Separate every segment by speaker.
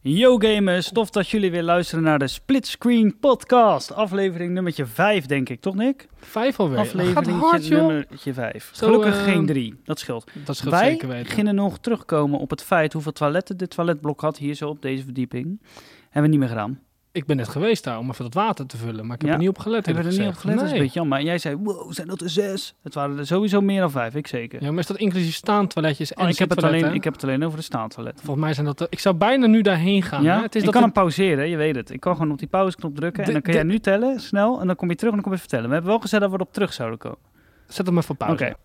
Speaker 1: Yo gamers, tof dat jullie weer luisteren naar de Split Screen Podcast. Aflevering nummertje 5 denk ik, toch Nick?
Speaker 2: Vijf alweer. Gaat
Speaker 1: Aflevering
Speaker 2: hard, joh.
Speaker 1: nummertje 5.
Speaker 2: Zo,
Speaker 1: Gelukkig
Speaker 2: eh,
Speaker 1: geen 3, dat scheelt.
Speaker 2: Dat scheelt
Speaker 1: Wij
Speaker 2: zeker weten.
Speaker 1: gingen nog terugkomen op het feit hoeveel toiletten dit toiletblok had hier zo op deze verdieping. Hebben we niet meer gedaan.
Speaker 2: Ik ben net geweest daar om even dat water te vullen, maar ik heb
Speaker 1: Ja.
Speaker 2: er niet op gelet.
Speaker 1: Hebben we er niet op
Speaker 2: eerlijk
Speaker 1: gelet, dat is een
Speaker 2: gezegd.
Speaker 1: beetje jammer. En jij zei, wow, zijn dat er zes? Het waren er sowieso meer dan vijf, ik zeker.
Speaker 2: Nee. Ja, maar is dat inclusief staantoiletjes en
Speaker 1: Oh, ik, heb het
Speaker 2: zittoiletten?
Speaker 1: alleen, ik heb het alleen over de staantoilet.
Speaker 2: Volgens mij zijn dat... de- Ik zou bijna nu daarheen gaan.
Speaker 1: ja?
Speaker 2: hè? Het is
Speaker 1: ik kan
Speaker 2: dat de-
Speaker 1: hem pauzeren, hè, je weet het. Ik kan gewoon op die pauzeknop drukken en
Speaker 2: De-
Speaker 1: dan kun
Speaker 2: de-
Speaker 1: jij nu tellen, snel. En dan kom je terug en dan kom je vertellen. We hebben wel gezegd dat we erop terug zouden komen.
Speaker 2: Zet hem even op
Speaker 1: Oké,
Speaker 2: pauze.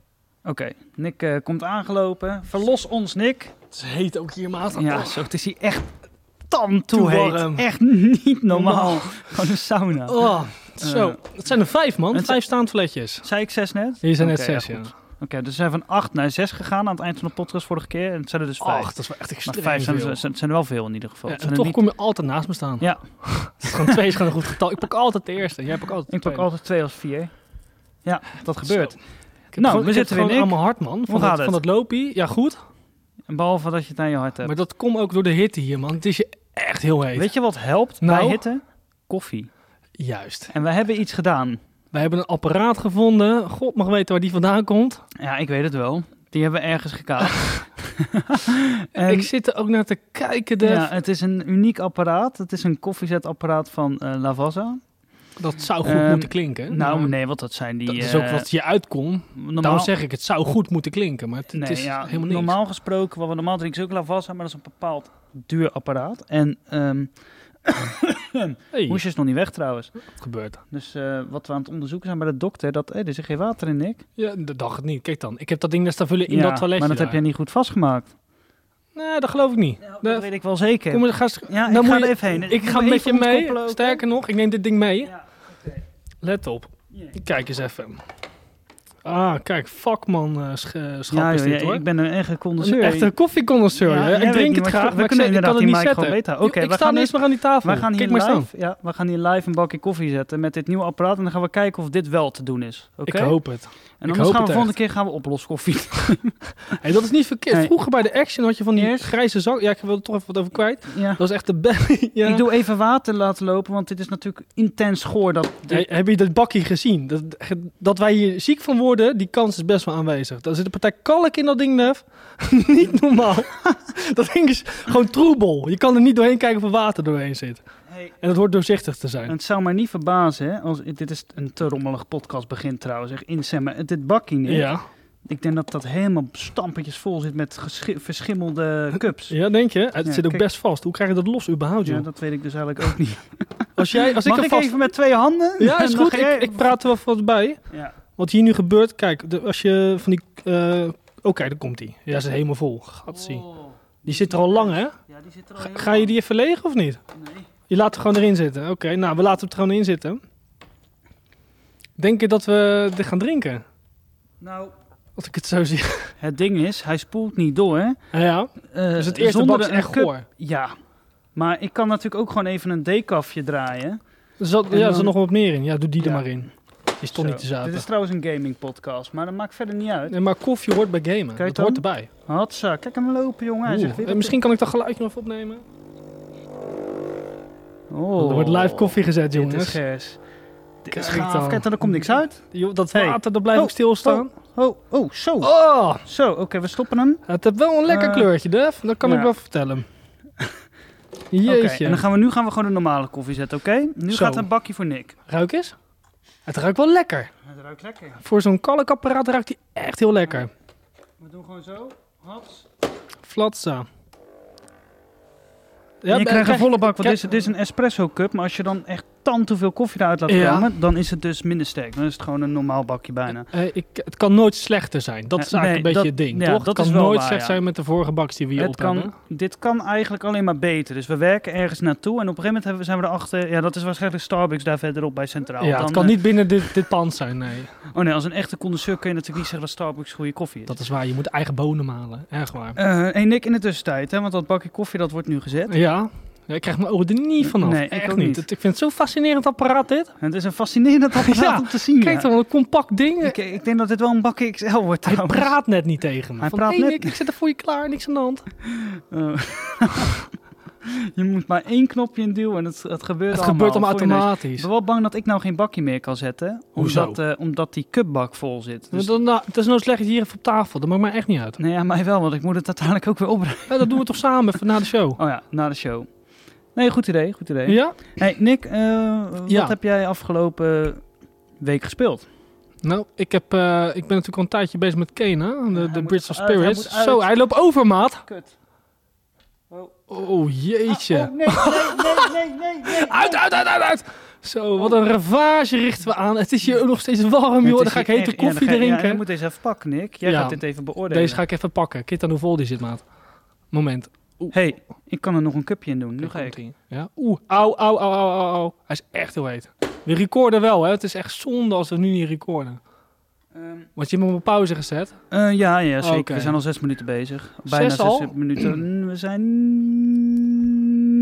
Speaker 1: oké. Nick eh, komt aangelopen. Verlos ons, Nick.
Speaker 2: Het is heet ook hier, maat.
Speaker 1: Ja, zo, het is hier echt tam toe
Speaker 2: Toe
Speaker 1: heet.
Speaker 2: warm.
Speaker 1: Echt niet normaal.
Speaker 2: Normaal.
Speaker 1: Gewoon een sauna.
Speaker 2: Oh, zo. Het zijn er vijf, man.
Speaker 1: Eh, Het-
Speaker 2: vijf staantoiletjes.
Speaker 1: Zei ik zes net?
Speaker 2: Hier zijn net
Speaker 1: Oké,
Speaker 2: zes,
Speaker 1: ja,
Speaker 2: ja.
Speaker 1: goed. Oké, dus we zijn van acht naar zes gegaan aan het eind van de podcast vorige keer. En het zijn er dus vijf.
Speaker 2: Och, Oh, dat is wel echt
Speaker 1: maar
Speaker 2: extreem
Speaker 1: vijf zijn,
Speaker 2: veel.
Speaker 1: er- zijn, zijn er wel veel in ieder geval.
Speaker 2: Ja,
Speaker 1: Het zijn
Speaker 2: en
Speaker 1: er
Speaker 2: toch
Speaker 1: niet-
Speaker 2: kom je altijd naast me staan.
Speaker 1: Ja.
Speaker 2: Het is gewoon twee is gewoon een goed getal. Ik pak altijd de eerste. Jij pakt altijd de
Speaker 1: Ik pak
Speaker 2: tweede.
Speaker 1: altijd twee als vier. Ja, dat
Speaker 2: Zo.
Speaker 1: gebeurt.
Speaker 2: Ik heb
Speaker 1: Nou,
Speaker 2: gewoon-
Speaker 1: we
Speaker 2: ik heb
Speaker 1: zitten weer,
Speaker 2: gewoon
Speaker 1: Nick.
Speaker 2: allemaal hard, man. Van
Speaker 1: gaat
Speaker 2: dat,
Speaker 1: het?
Speaker 2: van dat lopie. Ja, goed.
Speaker 1: En behalve dat je het aan je hart hebt.
Speaker 2: Maar dat komt ook door de hitte hier, man. Het is je echt heel heet.
Speaker 1: Weet je wat helpt bij
Speaker 2: Nou?
Speaker 1: hitte? Koffie.
Speaker 2: Juist.
Speaker 1: En we hebben iets gedaan.
Speaker 2: Wij hebben een apparaat gevonden. God mag weten waar die vandaan komt.
Speaker 1: Ja, ik weet het wel. Die hebben we ergens gekaapt. En-
Speaker 2: Ik zit er ook naar te kijken. Def.
Speaker 1: Ja, het is een uniek apparaat. Het is een koffiezetapparaat van eh, Lavazza.
Speaker 2: Dat zou goed
Speaker 1: Ehm,
Speaker 2: moeten klinken.
Speaker 1: nou,
Speaker 2: Maar
Speaker 1: nee, want dat zijn die...
Speaker 2: Dat is ook
Speaker 1: eh,
Speaker 2: wat je uitkomt.
Speaker 1: normaal,
Speaker 2: Daarom zeg ik, het zou goed moeten klinken. Maar het, het
Speaker 1: Nee,
Speaker 2: is
Speaker 1: ja,
Speaker 2: helemaal niks.
Speaker 1: Normaal gesproken, wat we normaal drinken, is ook Lavazza, maar dat is een bepaald duur apparaat. En ehm
Speaker 2: Hey,
Speaker 1: moesje is nog niet weg trouwens.
Speaker 2: wat gebeurt er?
Speaker 1: Dus eh, wat we aan het onderzoeken zijn bij de dokter, dat hey, er zit geen water in, Nick.
Speaker 2: Ja, dat dacht het niet. Kijk dan. Ik heb dat ding dus daar staan vullen in
Speaker 1: Ja,
Speaker 2: dat toiletje
Speaker 1: Maar dat heb
Speaker 2: daar.
Speaker 1: jij niet goed vastgemaakt.
Speaker 2: Nee, dat geloof ik niet.
Speaker 1: Dat
Speaker 2: Dat-
Speaker 1: weet ik wel zeker.
Speaker 2: Kom maar, ga, eens-
Speaker 1: ja,
Speaker 2: dan
Speaker 1: ik ga
Speaker 2: moet
Speaker 1: er
Speaker 2: je-
Speaker 1: even heen.
Speaker 2: ik
Speaker 1: moet
Speaker 2: ga
Speaker 1: me
Speaker 2: met je
Speaker 1: even
Speaker 2: mee.
Speaker 1: ontkoppelen ook, hè?
Speaker 2: Sterker nog, ik neem dit ding mee.
Speaker 1: Ja,
Speaker 2: Let op.
Speaker 1: ja.
Speaker 2: Kijk eens even. Ah, kijk, vakman eh, sch- eh, schap
Speaker 1: Ja,
Speaker 2: is
Speaker 1: joh,
Speaker 2: dit
Speaker 1: ja,
Speaker 2: hoor.
Speaker 1: ik ben een echte
Speaker 2: een
Speaker 1: condenseur.
Speaker 2: echte koffieconnoisseur.
Speaker 1: Ja,
Speaker 2: hè.
Speaker 1: jij
Speaker 2: ik
Speaker 1: weet
Speaker 2: drink
Speaker 1: niet
Speaker 2: het
Speaker 1: wat je-
Speaker 2: graag,
Speaker 1: we
Speaker 2: maar ik,
Speaker 1: kunnen
Speaker 2: zeg, ik kan
Speaker 1: inderdaad
Speaker 2: het niet
Speaker 1: die mic gewoon
Speaker 2: zetten.
Speaker 1: weten. Oké,
Speaker 2: ik
Speaker 1: we
Speaker 2: sta
Speaker 1: gaan
Speaker 2: niet eens meer aan die tafel.
Speaker 1: Wij gaan hier
Speaker 2: Kijk maar staan.
Speaker 1: live, ja, we gaan hier live een bakje koffie zetten met dit nieuwe apparaat. En dan gaan we kijken of dit wel te doen is. Oké?
Speaker 2: Ik hoop het.
Speaker 1: en
Speaker 2: ik
Speaker 1: anders
Speaker 2: hoop
Speaker 1: gaan we
Speaker 2: het
Speaker 1: volgende keer gaan we oploskoffie.
Speaker 2: Hey, dat is niet verkeerd.
Speaker 1: Nee.
Speaker 2: Vroeger bij de Action had je van die
Speaker 1: Yes.
Speaker 2: grijze zak. Ja, ik wil er toch even wat over kwijt.
Speaker 1: ja.
Speaker 2: Dat is echt de best. ja.
Speaker 1: Ik doe even water laten lopen, want dit is natuurlijk intens goor. Dat
Speaker 2: Hey, heb je dat bakje gezien? Dat, dat wij hier ziek van worden, die kans is best wel aanwezig. Daar zit een partij kalk in dat ding, Nef. niet normaal. dat ding is gewoon troebel. Je kan er niet doorheen kijken of er water doorheen zit.
Speaker 1: Hey,
Speaker 2: En dat hoort doorzichtig te zijn.
Speaker 1: Het zou mij niet verbazen, hè, als, dit is een te rommelig podcast begint trouwens, echt inzemmen. Dit bakje niet.
Speaker 2: Ja.
Speaker 1: Ik denk dat dat helemaal stampetjes vol zit met geschi- verschimmelde cups. Ja,
Speaker 2: ja, denk je? Het
Speaker 1: Ja,
Speaker 2: zit ook
Speaker 1: kijk.
Speaker 2: best vast. Hoe krijg je dat los überhaupt, joh?
Speaker 1: dat weet ik dus eigenlijk ook niet.
Speaker 2: Als, jij, als ik
Speaker 1: Mag
Speaker 2: er
Speaker 1: ik
Speaker 2: vast...
Speaker 1: even met twee handen?
Speaker 2: Ja, is
Speaker 1: En dan
Speaker 2: goed.
Speaker 1: ga jij-
Speaker 2: Ik, ik praat er wel wat bij.
Speaker 1: Ja.
Speaker 2: Wat hier nu gebeurt, kijk, de- als je van die... eh, oh, kijk, daar komt die. Ja, ze is helemaal vol. Gatsie.
Speaker 1: Oh.
Speaker 2: Die zit er al lang, hè?
Speaker 1: Ja, die zit er al
Speaker 2: Ga,
Speaker 1: heel
Speaker 2: ga je die even legen of niet?
Speaker 1: lang. Nee.
Speaker 2: Je laat het gewoon erin zitten. Oké, nou, we laten het er gewoon in zitten. Denk je dat we dit gaan drinken?
Speaker 1: Nou,
Speaker 2: Als ik het zo zie.
Speaker 1: het ding is, hij spoelt niet door. Hè?
Speaker 2: Ja, ja.
Speaker 1: Eh,
Speaker 2: Dus het eerste
Speaker 1: zonder
Speaker 2: bak is
Speaker 1: een
Speaker 2: echt
Speaker 1: cup-
Speaker 2: goor.
Speaker 1: Ja, maar ik kan natuurlijk ook gewoon even een decafje draaien.
Speaker 2: Er zat,
Speaker 1: En
Speaker 2: ja, er
Speaker 1: dan-
Speaker 2: zat nog wat meer in. Ja, doe die er
Speaker 1: Ja.
Speaker 2: maar in. Die is toch
Speaker 1: Zo.
Speaker 2: niet te
Speaker 1: Dit
Speaker 2: zaten.
Speaker 1: is trouwens een gaming podcast, maar dat maakt verder niet uit.
Speaker 2: Nee, maar koffie hoort bij gamen.
Speaker 1: Kijk
Speaker 2: dat hoort
Speaker 1: dan.
Speaker 2: erbij.
Speaker 1: Hatsa, kijk hem lopen jongen. Hij
Speaker 2: Oeh.
Speaker 1: zegt weer
Speaker 2: Eh,
Speaker 1: dat-
Speaker 2: misschien kan ik dat geluidje nog even opnemen.
Speaker 1: Oh.
Speaker 2: Er wordt live koffie gezet,
Speaker 1: Dit is
Speaker 2: jongens.
Speaker 1: gers. Dit is
Speaker 2: Kijk
Speaker 1: gaaf.
Speaker 2: dan.
Speaker 1: Kijk dan, er komt niks uit.
Speaker 2: Joh, dat
Speaker 1: Hey.
Speaker 2: water, dat blijft
Speaker 1: Oh,
Speaker 2: ook stilstaan.
Speaker 1: Oh, oh, zo.
Speaker 2: Oh,
Speaker 1: Zo, oké, we stoppen hem.
Speaker 2: het heeft wel een lekker
Speaker 1: Eh,
Speaker 2: kleurtje, Def. Dat kan
Speaker 1: ja.
Speaker 2: ik wel vertellen.
Speaker 1: Oké,
Speaker 2: Jeetje.
Speaker 1: en dan gaan we, nu gaan we gewoon de normale koffie zetten, oké? Nu
Speaker 2: Zo.
Speaker 1: gaat een bakje voor Nick.
Speaker 2: Ruik eens. Het ruikt wel lekker.
Speaker 1: Het ruikt lekker.
Speaker 2: Voor zo'n kalkapparaat ruikt hij echt heel lekker.
Speaker 1: We doen gewoon zo. Haps.
Speaker 2: Flatsa.
Speaker 1: Ja, je
Speaker 2: maar-
Speaker 1: krijgt een volle bak, want
Speaker 2: krijg-
Speaker 1: dit is, dit is een espresso cup. Maar als je dan echt tant hoeveel koffie eruit laat
Speaker 2: Ja.
Speaker 1: komen, dan is het dus minder sterk. Dan is het gewoon een normaal bakje bijna.
Speaker 2: Eh, ik, het kan nooit slechter zijn. Dat is
Speaker 1: Eh,
Speaker 2: eigenlijk
Speaker 1: nee,
Speaker 2: een beetje het ding,
Speaker 1: ja,
Speaker 2: toch?
Speaker 1: dat
Speaker 2: het
Speaker 1: is
Speaker 2: kan
Speaker 1: wel
Speaker 2: nooit
Speaker 1: waar,
Speaker 2: slecht
Speaker 1: ja.
Speaker 2: zijn met de vorige baks die we hier
Speaker 1: Het
Speaker 2: op hebben.
Speaker 1: kan, dit kan eigenlijk alleen maar beter. Dus we werken ergens naartoe en op een gegeven moment hebben, we- zijn we erachter... Ja, dat is waarschijnlijk Starbucks daar verderop bij Centraal.
Speaker 2: ja,
Speaker 1: Dan,
Speaker 2: het kan
Speaker 1: eh,
Speaker 2: niet binnen dit, dit pand zijn, nee.
Speaker 1: Oh nee, als een echte condenseur kun je natuurlijk niet zeggen dat Starbucks goede koffie is.
Speaker 2: Dat is waar, je moet eigen bonen malen. Echt waar.
Speaker 1: Eh, hey Nick, in de tussentijd, hè, want dat bakje koffie dat wordt nu gezet.
Speaker 2: Ja, Ja, ik krijg mijn ogen er niet vanaf.
Speaker 1: Nee, ik
Speaker 2: echt
Speaker 1: ook niet.
Speaker 2: niet. Het- ik vind het zo'n fascinerend apparaat, dit.
Speaker 1: Het is een fascinerend apparaat
Speaker 2: Ja,
Speaker 1: om te zien.
Speaker 2: Kijk
Speaker 1: ja.
Speaker 2: dan, een compact ding.
Speaker 1: ik, eh, ik denk dat dit wel een bakje XL wordt
Speaker 2: Hij
Speaker 1: trouwens.
Speaker 2: praat net niet tegen me.
Speaker 1: Hij
Speaker 2: Van,
Speaker 1: praat
Speaker 2: hey,
Speaker 1: net-
Speaker 2: Nick, ik zit er voor je klaar, niks aan de hand.
Speaker 1: Eh, Je moet maar één knopje induwen en het, het gebeurt
Speaker 2: Het
Speaker 1: allemaal.
Speaker 2: gebeurt allemaal
Speaker 1: voor je neus. Ik
Speaker 2: automatisch.
Speaker 1: ben wel bang dat ik nou geen bakje meer kan zetten.
Speaker 2: Hoezo?
Speaker 1: Omdat, eh, omdat die cupbak vol zit. Dus,
Speaker 2: Maar dan- nou, het is nou slecht dat je hier even op tafel. Dat maakt mij echt niet uit.
Speaker 1: nee, ja, mij wel, want ik moet het uiteindelijk ook weer opruimen.
Speaker 2: Ja, dat doen we toch samen even na de show.
Speaker 1: Oh ja, na de show. Nee, goed idee, goed idee.
Speaker 2: Ja?
Speaker 1: Hey, Nick, eh,
Speaker 2: Ja.
Speaker 1: wat heb jij afgelopen week gespeeld?
Speaker 2: Nou, ik, heb, eh, ik ben natuurlijk al een tijdje bezig met Kena, de,
Speaker 1: hij
Speaker 2: de
Speaker 1: moet
Speaker 2: Bridge of
Speaker 1: uit, hij
Speaker 2: Spirits.
Speaker 1: moet uit.
Speaker 2: Zo, hij loopt over, maat.
Speaker 1: Kut. Oh, Ah,
Speaker 2: Oh, jeetje.
Speaker 1: nee, nee, nee, nee, nee.
Speaker 2: Uit, uit, uit, uit, uit. Zo, wat een ravage richten we aan. Het is hier ook nog steeds warm, joh. Dan ga ik hete koffie
Speaker 1: Ja,
Speaker 2: drinken.
Speaker 1: je moet deze even pakken, Nick. Jij
Speaker 2: Ja.
Speaker 1: gaat dit even beoordelen.
Speaker 2: Deze ga ik even pakken. Kijk aan hoe vol die zit, maat. Moment.
Speaker 1: hey, ik kan er nog een cupje in doen. Nu
Speaker 2: Kijk,
Speaker 1: ga ik.
Speaker 2: komt ie. Ja. Oeh, au, au, au, au, au, au. Hij is echt heel heet. We recorden wel, hè. Het is echt zonde als we nu niet recorden.
Speaker 1: Ehm,
Speaker 2: Want je hebt hem op pauze gezet.
Speaker 1: eh, ja, ja, zeker.
Speaker 2: Oké.
Speaker 1: We zijn al zes minuten bezig. Bijna
Speaker 2: Zes al? Mm.
Speaker 1: minuten. We zijn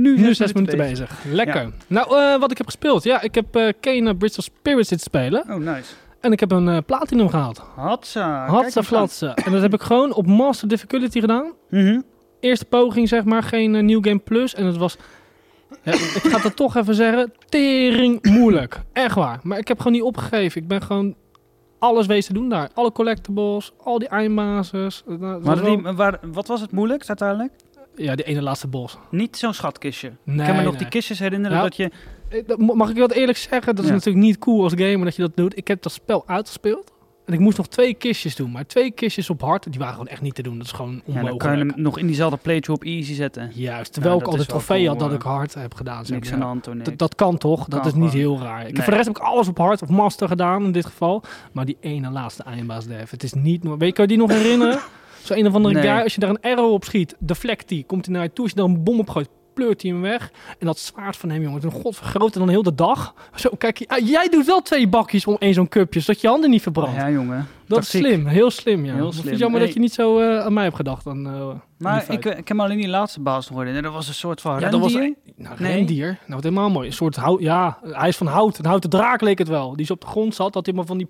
Speaker 1: nu
Speaker 2: Nu zes minuten bezig. Lekker. Nou, eh, wat ik heb gespeeld. Ja, ik heb eh Kena Bridge of Spirits zitten spelen.
Speaker 1: Oh, nice.
Speaker 2: En ik heb een eh, platinum gehaald.
Speaker 1: Hatsa. Ah, kijk
Speaker 2: Hatsa
Speaker 1: eens aan.
Speaker 2: flatsa. En dat heb ik gewoon op master difficulty gedaan.
Speaker 1: Mhm.
Speaker 2: eerste poging, zeg maar, geen eh, New Game Plus. En het was, ja, ik ga het toch even zeggen, tering moeilijk. Echt waar. Maar ik heb gewoon niet opgegeven. Ik ben gewoon alles wezen doen daar. Alle collectibles, al die eindbazes. Eh, nou, het
Speaker 1: Maar
Speaker 2: was wel-
Speaker 1: die- waar- wat was het moeilijkst uiteindelijk?
Speaker 2: Ja, die ene laatste bos.
Speaker 1: Niet zo'n schatkistje.
Speaker 2: Nee,
Speaker 1: ik kan me nog
Speaker 2: nee.
Speaker 1: die kistjes herinneren
Speaker 2: Ja.
Speaker 1: dat je...
Speaker 2: Eh, dat- Mag ik dat eerlijk zeggen? Dat is
Speaker 1: Ja.
Speaker 2: natuurlijk niet cool als gamer dat je dat doet. Ik heb dat spel uitgespeeld. En ik moest nog twee kistjes doen. Maar twee kistjes op hard, die waren gewoon echt niet te doen. Dat is gewoon
Speaker 1: Ja,
Speaker 2: onmogelijk.
Speaker 1: dan kan je hem nog in diezelfde playthrough op easy zetten.
Speaker 2: Juist, terwijl
Speaker 1: Ja,
Speaker 2: ik
Speaker 1: dat
Speaker 2: al de
Speaker 1: is wel
Speaker 2: trofee
Speaker 1: cool,
Speaker 2: had dat
Speaker 1: hoor.
Speaker 2: ik hard heb gedaan. zeg
Speaker 1: Niks
Speaker 2: maar.
Speaker 1: aan de hand, hoor, Nick.
Speaker 2: Dat, dat kan toch? Dat
Speaker 1: Kan
Speaker 2: is niet
Speaker 1: gewoon.
Speaker 2: heel raar. Ik,
Speaker 1: Nee.
Speaker 2: Voor de rest heb ik alles op hard, op master gedaan in dit geval. Maar die ene laatste eindbaas, Dev, het is niet... no- Weet je, kan je die nog herinneren? Zo een of andere
Speaker 1: Nee.
Speaker 2: guy, als je daar een arrow op schiet, deflect die, komt hij naar je toe. Als je daar een bom op gooit, pleurt hij hem weg. En dat zwaard van hem, jongen, het is een god vergroter dan heel de dag. Zo, kijk, je- ah, jij doet wel twee bakjes om één zo'n cupje, zodat je handen niet verbrandt.
Speaker 1: Ja, jongen.
Speaker 2: dat
Speaker 1: tactiek.
Speaker 2: is slim, heel slim, ja.
Speaker 1: Heel
Speaker 2: Ik vind
Speaker 1: slim.
Speaker 2: het jammer
Speaker 1: Hey.
Speaker 2: dat je niet zo eh, aan mij hebt gedacht. Dan, eh, aan die
Speaker 1: Maar
Speaker 2: feit.
Speaker 1: ik, eh, ik kan me alleen die laatste baas nog herinneren. Dat was een soort van
Speaker 2: Ja, dat was
Speaker 1: rendier.
Speaker 2: Nou,
Speaker 1: Nee.
Speaker 2: rendier. Nou, wat helemaal mooi. Een soort hout. Ja, hij is van hout. Een houten draak leek het wel. Die is op de grond zat. Had hij maar van die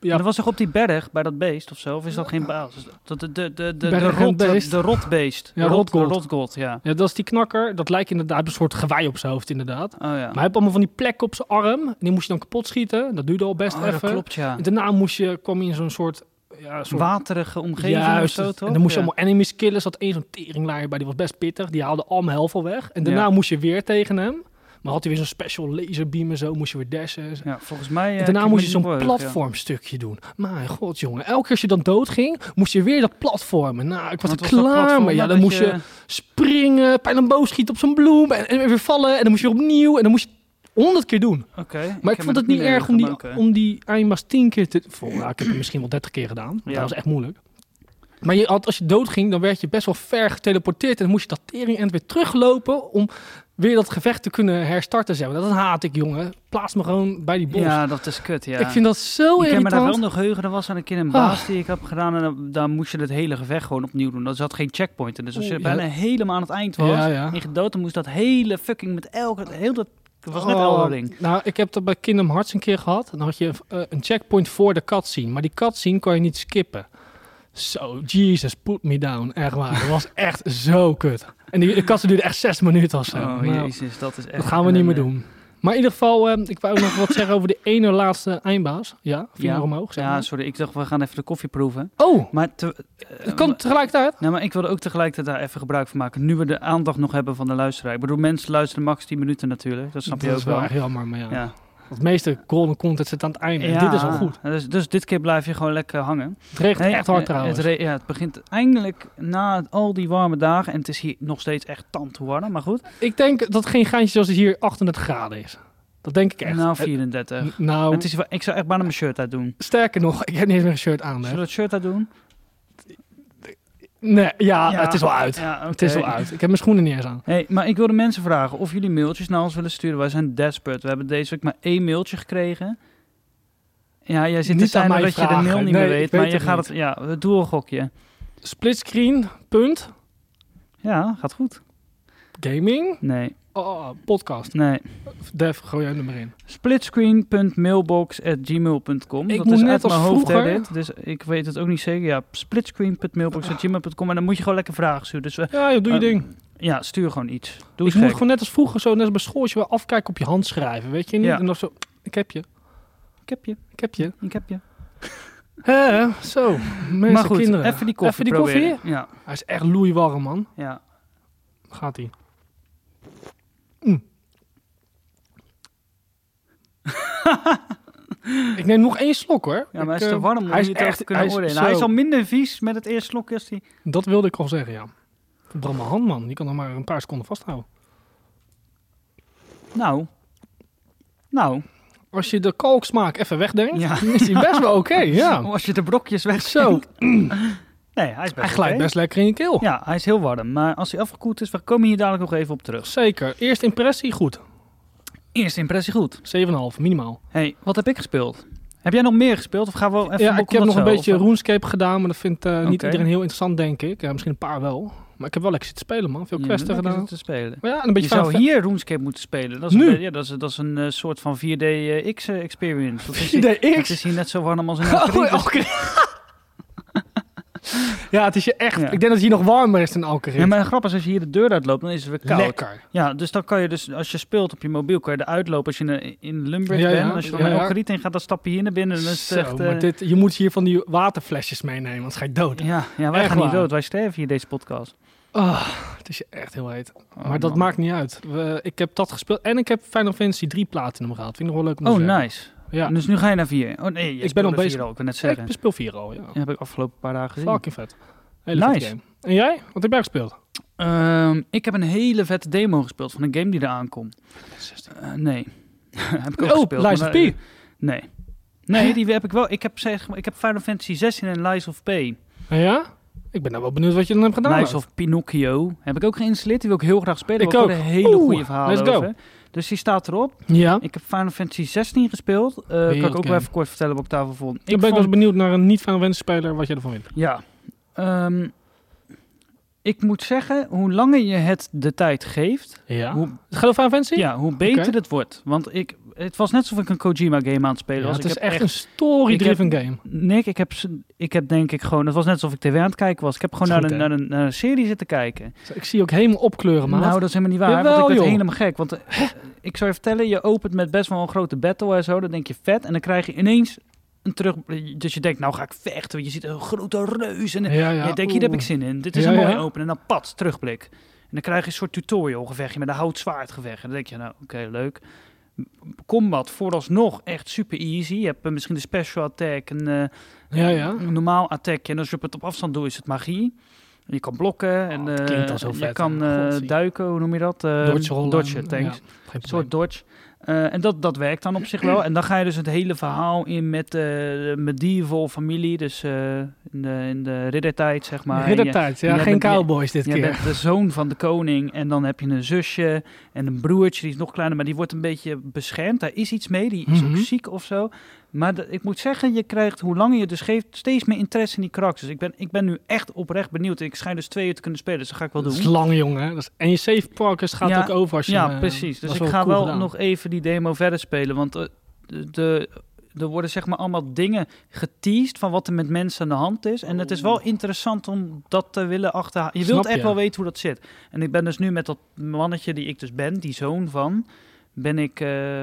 Speaker 2: ja.
Speaker 1: Dat was toch op die berg bij dat beest of zo? Of is dat geen baas? Dat- De, de, de, de, de,
Speaker 2: Berg en
Speaker 1: rot, de,
Speaker 2: beest.
Speaker 1: de rotbeest. De
Speaker 2: Ja,
Speaker 1: rot- de
Speaker 2: rotgold.
Speaker 1: rotgold, ja.
Speaker 2: Ja, dat is die knakker. Dat lijkt inderdaad hij heeft een soort gewei op zijn hoofd, inderdaad. Maar
Speaker 1: Oh ja.
Speaker 2: hij heeft allemaal van die plekken op zijn arm. En die moest je dan kapot schieten. Dat duurde al best
Speaker 1: Oh,
Speaker 2: even.
Speaker 1: dat klopt, ja.
Speaker 2: En daarna moest je, kwam je in zo'n soort... Ja, soort
Speaker 1: Waterige omgeving
Speaker 2: Juist,
Speaker 1: of zo, toch?
Speaker 2: En dan moest je
Speaker 1: Ja.
Speaker 2: allemaal enemies killen. Zat één zo'n teringlaaier bij, die was best pittig. Die haalde al mijn helft al weg. En daarna
Speaker 1: Ja.
Speaker 2: moest je weer tegen hem. Maar had hij weer zo'n special laserbeam en zo. Moest je weer dashen.
Speaker 1: Ja, volgens mij... eh,
Speaker 2: En daarna
Speaker 1: Kingdom
Speaker 2: moest je zo'n
Speaker 1: Hearts, ja.
Speaker 2: platformstukje doen. Mijn god, jongen. Elke keer als je dan doodging, moest je weer dat platformen. Nou, ik was
Speaker 1: Wat
Speaker 2: er
Speaker 1: dat
Speaker 2: klaar
Speaker 1: platform
Speaker 2: mee. Ja,
Speaker 1: dat
Speaker 2: dan moest je
Speaker 1: je-
Speaker 2: springen, pijl en boog schieten op zo'n bloem. En, en weer vallen. En dan moest je weer opnieuw. En dan moest je honderd keer doen.
Speaker 1: Oké.
Speaker 2: Maar
Speaker 1: heb
Speaker 2: ik,
Speaker 1: me
Speaker 2: vond
Speaker 1: dat
Speaker 2: het niet erg om die,
Speaker 1: meegemaakt, hè.
Speaker 2: om die eindbaas tien keer te... Vol, nou, ik heb het misschien wel dertig keer gedaan. want
Speaker 1: Ja.
Speaker 2: Dat was echt moeilijk. Maar je had, als je doodging, dan werd je best wel ver geteleporteerd. En dan moest je dat tering en weer teruglopen om weer dat gevecht te kunnen herstarten. Zeg maar. Dat haat ik, jongen. Plaats me gewoon bij die bos.
Speaker 1: Ja, dat is kut, ja.
Speaker 2: Ik vind dat zo
Speaker 1: ik heb me daar wel
Speaker 2: Oh, irritant. Ah.
Speaker 1: nog geheugen. Er was aan een keer een baas die ik heb gedaan. En dan, dan moest je het hele gevecht gewoon opnieuw doen. Dat zat geen checkpoint. in. Dus als je
Speaker 2: Oeh, ja.
Speaker 1: bijna helemaal aan het eind was.
Speaker 2: Ja, ja.
Speaker 1: En je gedood, dan moest dat hele fucking met elke... Heel dat, het was net
Speaker 2: Oh,
Speaker 1: Elden Ring.
Speaker 2: Nou, ik heb dat bij Kingdom Hearts een keer gehad. Dan had je eh, een checkpoint voor de cutscene. Maar die cutscene kon je niet skippen. Zo, Jesus, put me down. Echt waar. Dat was echt zo kut. En die de cutscene duurde echt zes minuten of zo.
Speaker 1: Oh,
Speaker 2: Nou,
Speaker 1: jezus, dat is echt... eh,
Speaker 2: dat gaan we niet meer doen. Maar in ieder geval, eh, ik wou ook nog wat zeggen over de ene laatste eindbaas. Ja, vier
Speaker 1: Ja.
Speaker 2: omhoog. Zeg
Speaker 1: Ja,
Speaker 2: maar.
Speaker 1: sorry. Ik dacht, we gaan even de koffie proeven.
Speaker 2: Oh,
Speaker 1: Maar te- eh,
Speaker 2: het kan tegelijkertijd.
Speaker 1: Nou, maar ik wilde ook tegelijkertijd daar even gebruik van maken. Nu we de aandacht nog hebben van de luisteraar. Ik bedoel, mensen luisteren max 10 minuten natuurlijk. Dat snap je
Speaker 2: dat
Speaker 1: ook
Speaker 2: is wel
Speaker 1: wel.
Speaker 2: echt jammer, maar ja.
Speaker 1: Ja.
Speaker 2: Het meeste golden content zit aan het einde. En
Speaker 1: Ja,
Speaker 2: Dit is wel goed.
Speaker 1: Dus, dus dit keer blijf je gewoon lekker hangen.
Speaker 2: Het regent
Speaker 1: Nee,
Speaker 2: echt hard
Speaker 1: eh,
Speaker 2: trouwens.
Speaker 1: Het, re- ja, het begint eindelijk na al die warme dagen. En het is hier nog steeds echt tandwarm, maar goed.
Speaker 2: Ik denk dat het geen geintje zoals het hier 38 graden is. Dat denk ik echt.
Speaker 1: Nou,
Speaker 2: Het-
Speaker 1: 34.
Speaker 2: N- nou,
Speaker 1: Het is, wel- ik zou echt bijna mijn shirt uit doen.
Speaker 2: sterker nog, ik heb niet eens meer een shirt aan.
Speaker 1: Zullen we
Speaker 2: Hè.
Speaker 1: het shirt uit doen?
Speaker 2: Nee, ja,
Speaker 1: Ja.
Speaker 2: Ah, het is wel uit.
Speaker 1: Ja, oké.
Speaker 2: Het is wel uit. Ik heb mijn schoenen niet eens aan.
Speaker 1: Hey, maar ik wilde mensen vragen of jullie mailtjes naar ons willen sturen. Wij zijn desperate. We hebben deze week maar één mailtje gekregen. Ja, jij zit
Speaker 2: Niet
Speaker 1: te
Speaker 2: aan
Speaker 1: timen
Speaker 2: mij
Speaker 1: dat je de
Speaker 2: vragen.
Speaker 1: mail niet
Speaker 2: Nee,
Speaker 1: meer
Speaker 2: ik
Speaker 1: weet.
Speaker 2: weet
Speaker 1: maar je
Speaker 2: het
Speaker 1: gaat
Speaker 2: niet.
Speaker 1: het... Ja, doe een gokje.
Speaker 2: Splitscreen, punt,
Speaker 1: Ja, gaat goed.
Speaker 2: gaming,
Speaker 1: Nee,
Speaker 2: oh, podcast.
Speaker 1: nee.
Speaker 2: Dev, gooi jij nummer in.
Speaker 1: splitscreen.mailbox.gmail.com.
Speaker 2: Ik
Speaker 1: Dat
Speaker 2: moet
Speaker 1: is
Speaker 2: net
Speaker 1: uit
Speaker 2: als
Speaker 1: mijn hoofd, hè,
Speaker 2: vroeger.
Speaker 1: dit. Dus ik weet het ook niet zeker. Ja, splitscreen.mailbox.gmail.com. En dan moet je gewoon lekker vragen sturen. Dus we,
Speaker 2: Ja, joh, doe je
Speaker 1: Oh.
Speaker 2: ding.
Speaker 1: Ja, stuur gewoon iets. Doe
Speaker 2: ik
Speaker 1: eens
Speaker 2: moet
Speaker 1: gek.
Speaker 2: gewoon net als vroeger, zo net als bij school, als je wil afkijken op je hand schrijven, weet je niet?
Speaker 1: Ja.
Speaker 2: En dan zo, ik heb je,
Speaker 1: Ik heb je,
Speaker 2: ik heb je.
Speaker 1: ik heb je.
Speaker 2: Hè, zo, mensen,
Speaker 1: maar goed,
Speaker 2: kinderen.
Speaker 1: even die koffie
Speaker 2: Even die koffie?
Speaker 1: proberen. Ja,
Speaker 2: Hij is echt loeiwarm, man.
Speaker 1: ja.
Speaker 2: Gaat ie. Mm. ik neem nog één slok, hoor.
Speaker 1: ja maar
Speaker 2: Ik,
Speaker 1: hij is te
Speaker 2: eh,
Speaker 1: warm om
Speaker 2: hij is
Speaker 1: je het echt te kunnen
Speaker 2: hij is-
Speaker 1: oordelen. Hij is
Speaker 2: zo.
Speaker 1: al minder vies met het eerste slokje als die...
Speaker 2: Dat wilde ik al zeggen, ja. Verbrand mijn hand, man. Die kan nog maar een paar seconden vasthouden.
Speaker 1: Nou, nou,
Speaker 2: Als je de kalksmaak even wegdenkt,
Speaker 1: Ja.
Speaker 2: is die best wel oké, ja.
Speaker 1: als je de brokjes weg
Speaker 2: Nou. Zo,
Speaker 1: Nee, hij is best
Speaker 2: hij glijdt
Speaker 1: oké.
Speaker 2: best lekker in je keel.
Speaker 1: Ja, hij is heel warm. Maar als hij afgekoeld is, we komen hier dadelijk nog even op terug.
Speaker 2: Zeker. Eerste impressie, goed. 7,5
Speaker 1: Eerste impressie goed.
Speaker 2: minimaal.
Speaker 1: hey, wat heb ik gespeeld? Heb jij nog meer gespeeld? Of gaan we even
Speaker 2: ja, ik heb
Speaker 1: bekomen
Speaker 2: nog een
Speaker 1: zo,
Speaker 2: beetje
Speaker 1: of-
Speaker 2: RuneScape gedaan, maar dat vindt eh, niet
Speaker 1: Oké.
Speaker 2: iedereen heel interessant, denk ik. Ja, misschien een paar wel. Maar ik heb wel lekker zitten spelen, man. Veel
Speaker 1: Ja,
Speaker 2: questen
Speaker 1: Mm, lekker
Speaker 2: gedaan.
Speaker 1: zitten te spelen.
Speaker 2: Maar ja, en een
Speaker 1: Je
Speaker 2: beetje
Speaker 1: zou
Speaker 2: Final
Speaker 1: hier RuneScape moeten spelen. Dat is
Speaker 2: Nu?
Speaker 1: Een, be- ja, dat is, dat is een eh, soort van eh, 4DX-experience.
Speaker 2: Fa-
Speaker 1: Het
Speaker 2: 4DX.
Speaker 1: is dus- hier net zo warm als in
Speaker 2: Oh,
Speaker 1: Alcaraz.
Speaker 2: Alcaraz. ja, het is je echt.
Speaker 1: Ja.
Speaker 2: Ik denk dat het hier nog warmer is dan Alcaraz.
Speaker 1: Ja, maar de grap is, als je hier de deur uitloopt, dan is het weer koud.
Speaker 2: Lekker.
Speaker 1: Ja, dus dan kan je dus, als je speelt op je mobiel, kan je eruit lopen als je in, in Lumberg
Speaker 2: Ja, ja.
Speaker 1: bent. En Als je dan
Speaker 2: Ja,
Speaker 1: naar
Speaker 2: ja.
Speaker 1: Alcariet in gaat, dan stap je hier naar binnen. En dan is
Speaker 2: Zo,
Speaker 1: het echt, eh,
Speaker 2: maar dit, je moet hier van die waterflesjes meenemen, anders ga je dood.
Speaker 1: ja, ja, wij
Speaker 2: Echt
Speaker 1: gaan niet
Speaker 2: waar.
Speaker 1: dood. Wij sterven hier deze podcast.
Speaker 2: Ah, het is je echt heel heet.
Speaker 1: Oh,
Speaker 2: maar dat
Speaker 1: man.
Speaker 2: maakt niet uit. We- ik heb dat gespeeld en ik heb Final Fantasy 3 Platinum gehaald. Vind ik nog wel leuk om te
Speaker 1: Oh,
Speaker 2: zeggen.
Speaker 1: nice.
Speaker 2: Ja.
Speaker 1: Dus nu ga je naar vier. Oh nee, je
Speaker 2: ben
Speaker 1: speelde
Speaker 2: al bezig.
Speaker 1: vier Al, ik wil net zeggen.
Speaker 2: Ik speel 4 al, ja.
Speaker 1: Dat heb ik afgelopen paar dagen gezien.
Speaker 2: Fucking vet. Hele nice.
Speaker 1: Nice.
Speaker 2: game. En jij? Wat heb jij gespeeld?
Speaker 1: Ehm, ik heb een hele vette demo gespeeld van een game die eraan komt. Eh, nee. heb ik ook
Speaker 2: oh,
Speaker 1: gespeeld.
Speaker 2: Lies
Speaker 1: maar
Speaker 2: of
Speaker 1: daar-
Speaker 2: P.
Speaker 1: Nee. Nee, die heb ik wel. Ik heb, zeg, maar- ik heb Final Fantasy 16 en Lies of P. eh,
Speaker 2: Ja? Ik ben nou wel benieuwd wat je dan hebt gedaan.
Speaker 1: Lies of Pinocchio. Heb ik ook geïnstalleerd. Die wil ik heel graag spelen.
Speaker 2: Ik
Speaker 1: Ik ook.
Speaker 2: ook.
Speaker 1: hele
Speaker 2: Oeh,
Speaker 1: goede verhalen
Speaker 2: let's go.
Speaker 1: over. Dus die staat erop.
Speaker 2: Ja?
Speaker 1: Ik heb Final Fantasy 16 gespeeld. Eh, kan ik ook wel
Speaker 2: Wereldgame.
Speaker 1: even kort vertellen wat ik daarvan vond.
Speaker 2: Ik dus ben ik wel eens benieuwd naar een niet-Final Fantasy speler wat jij ervan vindt.
Speaker 1: Ja. Ehm, ik moet zeggen, hoe langer je het de tijd geeft,
Speaker 2: Ja?
Speaker 1: hoe,
Speaker 2: Het gaat over Final Fantasy?
Speaker 1: ja, hoe beter
Speaker 2: Oké.
Speaker 1: het wordt. Want ik, het was net alsof ik een Kojima-game aan het spelen
Speaker 2: Ja,
Speaker 1: was.
Speaker 2: het
Speaker 1: ik
Speaker 2: is
Speaker 1: heb
Speaker 2: echt een story-driven game.
Speaker 1: Nick, ik heb, z- ik heb denk ik gewoon... Het was net alsof ik tv aan het kijken was. Ik heb gewoon
Speaker 2: Dat
Speaker 1: naar,
Speaker 2: is
Speaker 1: een,
Speaker 2: goed,
Speaker 1: naar, een, naar een serie zitten kijken.
Speaker 2: Ik zie je ook helemaal opkleuren, maat.
Speaker 1: Nou, dat is helemaal niet waar. want
Speaker 2: Jawel,
Speaker 1: ik werd
Speaker 2: joh.
Speaker 1: helemaal gek. Want eh, ik zou je vertellen, je opent met best wel een grote battle en zo. Dan denk je vet. En dan krijg je ineens een terug... Dus je denkt, nou ga ik vechten. Want je ziet een grote reus. En
Speaker 2: ja,
Speaker 1: Nou, ja, denk, hier heb ik zin in. Dit is
Speaker 2: Ja,
Speaker 1: een mooie
Speaker 2: ja.
Speaker 1: open. En dan pat, terugblik. En dan krijg je een soort tutorialgevechtje met een houtzwaardgevecht. En dan denk je, nou, oké, leuk. M- Combat vooralsnog echt super easy. Je hebt eh, misschien de special attack, een, eh,
Speaker 2: Ja, ja.
Speaker 1: een normaal attack. En als je het op afstand doet, is het magie. En je kan blokken en
Speaker 2: Oh, dat
Speaker 1: eh,
Speaker 2: klinkt al zo
Speaker 1: je
Speaker 2: vet.
Speaker 1: kan eh,
Speaker 2: Godzie.
Speaker 1: duiken, hoe noem je dat? Eh,
Speaker 2: Dodge rollen.
Speaker 1: dodgen, thanks.
Speaker 2: Ja, geen
Speaker 1: Een
Speaker 2: probleem.
Speaker 1: soort dodge. Eh, en dat, dat werkt dan op zich wel. En dan ga je dus het hele verhaal in met eh, de medieval familie. Dus eh, in, de, in de riddertijd, zeg maar. En je-
Speaker 2: Riddertijd, ja.
Speaker 1: jij
Speaker 2: Geen
Speaker 1: bent- jij-
Speaker 2: cowboys dit
Speaker 1: je
Speaker 2: keer.
Speaker 1: bent de zoon van de koning en dan heb je een zusje en een broertje, die is nog kleiner, maar die wordt een beetje beschermd. Daar is iets mee, die is
Speaker 2: Mhm.
Speaker 1: ook ziek of zo. Maar de- ik moet zeggen, je krijgt, hoe langer je dus geeft, steeds meer interesse in die karakters. Ik ben, ik ben nu echt oprecht benieuwd. Ik schijn dus twee uur te kunnen spelen, dus dat ga ik wel
Speaker 2: Dat
Speaker 1: doen.
Speaker 2: is lang, jongen. Dat is, en je save progress gaat
Speaker 1: Ja,
Speaker 2: ook over als je...
Speaker 1: ja,
Speaker 2: eh,
Speaker 1: precies.
Speaker 2: dat
Speaker 1: Dus
Speaker 2: is
Speaker 1: ik ga
Speaker 2: cool
Speaker 1: wel
Speaker 2: gedaan.
Speaker 1: nog even die demo verder spelen, want eh, de... de er worden zeg maar allemaal dingen geteased van wat er met mensen aan de hand is. En het is wel
Speaker 2: Oh.
Speaker 1: interessant om dat te willen achterhalen. Je
Speaker 2: Snap
Speaker 1: wilt echt
Speaker 2: je.
Speaker 1: wel weten hoe dat zit. En ik ben dus nu met dat mannetje die ik dus ben, die zoon van, ben ik... eh,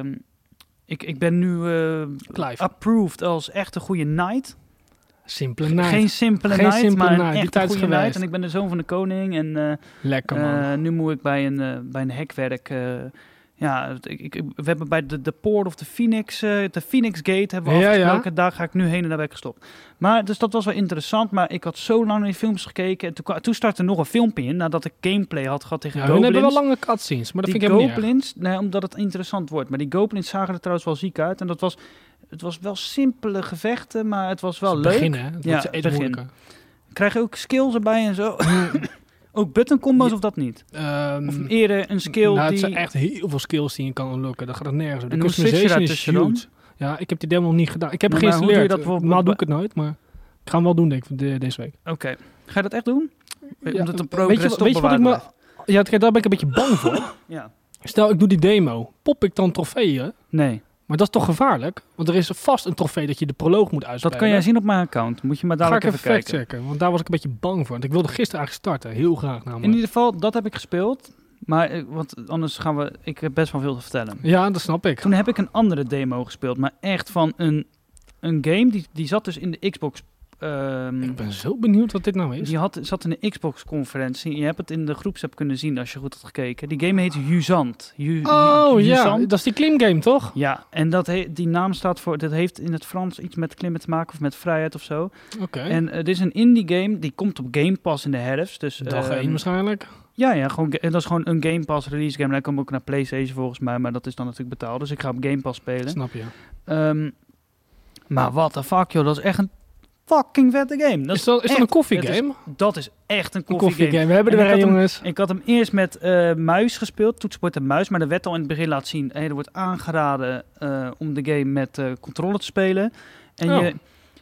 Speaker 1: ik, ik ben nu eh,
Speaker 2: Clive.
Speaker 1: approved als echt een goede knight.
Speaker 2: Simpele night.
Speaker 1: Geen simpele
Speaker 2: Geen
Speaker 1: knight,
Speaker 2: simpele
Speaker 1: maar een
Speaker 2: knight. Die
Speaker 1: echt
Speaker 2: tijd is
Speaker 1: goede knight.
Speaker 2: geweest.
Speaker 1: En ik ben de zoon van de koning en... eh,
Speaker 2: Lekker, man.
Speaker 1: eh, nu moet ik bij een, eh, bij een hekwerk. eh, ja, het- ik, ik, we hebben bij de, de Poort of the Phoenix, eh, de Phoenix Gate hebben we
Speaker 2: Ja, ja.
Speaker 1: afgesproken. Daar ga ik nu heen en daar ben ik gestopt. Maar dus dat was wel interessant. Maar ik had zo lang naar die films gekeken. En toen, kwa- toen startte nog een filmpje in nadat ik gameplay had gehad tegen
Speaker 2: ja, hun
Speaker 1: Goblins.
Speaker 2: hebben wel lange cutscenes, maar dat
Speaker 1: die
Speaker 2: vind ik helemaal niet erg.
Speaker 1: Goblins, nee, omdat het interessant wordt. Maar die Goblins zagen er trouwens wel ziek uit. En dat was, het was wel simpele gevechten, maar het was wel
Speaker 2: Het
Speaker 1: leuk.
Speaker 2: Begin, hè? Dat
Speaker 1: Ja,
Speaker 2: is
Speaker 1: het
Speaker 2: echt
Speaker 1: begin.
Speaker 2: moeilijker.
Speaker 1: Krijg je ook skills erbij en zo. ook button combos of dat niet?
Speaker 2: Ehm,
Speaker 1: Of eerder een skill
Speaker 2: nou, het
Speaker 1: die...
Speaker 2: zijn echt heel veel skills die je kan unlocken. Dat gaat er nergens. over.
Speaker 1: En
Speaker 2: De
Speaker 1: hoe zit je
Speaker 2: customization
Speaker 1: daar
Speaker 2: is
Speaker 1: tussen dan?
Speaker 2: huge. Ja, ik heb die demo nog niet gedaan. Ik heb
Speaker 1: Nee, maar
Speaker 2: gisteren
Speaker 1: hoe doe je
Speaker 2: geleerd.
Speaker 1: dat bijvoorbeeld
Speaker 2: Normaal doe ik
Speaker 1: bij-
Speaker 2: het nooit, maar ik ga hem wel doen, denk ik, de- deze week.
Speaker 1: Oké. Ga je dat echt doen?
Speaker 2: Ja,
Speaker 1: Omdat een
Speaker 2: weet je-
Speaker 1: progress toch
Speaker 2: weet je wat ik
Speaker 1: bewaard
Speaker 2: me-
Speaker 1: blijft.
Speaker 2: Ja, kijk, daar ben ik een beetje bang voor.
Speaker 1: Ja.
Speaker 2: Stel, ik doe die demo. Pop ik dan trofeeën?
Speaker 1: Nee.
Speaker 2: Maar Maar dat is toch gevaarlijk? Want er is vast een trofee dat je de proloog moet
Speaker 1: Dat
Speaker 2: uitspelen.
Speaker 1: kan jij zien op mijn account. Moet je maar
Speaker 2: Ga ik
Speaker 1: dadelijk
Speaker 2: even
Speaker 1: even kijken.
Speaker 2: factchecken, want daar was ik een beetje bang voor. Want ik wilde gisteren eigenlijk starten, heel graag namelijk.
Speaker 1: In ieder geval, dat heb ik gespeeld. Maar eh, want anders gaan we. Ik heb best wel veel te vertellen.
Speaker 2: Ja, dat snap ik.
Speaker 1: Toen heb ik een andere demo gespeeld. Maar echt van een, een game. Die, die zat dus in de Xbox. ehm,
Speaker 2: Ik ben zo benieuwd wat dit nou is.
Speaker 1: die had, zat in de Xbox-conferentie. Je hebt het in de groepsapp kunnen zien als je goed had gekeken. Die game heet Jusant. Ju-
Speaker 2: Oh
Speaker 1: Ju-
Speaker 2: ja,
Speaker 1: Jusant.
Speaker 2: dat is die klimgame toch?
Speaker 1: Ja, en dat he- die naam staat voor. Dat heeft in het Frans iets met klimmen te maken of met vrijheid of zo.
Speaker 2: Oké.
Speaker 1: En eh, dit is een indie game. Die komt op Game Pass in de herfst. Dus,
Speaker 2: Dag
Speaker 1: ehm,
Speaker 2: 1 waarschijnlijk.
Speaker 1: Ja, ja gewoon, ga- en dat is gewoon een Game Pass release game. Hij komt ook naar PlayStation volgens mij, maar dat is dan natuurlijk betaald. Dus ik ga op Game Pass spelen.
Speaker 2: Snap je.
Speaker 1: Ehm, maar what the fuck, joh. Dat is echt een fucking vette game. Dat
Speaker 2: Is
Speaker 1: is,
Speaker 2: dat, is dat
Speaker 1: echt-
Speaker 2: een koffiegame?
Speaker 1: dat is echt een koffiegame.
Speaker 2: Een koffiegame. We hebben
Speaker 1: En
Speaker 2: er
Speaker 1: ik
Speaker 2: een
Speaker 1: had hem-
Speaker 2: jongens.
Speaker 1: Ik had hem eerst met eh, muis gespeeld, toetsenbord en muis. Maar de wet al in het begin laat zien, hey, er wordt aangeraden eh, om de game met eh controle te spelen. En
Speaker 2: Oh.
Speaker 1: je,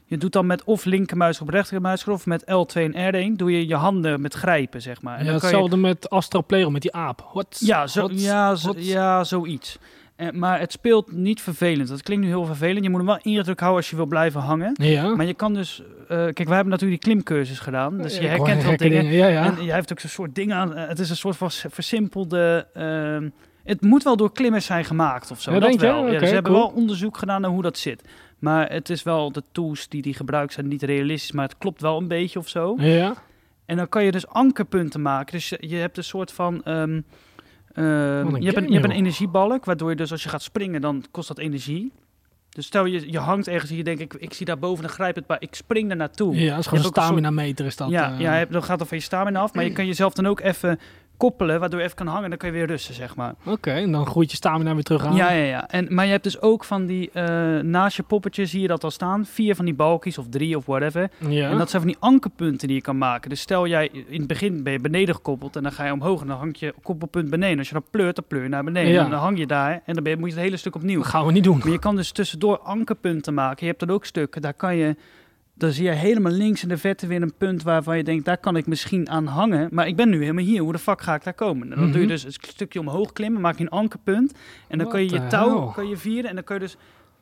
Speaker 1: je doet dan met of linkermuis op rechtermuis of met L2 en R1 doe je je handen met grijpen, zeg maar. En
Speaker 2: Ja,
Speaker 1: dan kan je-
Speaker 2: hetzelfde met Astral Playroom, met die aap. Wat?
Speaker 1: Ja, zo,
Speaker 2: Wat?
Speaker 1: ja, zo-
Speaker 2: Wat?
Speaker 1: ja zoiets. En, maar het speelt niet vervelend. Dat klinkt nu heel vervelend. Je moet hem wel indruk houden als je wil blijven hangen.
Speaker 2: Ja.
Speaker 1: Maar je kan dus... eh, kijk, wij hebben natuurlijk die klimcursus gedaan. Dus je
Speaker 2: Ik hoor
Speaker 1: herkent wel
Speaker 2: gekke
Speaker 1: dingen.
Speaker 2: Ja, ja.
Speaker 1: En jij heeft ook zo'n soort dingen aan. eh, het is een soort van s- versimpelde... ehm, het moet wel door klimmers zijn gemaakt of zo.
Speaker 2: Ja,
Speaker 1: dat
Speaker 2: denk je?
Speaker 1: wel. ja,
Speaker 2: Oké,
Speaker 1: ze hebben
Speaker 2: cool.
Speaker 1: wel onderzoek gedaan naar hoe dat zit. Maar het is wel... De tools die die gebruikt zijn niet realistisch. Maar het klopt wel een beetje of zo.
Speaker 2: ja.
Speaker 1: En dan kan je dus ankerpunten maken. Dus je, je hebt een soort van. ehm, ehm,
Speaker 2: Wat een
Speaker 1: je, hebt een,
Speaker 2: game,
Speaker 1: je hebt een
Speaker 2: joh.
Speaker 1: energiebalk, waardoor je dus als je gaat springen, dan kost dat energie. Dus stel je, je hangt ergens en je denkt, ik, ik zie daar boven, dan grijp het, maar ik spring daar naartoe.
Speaker 2: Ja, dat is
Speaker 1: Je
Speaker 2: gewoon
Speaker 1: hebt
Speaker 2: een
Speaker 1: ook een
Speaker 2: stamina meter is dat.
Speaker 1: ja,
Speaker 2: eh.
Speaker 1: ja, je- dan gaat dan van je stamina af, maar je kan jezelf dan ook even koppelen, waardoor je even kan hangen en dan kan je weer rusten, zeg maar.
Speaker 2: Oké, en dan groeit je stamina weer terug aan.
Speaker 1: Ja, ja, ja. En, maar je hebt dus ook van die, eh, naast je poppetje zie je dat al staan, vier van die balkjes of drie of whatever.
Speaker 2: Ja.
Speaker 1: En dat zijn van die ankerpunten die je kan maken. Dus stel jij, in het begin ben je beneden gekoppeld en dan ga je omhoog en dan hangt je koppelpunt beneden. Als je dan pleurt, dan pleur je naar beneden.
Speaker 2: Ja.
Speaker 1: En dan hang je daar en dan ben je, moet je het hele stuk opnieuw.
Speaker 2: Dat gaan we niet doen.
Speaker 1: Maar je kan dus tussendoor ankerpunten maken. Je hebt dan ook stukken, daar kan je, dan zie je helemaal links in de vette weer een punt waarvan je denkt, daar kan ik misschien aan hangen. Maar ik ben nu helemaal hier, hoe de fuck ga ik daar komen? En dan doe je
Speaker 2: Mhm.
Speaker 1: dus een stukje omhoog klimmen, maak je een ankerpunt. En dan
Speaker 2: What
Speaker 1: kan je
Speaker 2: the
Speaker 1: je touw
Speaker 2: hell?
Speaker 1: kan je vieren en dan kan je dus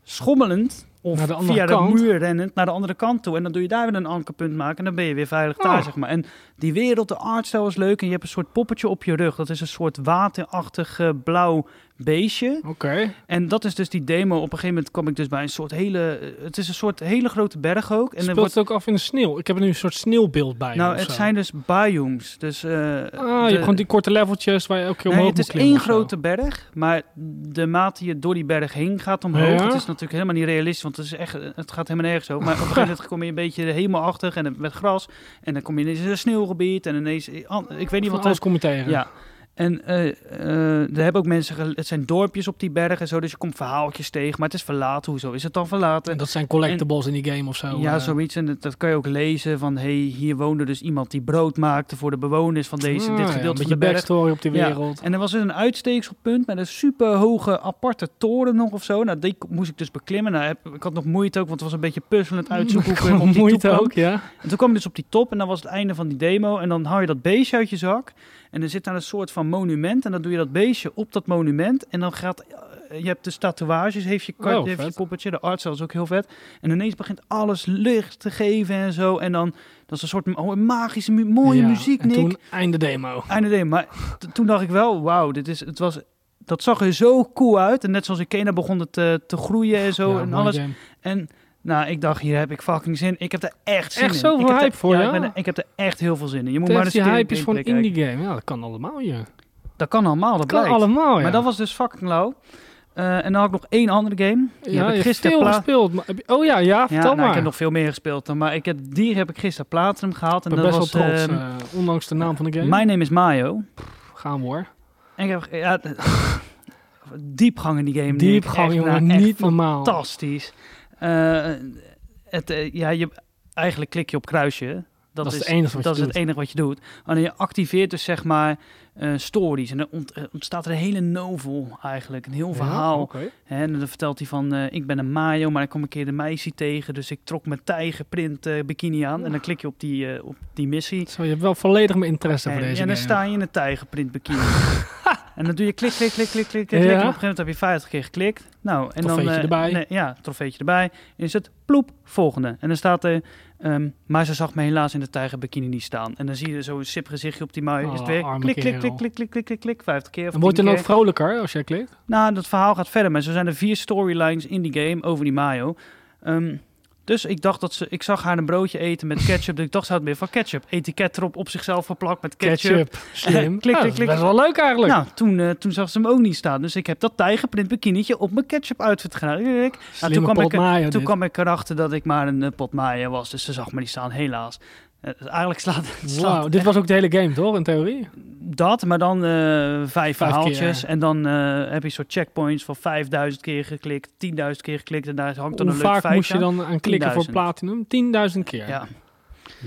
Speaker 1: schommelend
Speaker 2: Naar
Speaker 1: of
Speaker 2: de andere
Speaker 1: via
Speaker 2: kant.
Speaker 1: de muur rennend naar de andere kant toe. En dan doe je daar weer een ankerpunt maken en dan ben je weer veilig daar,
Speaker 2: Oh.
Speaker 1: zeg maar. En die wereld, de artstijl is leuk en je hebt een soort poppetje op je rug. Dat is een soort waterachtig eh, blauw beestje.
Speaker 2: Oké.
Speaker 1: En dat is dus die demo. Op een gegeven moment kwam ik dus bij een soort hele... eh, Het is een soort hele grote berg ook. En
Speaker 2: Speelt
Speaker 1: er wordt,
Speaker 2: het ook af in de sneeuw? Ik heb er nu een soort sneeuwbeeld bij. me
Speaker 1: nou,
Speaker 2: of
Speaker 1: het
Speaker 2: zo.
Speaker 1: zijn dus biomes. Dus, eh,
Speaker 2: Ah, je hebt
Speaker 1: de-
Speaker 2: gewoon die korte leveltjes waar je elke keer
Speaker 1: Nee,
Speaker 2: omhoog
Speaker 1: het
Speaker 2: moet
Speaker 1: is
Speaker 2: klimmen
Speaker 1: één
Speaker 2: of zo.
Speaker 1: grote berg, maar de mate je door die berg heen gaat omhoog,
Speaker 2: Ja?
Speaker 1: het is natuurlijk helemaal niet realistisch, want het, is echt, het gaat helemaal nergens over. Maar op een gegeven moment kom je een beetje hemelachtig en met gras en dan kom je ineens in een sneeuwgebied en ineens, ik weet niet
Speaker 2: Van
Speaker 1: wat
Speaker 2: alles
Speaker 1: dat
Speaker 2: kom je tegen.
Speaker 1: ja. En eh, eh, er hebben ook mensen, gel- het zijn dorpjes op die berg en zo, dus je komt verhaaltjes tegen, maar het is verlaten, hoezo is het dan verlaten?
Speaker 2: En dat zijn collectibles in die game of zo.
Speaker 1: Ja,
Speaker 2: eh.
Speaker 1: zoiets. En dat, dat kan je ook lezen van, hey, hier woonde dus iemand die brood maakte voor de bewoners van deze,
Speaker 2: Ah, ja,
Speaker 1: dit gedeelte
Speaker 2: Een
Speaker 1: van
Speaker 2: beetje
Speaker 1: de berg.
Speaker 2: backstory op die
Speaker 1: Ja.
Speaker 2: wereld.
Speaker 1: En er was dus een uitsteekselpunt met een super hoge aparte toren nog of zo. Nou, die k- moest ik dus beklimmen. Nou, heb- ik had nog moeite ook, want het was een beetje puzzelend uitzoeken hoe ik op die
Speaker 2: moeite
Speaker 1: toe kwam.
Speaker 2: ook, ja.
Speaker 1: En toen kwam je dus op die top en dan was het einde van die demo. En dan haal je dat beestje uit je zak. En er zit daar een soort van monument. En dan doe je dat beestje op dat monument. En dan gaat... Je hebt dus tatoeages, heeft je, kar,
Speaker 2: Oh,
Speaker 1: heeft je
Speaker 2: vet.
Speaker 1: poppetje. De arts is ook heel vet. En ineens begint alles licht te geven en zo. En dan, dat is een soort oh, magische, mu- mooie
Speaker 2: Ja,
Speaker 1: muziek,
Speaker 2: En
Speaker 1: Nick.
Speaker 2: toen einde demo.
Speaker 1: Einde demo. Maar t- toen dacht ik wel, wauw, dit is, het was, dat zag er zo cool uit. En net zoals in Kena begon het eh, te groeien en zo
Speaker 2: Ja,
Speaker 1: en
Speaker 2: mooie
Speaker 1: alles.
Speaker 2: game.
Speaker 1: En nou, ik dacht, hier heb ik fucking zin. Ik heb er echt zin
Speaker 2: Echt
Speaker 1: in.
Speaker 2: zoveel
Speaker 1: Ik heb er-
Speaker 2: hype voor, ja?
Speaker 1: Ik, ben er- ik heb er echt heel veel zin in. Je moet maar
Speaker 2: Tegen
Speaker 1: eens
Speaker 2: die
Speaker 1: een keer
Speaker 2: hype is van
Speaker 1: gameplay kijken.
Speaker 2: indie game. Ja, dat kan allemaal, ja.
Speaker 1: Dat kan allemaal, dat
Speaker 2: Dat kan
Speaker 1: blijkt.
Speaker 2: allemaal, ja.
Speaker 1: Maar dat was dus fucking lauw. Eh, en dan had ik nog één andere game. Die
Speaker 2: ja,
Speaker 1: heb ik
Speaker 2: je hebt
Speaker 1: gisteren
Speaker 2: veel
Speaker 1: pla-
Speaker 2: gespeeld. maar heb je- oh ja, ja,
Speaker 1: Ja,
Speaker 2: vertel
Speaker 1: nou,
Speaker 2: maar.
Speaker 1: ik heb nog veel meer gespeeld dan. Maar ik heb, die heb ik gisteren Platinum gehaald. En
Speaker 2: Ik ben
Speaker 1: dat
Speaker 2: best
Speaker 1: was
Speaker 2: wel trots,
Speaker 1: ehm,
Speaker 2: eh, ondanks de naam van de game.
Speaker 1: My Name is Mayo.
Speaker 2: Gaan we hoor.
Speaker 1: En ik heb... Ja, diepgang in die game. Nick.
Speaker 2: Diepgang,
Speaker 1: Echt,
Speaker 2: jongen.
Speaker 1: nou, echt
Speaker 2: niet normaal.
Speaker 1: fantastisch. Eh, het, eh, ja, je, eigenlijk klik je op kruisje. Dat,
Speaker 2: Dat is
Speaker 1: is,
Speaker 2: het enige wat je
Speaker 1: dat is het
Speaker 2: doet.
Speaker 1: enige wat je doet. En je activeert dus zeg maar eh, stories. En dan ont- eh, ontstaat er een hele novel eigenlijk. Een heel verhaal. Hè, En dan vertelt hij van, eh, ik ben een mayo, maar ik kom een keer de meisje tegen. Dus ik trok mijn tijgerprint eh, bikini aan. En dan klik je op die, eh, op die missie.
Speaker 2: Zo, je hebt wel volledig mijn interesse voor
Speaker 1: En,
Speaker 2: deze
Speaker 1: en dan
Speaker 2: game.
Speaker 1: sta je in een tijgerprint bikini. en dan doe je klik, klik, klik, klik, klik, klik.
Speaker 2: Ja.
Speaker 1: En op een gegeven moment heb je 50 keer geklikt. Nou, en dan,
Speaker 2: Trofeetje
Speaker 1: eh,
Speaker 2: erbij.
Speaker 1: nee, ja, trofeetje erbij. En is het ploep, volgende. En dan staat er, ehm, maar ze zag me helaas in de tijgerbikini niet staan. En dan zie je zo'n sip gezichtje op die mui. is het
Speaker 2: Oh,
Speaker 1: weer
Speaker 2: arme
Speaker 1: klik, klik,
Speaker 2: kerel.
Speaker 1: klik, klik, klik, klik, klik, klik, 50 keer. Of
Speaker 2: En word je
Speaker 1: 10
Speaker 2: dan ook
Speaker 1: keer.
Speaker 2: vrolijker als jij klikt?
Speaker 1: Nou, dat verhaal gaat verder. Maar zo zijn er vier storylines in die game over die mayo. Ehm, dus ik dacht dat ze... Ik zag haar een broodje eten met ketchup. dus ik dacht, ze had meer van ketchup. Etiket erop op zichzelf verplakt met ketchup. Klik,
Speaker 2: Slim.
Speaker 1: klik,
Speaker 2: Nou, dat is
Speaker 1: klik.
Speaker 2: Best wel leuk eigenlijk.
Speaker 1: Nou, toen, eh, toen zag ze hem ook niet staan. Dus ik heb dat tijgerprint bikinietje op mijn ketchup outfit gedaan. Klik.
Speaker 2: Slimme
Speaker 1: nou, toen kwam
Speaker 2: pot
Speaker 1: ik er-
Speaker 2: mayo
Speaker 1: Toen
Speaker 2: dit.
Speaker 1: kwam ik erachter dat ik maar een eh, pot mayo was. Dus ze zag me niet staan, helaas. Eh, dus eigenlijk slaat het slaat
Speaker 2: Wauw, dit was ook de hele game, toch? In theorie.
Speaker 1: dat, maar dan eh, vijf verhaaltjes.
Speaker 2: keer.
Speaker 1: En dan eh, heb je een soort checkpoints van 5000 keer geklikt, 10.000 keer geklikt. En daar hangt dan
Speaker 2: Hoe
Speaker 1: een leuk
Speaker 2: vaak
Speaker 1: feitje
Speaker 2: moest je
Speaker 1: aan.
Speaker 2: dan aan klikken voor
Speaker 1: 10.000.
Speaker 2: platinum? 10.000 keer.
Speaker 1: Ja.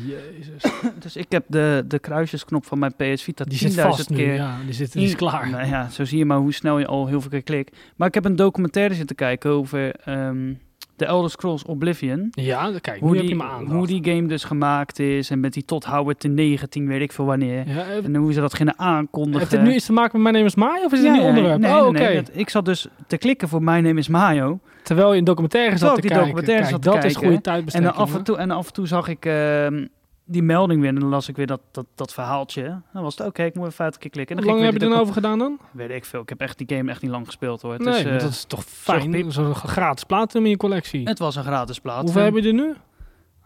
Speaker 2: Jezus.
Speaker 1: Dus ik heb de, de kruisjesknop van mijn PS Vita 10.000
Speaker 2: Die zit vast
Speaker 1: keer.
Speaker 2: nu. Ja, die, zit, die is
Speaker 1: in-
Speaker 2: klaar.
Speaker 1: Nou ja, zo zie je maar hoe snel je al heel veel keer klikt. Maar ik heb een documentaire zitten kijken over ehm The Elder Scrolls Oblivion.
Speaker 2: Ja, kijk,
Speaker 1: Hoe
Speaker 2: nu heb
Speaker 1: die,
Speaker 2: je me aan.
Speaker 1: hoe die game dus gemaakt is. En met die Todd Howard de 19, weet ik veel wanneer.
Speaker 2: Ja, eh,
Speaker 1: En hoe ze dat gingen aankondigen.
Speaker 2: heeft dit nu iets te maken met mijn name is Maai of is het een nieuw onderwerp?
Speaker 1: Nee,
Speaker 2: oh,
Speaker 1: nee,
Speaker 2: oké.
Speaker 1: nee, dat- ik zat dus te klikken voor Mijn Name is Mayo.
Speaker 2: Terwijl je een documentaire zat
Speaker 1: Terwijl
Speaker 2: te
Speaker 1: ik die
Speaker 2: kijken.
Speaker 1: documentaire zat
Speaker 2: Kijk,
Speaker 1: te
Speaker 2: dat is
Speaker 1: kijken,
Speaker 2: goede
Speaker 1: En
Speaker 2: tijdbesteding.
Speaker 1: dan, af en, toe, en af en toe zag ik ehm, die melding weer. En dan las ik weer dat, dat, dat verhaaltje. Dan was het oké, ik moet even 50 keer klikken. En
Speaker 2: Hoe
Speaker 1: dan
Speaker 2: lang
Speaker 1: ging
Speaker 2: heb
Speaker 1: ik
Speaker 2: je
Speaker 1: weer de
Speaker 2: er nou over gedaan dan?
Speaker 1: docu- Weet ik veel. Ik heb echt die game echt niet lang gespeeld hoor. Het,
Speaker 2: nee,
Speaker 1: is, eh,
Speaker 2: maar dat is toch
Speaker 1: piep.
Speaker 2: fijn? Zo'n gratis platinum in je collectie.
Speaker 1: het was een gratis plaat.
Speaker 2: Hoeveel heb je er nu?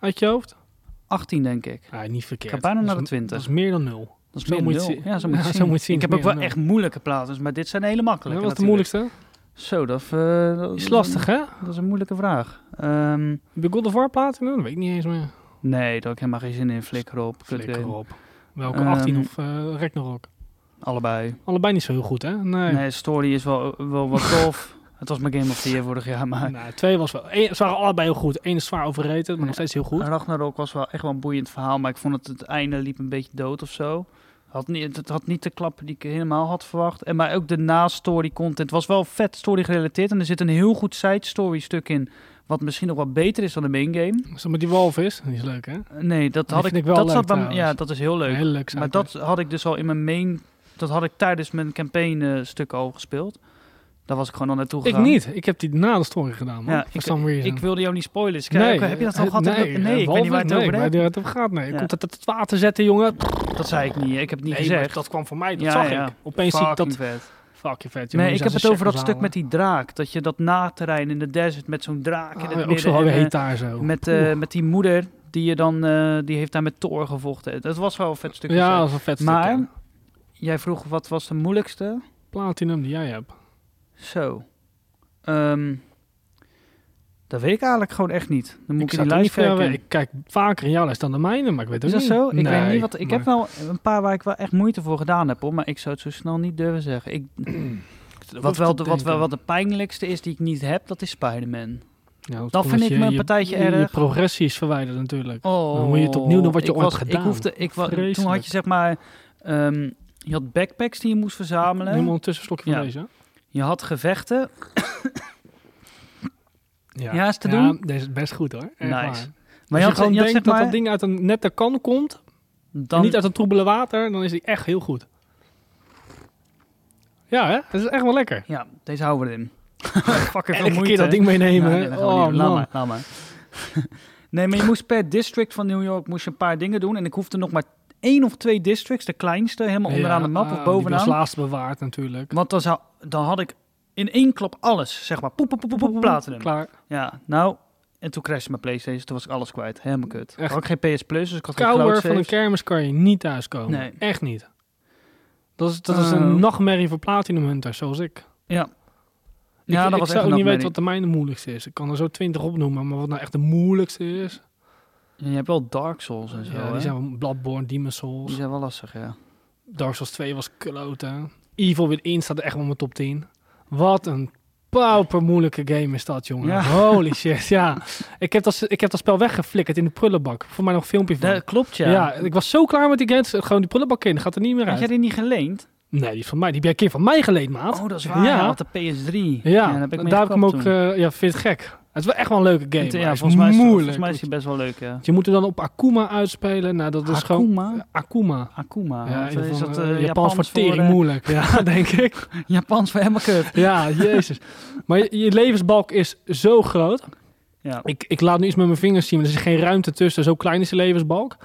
Speaker 2: Uit je hoofd?
Speaker 1: 18 denk ik.
Speaker 2: Ah, niet verkeerd.
Speaker 1: Ik ga bijna
Speaker 2: Dat is-
Speaker 1: naar de 20.
Speaker 2: Dat is meer dan nul.
Speaker 1: Dat is
Speaker 2: Zo
Speaker 1: meer
Speaker 2: moet je
Speaker 1: nul.
Speaker 2: het zien.
Speaker 1: Ja, zo moet je
Speaker 2: Ja,
Speaker 1: het
Speaker 2: zo
Speaker 1: zien.
Speaker 2: moet je het zien.
Speaker 1: Ik heb
Speaker 2: Meer
Speaker 1: ook wel
Speaker 2: nul.
Speaker 1: echt moeilijke platen, maar dit zijn hele
Speaker 2: Dat
Speaker 1: makkelijke.
Speaker 2: was de
Speaker 1: natuurlijk.
Speaker 2: moeilijkste.
Speaker 1: Zo, dat, eh, dat
Speaker 2: Is lastig, hè?
Speaker 1: Dat is een moeilijke vraag. Ehm,
Speaker 2: Heb je God of War platinum? Dat weet ik niet eens meer.
Speaker 1: nee, daar heb ik helemaal geen zin in. Flikker op. kutgame.
Speaker 2: Flikker op. Welke
Speaker 1: Ehm,
Speaker 2: 18 of eh Ragnarok?
Speaker 1: Allebei.
Speaker 2: Allebei niet zo heel goed, hè? Nee.
Speaker 1: Nee, story is wel, wel wat tof. Het was mijn Game of the Year vorig jaar, maar
Speaker 2: Nou, twee was wel. Eén, ze waren allebei heel goed. Eén is zwaar overrated, maar nog steeds heel goed.
Speaker 1: Ragnarok was wel echt wel een boeiend verhaal. Maar ik vond dat het einde liep een beetje dood of zo. Had niet, het had niet de klap die ik helemaal had verwacht. En, maar ook de na-story content was wel vet story gerelateerd. En er zit een heel goed side-story stuk in. Wat misschien nog wat beter is dan de main game.
Speaker 2: Zo met die walvis, die is leuk hè?
Speaker 1: Eh, Nee, dat
Speaker 2: Die
Speaker 1: had
Speaker 2: vind
Speaker 1: ik,
Speaker 2: ik wel
Speaker 1: dat
Speaker 2: leuk
Speaker 1: zat bij, m-
Speaker 2: trouwens.
Speaker 1: Ja, dat is heel leuk.
Speaker 2: Heel leuk.
Speaker 1: maar dat had ik dus al in mijn main. Dat had ik tijdens mijn campaign eh, stuk al gespeeld. Daar was ik gewoon al naartoe
Speaker 2: ik
Speaker 1: gegaan.
Speaker 2: niet. Ik heb die na de story gedaan. Man.
Speaker 1: Ja,
Speaker 2: For
Speaker 1: ik-
Speaker 2: some reason.
Speaker 1: Ik wilde jou niet spoilen. Dus ik zei, oké, heb je dat al
Speaker 2: eh,
Speaker 1: gehad?
Speaker 2: Nee,
Speaker 1: Ik wil- nee ik weet niet waar het
Speaker 2: walvis,
Speaker 1: over
Speaker 2: nee,
Speaker 1: hebt.
Speaker 2: waar het over gaat. Nee,
Speaker 1: Ja.
Speaker 2: komt het uit het water zetten, jongen?
Speaker 1: Dat zei ik niet. Ik heb het niet
Speaker 2: Nee, maar
Speaker 1: gezegd.
Speaker 2: dat kwam voor mij. Dat
Speaker 1: Ja,
Speaker 2: zag
Speaker 1: ja.
Speaker 2: ik. Opeens zie ik dat.
Speaker 1: Fucking vet.
Speaker 2: Fucking vet. jongen,
Speaker 1: Nee, ik
Speaker 2: die
Speaker 1: heb
Speaker 2: zijn
Speaker 1: het over dat
Speaker 2: checkers
Speaker 1: stuk met
Speaker 2: halen.
Speaker 1: die draak. Dat je dat naterrein in de desert met zo'n draak in
Speaker 2: Ah,
Speaker 1: het
Speaker 2: ook
Speaker 1: midden.
Speaker 2: zo
Speaker 1: en,
Speaker 2: weer
Speaker 1: eh,
Speaker 2: heet daar zo.
Speaker 1: met, eh, met die moeder die je dan, eh, die heeft daar met Thor gevochten. Dat was wel een vet stukje.
Speaker 2: ja,
Speaker 1: zo.
Speaker 2: dat is een vet stuk.
Speaker 1: Maar-
Speaker 2: hè.
Speaker 1: Jij vroeg wat was de moeilijkste?
Speaker 2: Platinum die jij hebt.
Speaker 1: Zo. Ehm, dat weet ik eigenlijk gewoon echt niet. Dan moet ik, in die
Speaker 2: zat er
Speaker 1: lijst
Speaker 2: niet voor jou
Speaker 1: kijken.
Speaker 2: weg. Ik kijk vaker in jouw lijst dan de mijne, maar ik weet het
Speaker 1: Is dat
Speaker 2: niet.
Speaker 1: zo? Ik weet
Speaker 2: Nee,
Speaker 1: niet wat. Ik
Speaker 2: maar-
Speaker 1: heb wel een paar waar ik wel echt moeite voor gedaan heb, hoor. Maar ik zou het zo snel niet durven zeggen. Ik, wat,
Speaker 2: hoef
Speaker 1: wel
Speaker 2: te
Speaker 1: de, wat wel
Speaker 2: denken.
Speaker 1: wat de pijnlijkste is die ik niet heb, dat is Spider-Man.
Speaker 2: Ja,
Speaker 1: Dat
Speaker 2: omdat
Speaker 1: vind ik
Speaker 2: je-
Speaker 1: me een
Speaker 2: je-
Speaker 1: partijtje
Speaker 2: je- Je
Speaker 1: erg.
Speaker 2: progressie is verwijderd natuurlijk.
Speaker 1: Oh,
Speaker 2: Dan moet je het opnieuw doen wat je
Speaker 1: ik
Speaker 2: ooit
Speaker 1: was-
Speaker 2: gedaan
Speaker 1: Ik hoefde, ik wa- toen
Speaker 2: Vreselijk.
Speaker 1: had je zeg maar, ehm, je had backpacks die je moest verzamelen.
Speaker 2: Helemaal een tussenslokje van
Speaker 1: Ja.
Speaker 2: deze.
Speaker 1: Je had gevechten. Ja, is te doen?
Speaker 2: deze is best goed hoor.
Speaker 1: Nice.
Speaker 2: Echt waar. Als
Speaker 1: Maar je
Speaker 2: je
Speaker 1: had,
Speaker 2: gewoon
Speaker 1: je had,
Speaker 2: denkt
Speaker 1: zeg
Speaker 2: dat
Speaker 1: maar,
Speaker 2: dat ding uit een nette kan komt, en
Speaker 1: dan,
Speaker 2: niet uit een troebele water, dan is die echt heel goed. Ja, hè? Dat is echt wel lekker.
Speaker 1: ja, deze houden we erin. Fuck er veel
Speaker 2: Elke
Speaker 1: moeite.
Speaker 2: keer dat ding
Speaker 1: Ja,
Speaker 2: meenemen.
Speaker 1: nee,
Speaker 2: hè?
Speaker 1: dat gaan we niet
Speaker 2: oh,
Speaker 1: doen. Laat
Speaker 2: man.
Speaker 1: maar, laat maar. nee, maar je moest per district van New York moest je een paar dingen doen. En ik hoefde nog maar één of twee districts, de kleinste, helemaal onderaan de map
Speaker 2: Ja, oh, ah,
Speaker 1: of
Speaker 2: Die was
Speaker 1: bovenaan.
Speaker 2: laatst bewaard natuurlijk.
Speaker 1: Want dan, zou, dan had ik in één klap alles, zeg maar, poep, poep, poep, poep, poep, platinum.
Speaker 2: Klaar.
Speaker 1: Ja, nou, en toen crashte mijn PlayStation, toen was ik alles kwijt. Helemaal kut. Ik
Speaker 2: Echt.
Speaker 1: had ook geen PS Plus, dus ik had geen cloud
Speaker 2: Kouwer van een
Speaker 1: saves.
Speaker 2: kermis kan je niet thuiskomen.
Speaker 1: Nee.
Speaker 2: Echt niet. Dat is, dat is een
Speaker 1: Oh.
Speaker 2: nachtmerrie voor Platinum Hunters, zoals ik.
Speaker 1: Ja.
Speaker 2: Ik-
Speaker 1: Ja,
Speaker 2: ik,
Speaker 1: dat was
Speaker 2: zou
Speaker 1: echt
Speaker 2: ook
Speaker 1: een
Speaker 2: niet
Speaker 1: nachtmerrie.
Speaker 2: weten wat de mijne moeilijkste is. Ik kan er zo twintig opnoemen, maar wat nou echt de moeilijkste is.
Speaker 1: Ja, Je hebt wel Dark Souls en zo,
Speaker 2: ja,
Speaker 1: hè?
Speaker 2: die zijn wel Bloodborne, Demon Souls.
Speaker 1: Die zijn wel lastig, ja.
Speaker 2: Dark Souls 2 was kloten. Evil Within staat echt wel in mijn top 10. Wat een pauper moeilijke game is dat, jongen.
Speaker 1: Ja.
Speaker 2: Holy shit, ja. Ik heb, dat, ik heb dat spel weggeflikkerd in de prullenbak. Voor mij nog een filmpje van.
Speaker 1: Dat klopt, ja.
Speaker 2: ja. ik was zo klaar met die games. Gewoon die prullenbak in, gaat er niet meer
Speaker 1: Had
Speaker 2: uit.
Speaker 1: jij die niet geleend?
Speaker 2: Nee, die is van mij. Die heb jij een keer van mij geleend, maat.
Speaker 1: Oh, dat is waar.
Speaker 2: Ja.
Speaker 1: Ja, had de PS3.
Speaker 2: ja,
Speaker 1: daar heb ik, mee
Speaker 2: daar heb ik
Speaker 1: gekapt
Speaker 2: hem ook...
Speaker 1: toen.
Speaker 2: eh, ja, vind je het gek. Het is wel echt wel een leuke game. maar
Speaker 1: ja,
Speaker 2: hij is
Speaker 1: volgens mij, is,
Speaker 2: moeilijk.
Speaker 1: volgens mij is die best wel leuk, ja.
Speaker 2: Je moet hem dan op Akuma uitspelen. Nou, dat is gewoon...
Speaker 1: Akuma?
Speaker 2: Akuma.
Speaker 1: Akuma.
Speaker 2: Ja,
Speaker 1: Wat,
Speaker 2: in
Speaker 1: is
Speaker 2: ieder geval,
Speaker 1: dat
Speaker 2: eh,
Speaker 1: eh,
Speaker 2: Japans voor tering
Speaker 1: eh,
Speaker 2: moeilijk. Ja, denk ik.
Speaker 1: Japans voor helemaal kut.
Speaker 2: Ja, jezus. Maar je, je levensbalk is zo groot.
Speaker 1: Ja.
Speaker 2: Ik, ik laat nu iets met mijn vingers zien, maar er is geen ruimte tussen. Zo klein is de levensbalk.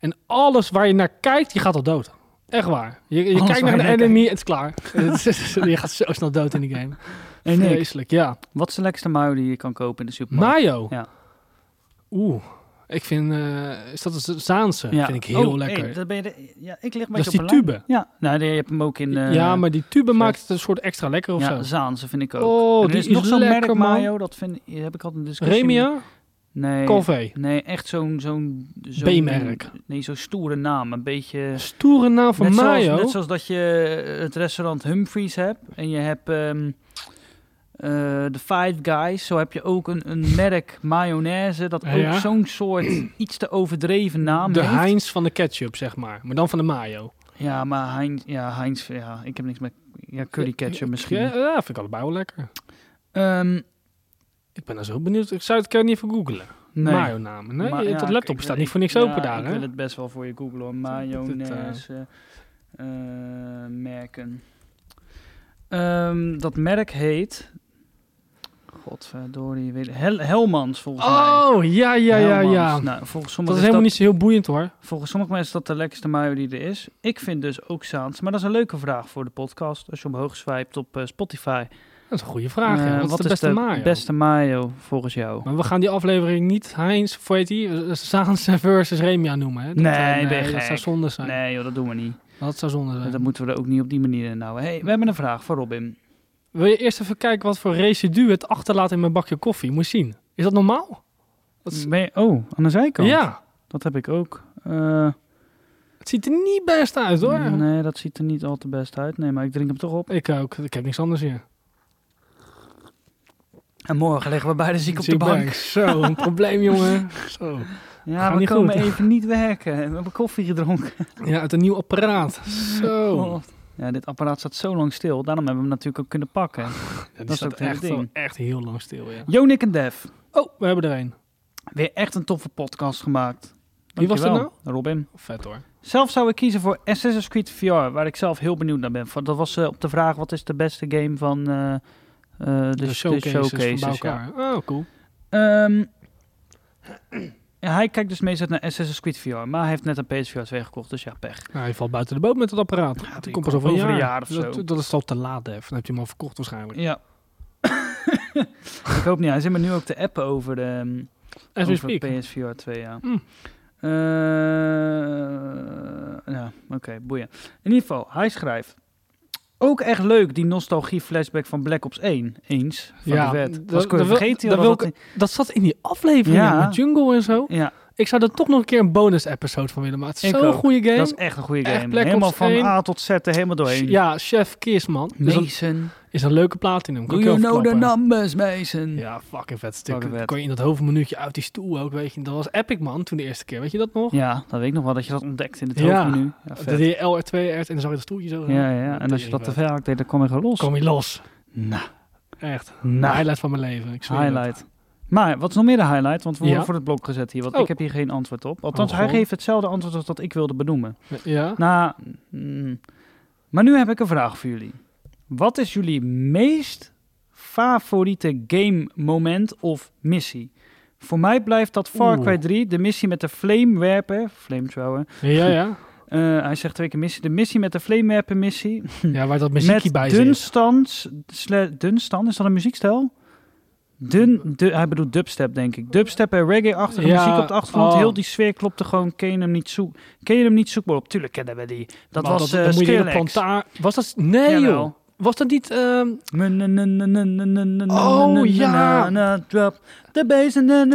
Speaker 2: En alles waar je naar kijkt, je gaat al dood. Echt waar. Je, je
Speaker 1: Alles
Speaker 2: kijkt
Speaker 1: waar
Speaker 2: naar
Speaker 1: je
Speaker 2: een
Speaker 1: naar
Speaker 2: enemy, het is klaar. Het is- je gaat zo snel dood in die game.
Speaker 1: En Nick,
Speaker 2: Vreselijk, ja.
Speaker 1: wat is de lekkerste mayo die je kan kopen in de supermarkt?
Speaker 2: Mayo.
Speaker 1: Ja.
Speaker 2: Oeh. Ik vind, eh, is dat een Zaanse? vind ik heel
Speaker 1: Oh,
Speaker 2: lekker.
Speaker 1: hey, dat ben je de- ja, ik lig een
Speaker 2: dat is
Speaker 1: beetje
Speaker 2: die
Speaker 1: op een lijn.
Speaker 2: tube.
Speaker 1: Ja, nou, die, je hebt hem ook in... eh,
Speaker 2: ja, maar die tube
Speaker 1: zo.
Speaker 2: maakt het een soort extra lekker of
Speaker 1: ja,
Speaker 2: zo.
Speaker 1: Zaanse vind ik ook.
Speaker 2: Oh,
Speaker 1: En er
Speaker 2: die
Speaker 1: is nog
Speaker 2: is
Speaker 1: zo'n
Speaker 2: lekker,
Speaker 1: merk
Speaker 2: man.
Speaker 1: mayo, dat vind, hier heb ik altijd een discussie.
Speaker 2: Remia,
Speaker 1: Nee,
Speaker 2: Calvé.
Speaker 1: nee echt zo'n... zo'n zo'n-
Speaker 2: B-merk.
Speaker 1: Nee, zo'n stoere naam. Een beetje...
Speaker 2: Stoere naam van
Speaker 1: net,
Speaker 2: mayo.
Speaker 1: Zoals, net zoals dat je eh, het restaurant Humphries hebt en je hebt ehm, eh, de Five Guys. Zo heb je ook een, een merk mayonaise dat ook
Speaker 2: Ja.
Speaker 1: zo'n soort iets te overdreven naam
Speaker 2: de
Speaker 1: heeft.
Speaker 2: Heinz van de ketchup, zeg maar. Maar dan van de mayo.
Speaker 1: Ja, maar Heinz, ja, Heinz, ja, ik heb niks met ja, curry ketchup misschien.
Speaker 2: Ja, ja, vind ik allebei wel lekker.
Speaker 1: Ehm,
Speaker 2: Ik ben daar zo benieuwd. Ik zou het kan niet even googlen.
Speaker 1: nee.
Speaker 2: Mayo namen. Nee,
Speaker 1: Maar
Speaker 2: je-
Speaker 1: ja,
Speaker 2: dat
Speaker 1: ik-
Speaker 2: laptop
Speaker 1: ik-
Speaker 2: staat
Speaker 1: ik-
Speaker 2: niet voor niks
Speaker 1: ja,
Speaker 2: open daar,
Speaker 1: Ik
Speaker 2: hè?
Speaker 1: wil het best wel voor je googlen hoor. Mayonaise eh, merken. Ehm, dat merk heet. Godverdorie, weet Hel Helmans volgens mij.
Speaker 2: Oh, ja, ja, ja,
Speaker 1: Helmans.
Speaker 2: ja.
Speaker 1: Nou, volgens
Speaker 2: Dat
Speaker 1: sommige
Speaker 2: is helemaal niet zo heel boeiend, hoor.
Speaker 1: Volgens sommige mensen is dat de lekkerste mayo die er is. Ik vind dus ook Saans. Maar dat is een leuke vraag voor de podcast. Als je omhoog swipt op eh, Spotify.
Speaker 2: Dat is een goede vraag, hè.
Speaker 1: Eh,
Speaker 2: Wat, is de beste mayo?
Speaker 1: beste mayo volgens jou?
Speaker 2: Maar we gaan die aflevering niet Heinz, voor heet die? Eh, Saanse versus Remia noemen, hè? Dat,
Speaker 1: Nee,
Speaker 2: eh,
Speaker 1: ben je
Speaker 2: dat
Speaker 1: gek.
Speaker 2: zou zonde zijn.
Speaker 1: Nee joh, dat doen we niet.
Speaker 2: Dat zou zonde zijn.
Speaker 1: Dat moeten we er ook niet op die manier in houden. Hey, we hebben een vraag voor Robin.
Speaker 2: Wil je eerst even kijken wat voor residu het achterlaat in mijn bakje koffie? Moet je zien. Is dat normaal? Dat is-
Speaker 1: Ben je- oh, aan de zijkant?
Speaker 2: Ja.
Speaker 1: Dat heb ik ook. Eh,
Speaker 2: Het ziet er niet best uit, hoor.
Speaker 1: nee, dat ziet er niet al te best uit. Nee, maar ik drink hem toch op.
Speaker 2: Ik ook. Ik heb niks anders hier.
Speaker 1: En morgen liggen we beide ziek op de
Speaker 2: Ziek
Speaker 1: bank.
Speaker 2: Zo, een probleem, jongen. Zo.
Speaker 1: Ja,
Speaker 2: Gaat
Speaker 1: we
Speaker 2: niet
Speaker 1: komen
Speaker 2: goed.
Speaker 1: even niet werken. We hebben koffie gedronken.
Speaker 2: Ja, uit een nieuw apparaat. Zo.
Speaker 1: Oh. Ja, dit apparaat staat zo lang stil. Daarom hebben we hem natuurlijk ook kunnen pakken.
Speaker 2: Ja,
Speaker 1: dat
Speaker 2: die
Speaker 1: is
Speaker 2: staat
Speaker 1: het hele
Speaker 2: echt,
Speaker 1: ding.
Speaker 2: wel echt heel lang stil, ja.
Speaker 1: Jonik en Def.
Speaker 2: Oh, we hebben er een.
Speaker 1: Weer echt een toffe podcast gemaakt.
Speaker 2: Wie was nou?
Speaker 1: Dankjewel,
Speaker 2: dat
Speaker 1: Robin.
Speaker 2: Vet, hoor.
Speaker 1: Zelf zou ik kiezen voor Assassin's Creed VR, waar ik zelf heel benieuwd naar ben. Van- Dat was eh, op de vraag, wat is de beste game van eh, eh, de,
Speaker 2: Dus De,
Speaker 1: de
Speaker 2: showcases,
Speaker 1: showcases,
Speaker 2: van bij
Speaker 1: ja.
Speaker 2: elkaar. Oh, cool.
Speaker 1: Ehm, ja, hij kijkt dus meestal naar Assassin's Creed VR, maar hij heeft net een PSVR 2 gekocht, dus ja, pech.
Speaker 2: Nou, hij valt buiten de boot met dat apparaat.
Speaker 1: Ja,
Speaker 2: Die komt pas over een jaar.
Speaker 1: of zo.
Speaker 2: dat, dat is al te laat, even. Dan heb je hem al verkocht waarschijnlijk.
Speaker 1: Ja. ik hoop niet. Hij zit me nu ook te appen over, de, ehm,
Speaker 2: As we
Speaker 1: over
Speaker 2: speak.
Speaker 1: PSVR 2, ja.
Speaker 2: Hmm.
Speaker 1: Eh, ja, oké, boeien. In ieder geval, hij schrijft... Ook echt leuk, die nostalgie-flashback van Black Ops 1. Eens. Van
Speaker 2: Ja,
Speaker 1: de vet.
Speaker 2: dat-
Speaker 1: Was ik weer
Speaker 2: dat wil-
Speaker 1: vergeten.
Speaker 2: dat
Speaker 1: joh,
Speaker 2: wil
Speaker 1: dat dat-
Speaker 2: Dat zat in die aflevering
Speaker 1: Ja.
Speaker 2: ja. met Jungle en zo.
Speaker 1: ja,
Speaker 2: Ik zou er toch nog een keer een bonus-episode van willen maken. Het is
Speaker 1: Ik
Speaker 2: Zo'n
Speaker 1: ook.
Speaker 2: goede game.
Speaker 1: dat is echt een goede
Speaker 2: Echt
Speaker 1: game.
Speaker 2: Black Ops
Speaker 1: helemaal van
Speaker 2: 1.
Speaker 1: A tot Z er helemaal doorheen.
Speaker 2: Ja, Chef Kiss, man. Dus dat
Speaker 1: Mason.
Speaker 2: is een leuke platinum. Kan
Speaker 1: Do
Speaker 2: ik
Speaker 1: you
Speaker 2: je
Speaker 1: know the
Speaker 2: verklappen.
Speaker 1: numbers, Mason?
Speaker 2: Ja, fucking vet stuk.
Speaker 1: Fucking
Speaker 2: Dan
Speaker 1: vet.
Speaker 2: kon je in dat hoofdmenuutje uit die stoel ook, weet je. Dat was epic, man, toen de eerste keer. Weet je dat nog?
Speaker 1: Ja, dat weet ik nog wel, dat je dat ontdekt in het
Speaker 2: Ja.
Speaker 1: hoofdmenu. Ja,
Speaker 2: dat
Speaker 1: vet.
Speaker 2: deed je LR2 uit en dan zag je dat stoeltje zo. gaan.
Speaker 1: ja, ja, en als je dat te ver haakt, deed, dan kwam je gewoon los.
Speaker 2: Kom je los.
Speaker 1: Nou,
Speaker 2: Echt.
Speaker 1: nou,
Speaker 2: Highlight van mijn leven. Ik zweer het.
Speaker 1: highlight. Maar wat is nog meer de highlight? Want we worden
Speaker 2: Ja.
Speaker 1: voor het blok gezet hier, want
Speaker 2: Oh.
Speaker 1: ik heb hier geen antwoord op. Althans,
Speaker 2: Oh,
Speaker 1: hij
Speaker 2: goh.
Speaker 1: geeft hetzelfde antwoord als dat ik wilde benoemen.
Speaker 2: Ja.
Speaker 1: Nou, mm, maar nu heb ik een vraag voor jullie. Wat is jullie meest favoriete game moment of missie? Voor mij blijft dat Far
Speaker 2: Oeh.
Speaker 1: Cry 3, de missie met de flamewerper, flamethrower.
Speaker 2: Ja, ja.
Speaker 1: Eh, hij zegt twee keer missie. De missie met de flamewerper missie.
Speaker 2: Ja, waar dat muziekje
Speaker 1: met
Speaker 2: bij zit.
Speaker 1: Dunstans, sle- Dunstan, is dat een muziekstijl? Dun, du- hij bedoelt dubstep, denk ik. Dubstep en reggae-achtige
Speaker 2: Ja,
Speaker 1: muziek op de achtergrond.
Speaker 2: oh.
Speaker 1: Heel die sfeer klopte gewoon. Ken je hem niet, zoek, ken je hem niet zoekbaar op? Tuurlijk kennen we die. Dat
Speaker 2: Maar
Speaker 1: was eh
Speaker 2: dan moet je in een
Speaker 1: Skrillex.
Speaker 2: planta- Was dat... Nee,
Speaker 1: Jawel.
Speaker 2: joh. Was dat niet... ehm,
Speaker 1: Oh
Speaker 2: ja.
Speaker 1: Drop the bass and then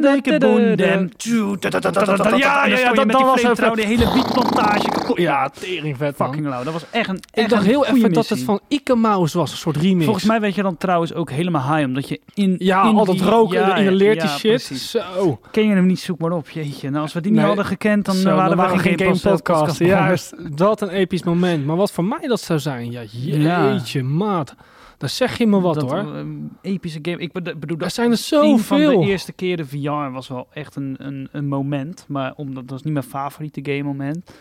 Speaker 1: make a boom dam. Ja, ja, ja, dat, dat was
Speaker 2: even-
Speaker 1: trouw die hele wietplantage kapot.
Speaker 2: ja, tering vet, man.
Speaker 1: fucking lauw. Dat was echt een echt
Speaker 2: Ik dacht
Speaker 1: een
Speaker 2: heel
Speaker 1: goeie
Speaker 2: even dat het
Speaker 1: missie.
Speaker 2: van Ikke Mouse was, een soort remix.
Speaker 1: Volgens mij weet je dan trouwens ook helemaal high, omdat je in
Speaker 2: Ja,
Speaker 1: in
Speaker 2: al dat
Speaker 1: die-
Speaker 2: roken,
Speaker 1: ja,
Speaker 2: inhaleert die
Speaker 1: ja,
Speaker 2: shit.
Speaker 1: precies.
Speaker 2: Zo.
Speaker 1: Ken je hem niet, zoek maar op. Jeetje, nou als we die niet
Speaker 2: Nee.
Speaker 1: hadden gekend, dan
Speaker 2: Zo,
Speaker 1: eh, waren we geen game podcast. begonnen.
Speaker 2: Juist, dat een episch moment. Maar wat voor mij dat zou zijn, ja,
Speaker 1: Ja.
Speaker 2: jeetje, maat. Daar zeg je me wat,
Speaker 1: Dat,
Speaker 2: hoor.
Speaker 1: eh, epische game. Ik bedo- bedoel,
Speaker 2: Daar
Speaker 1: dat
Speaker 2: zijn er
Speaker 1: een van de
Speaker 2: zoveel.
Speaker 1: eerste keren VR was wel echt een, een, een moment. Maar omdat dat is niet mijn favoriete game moment.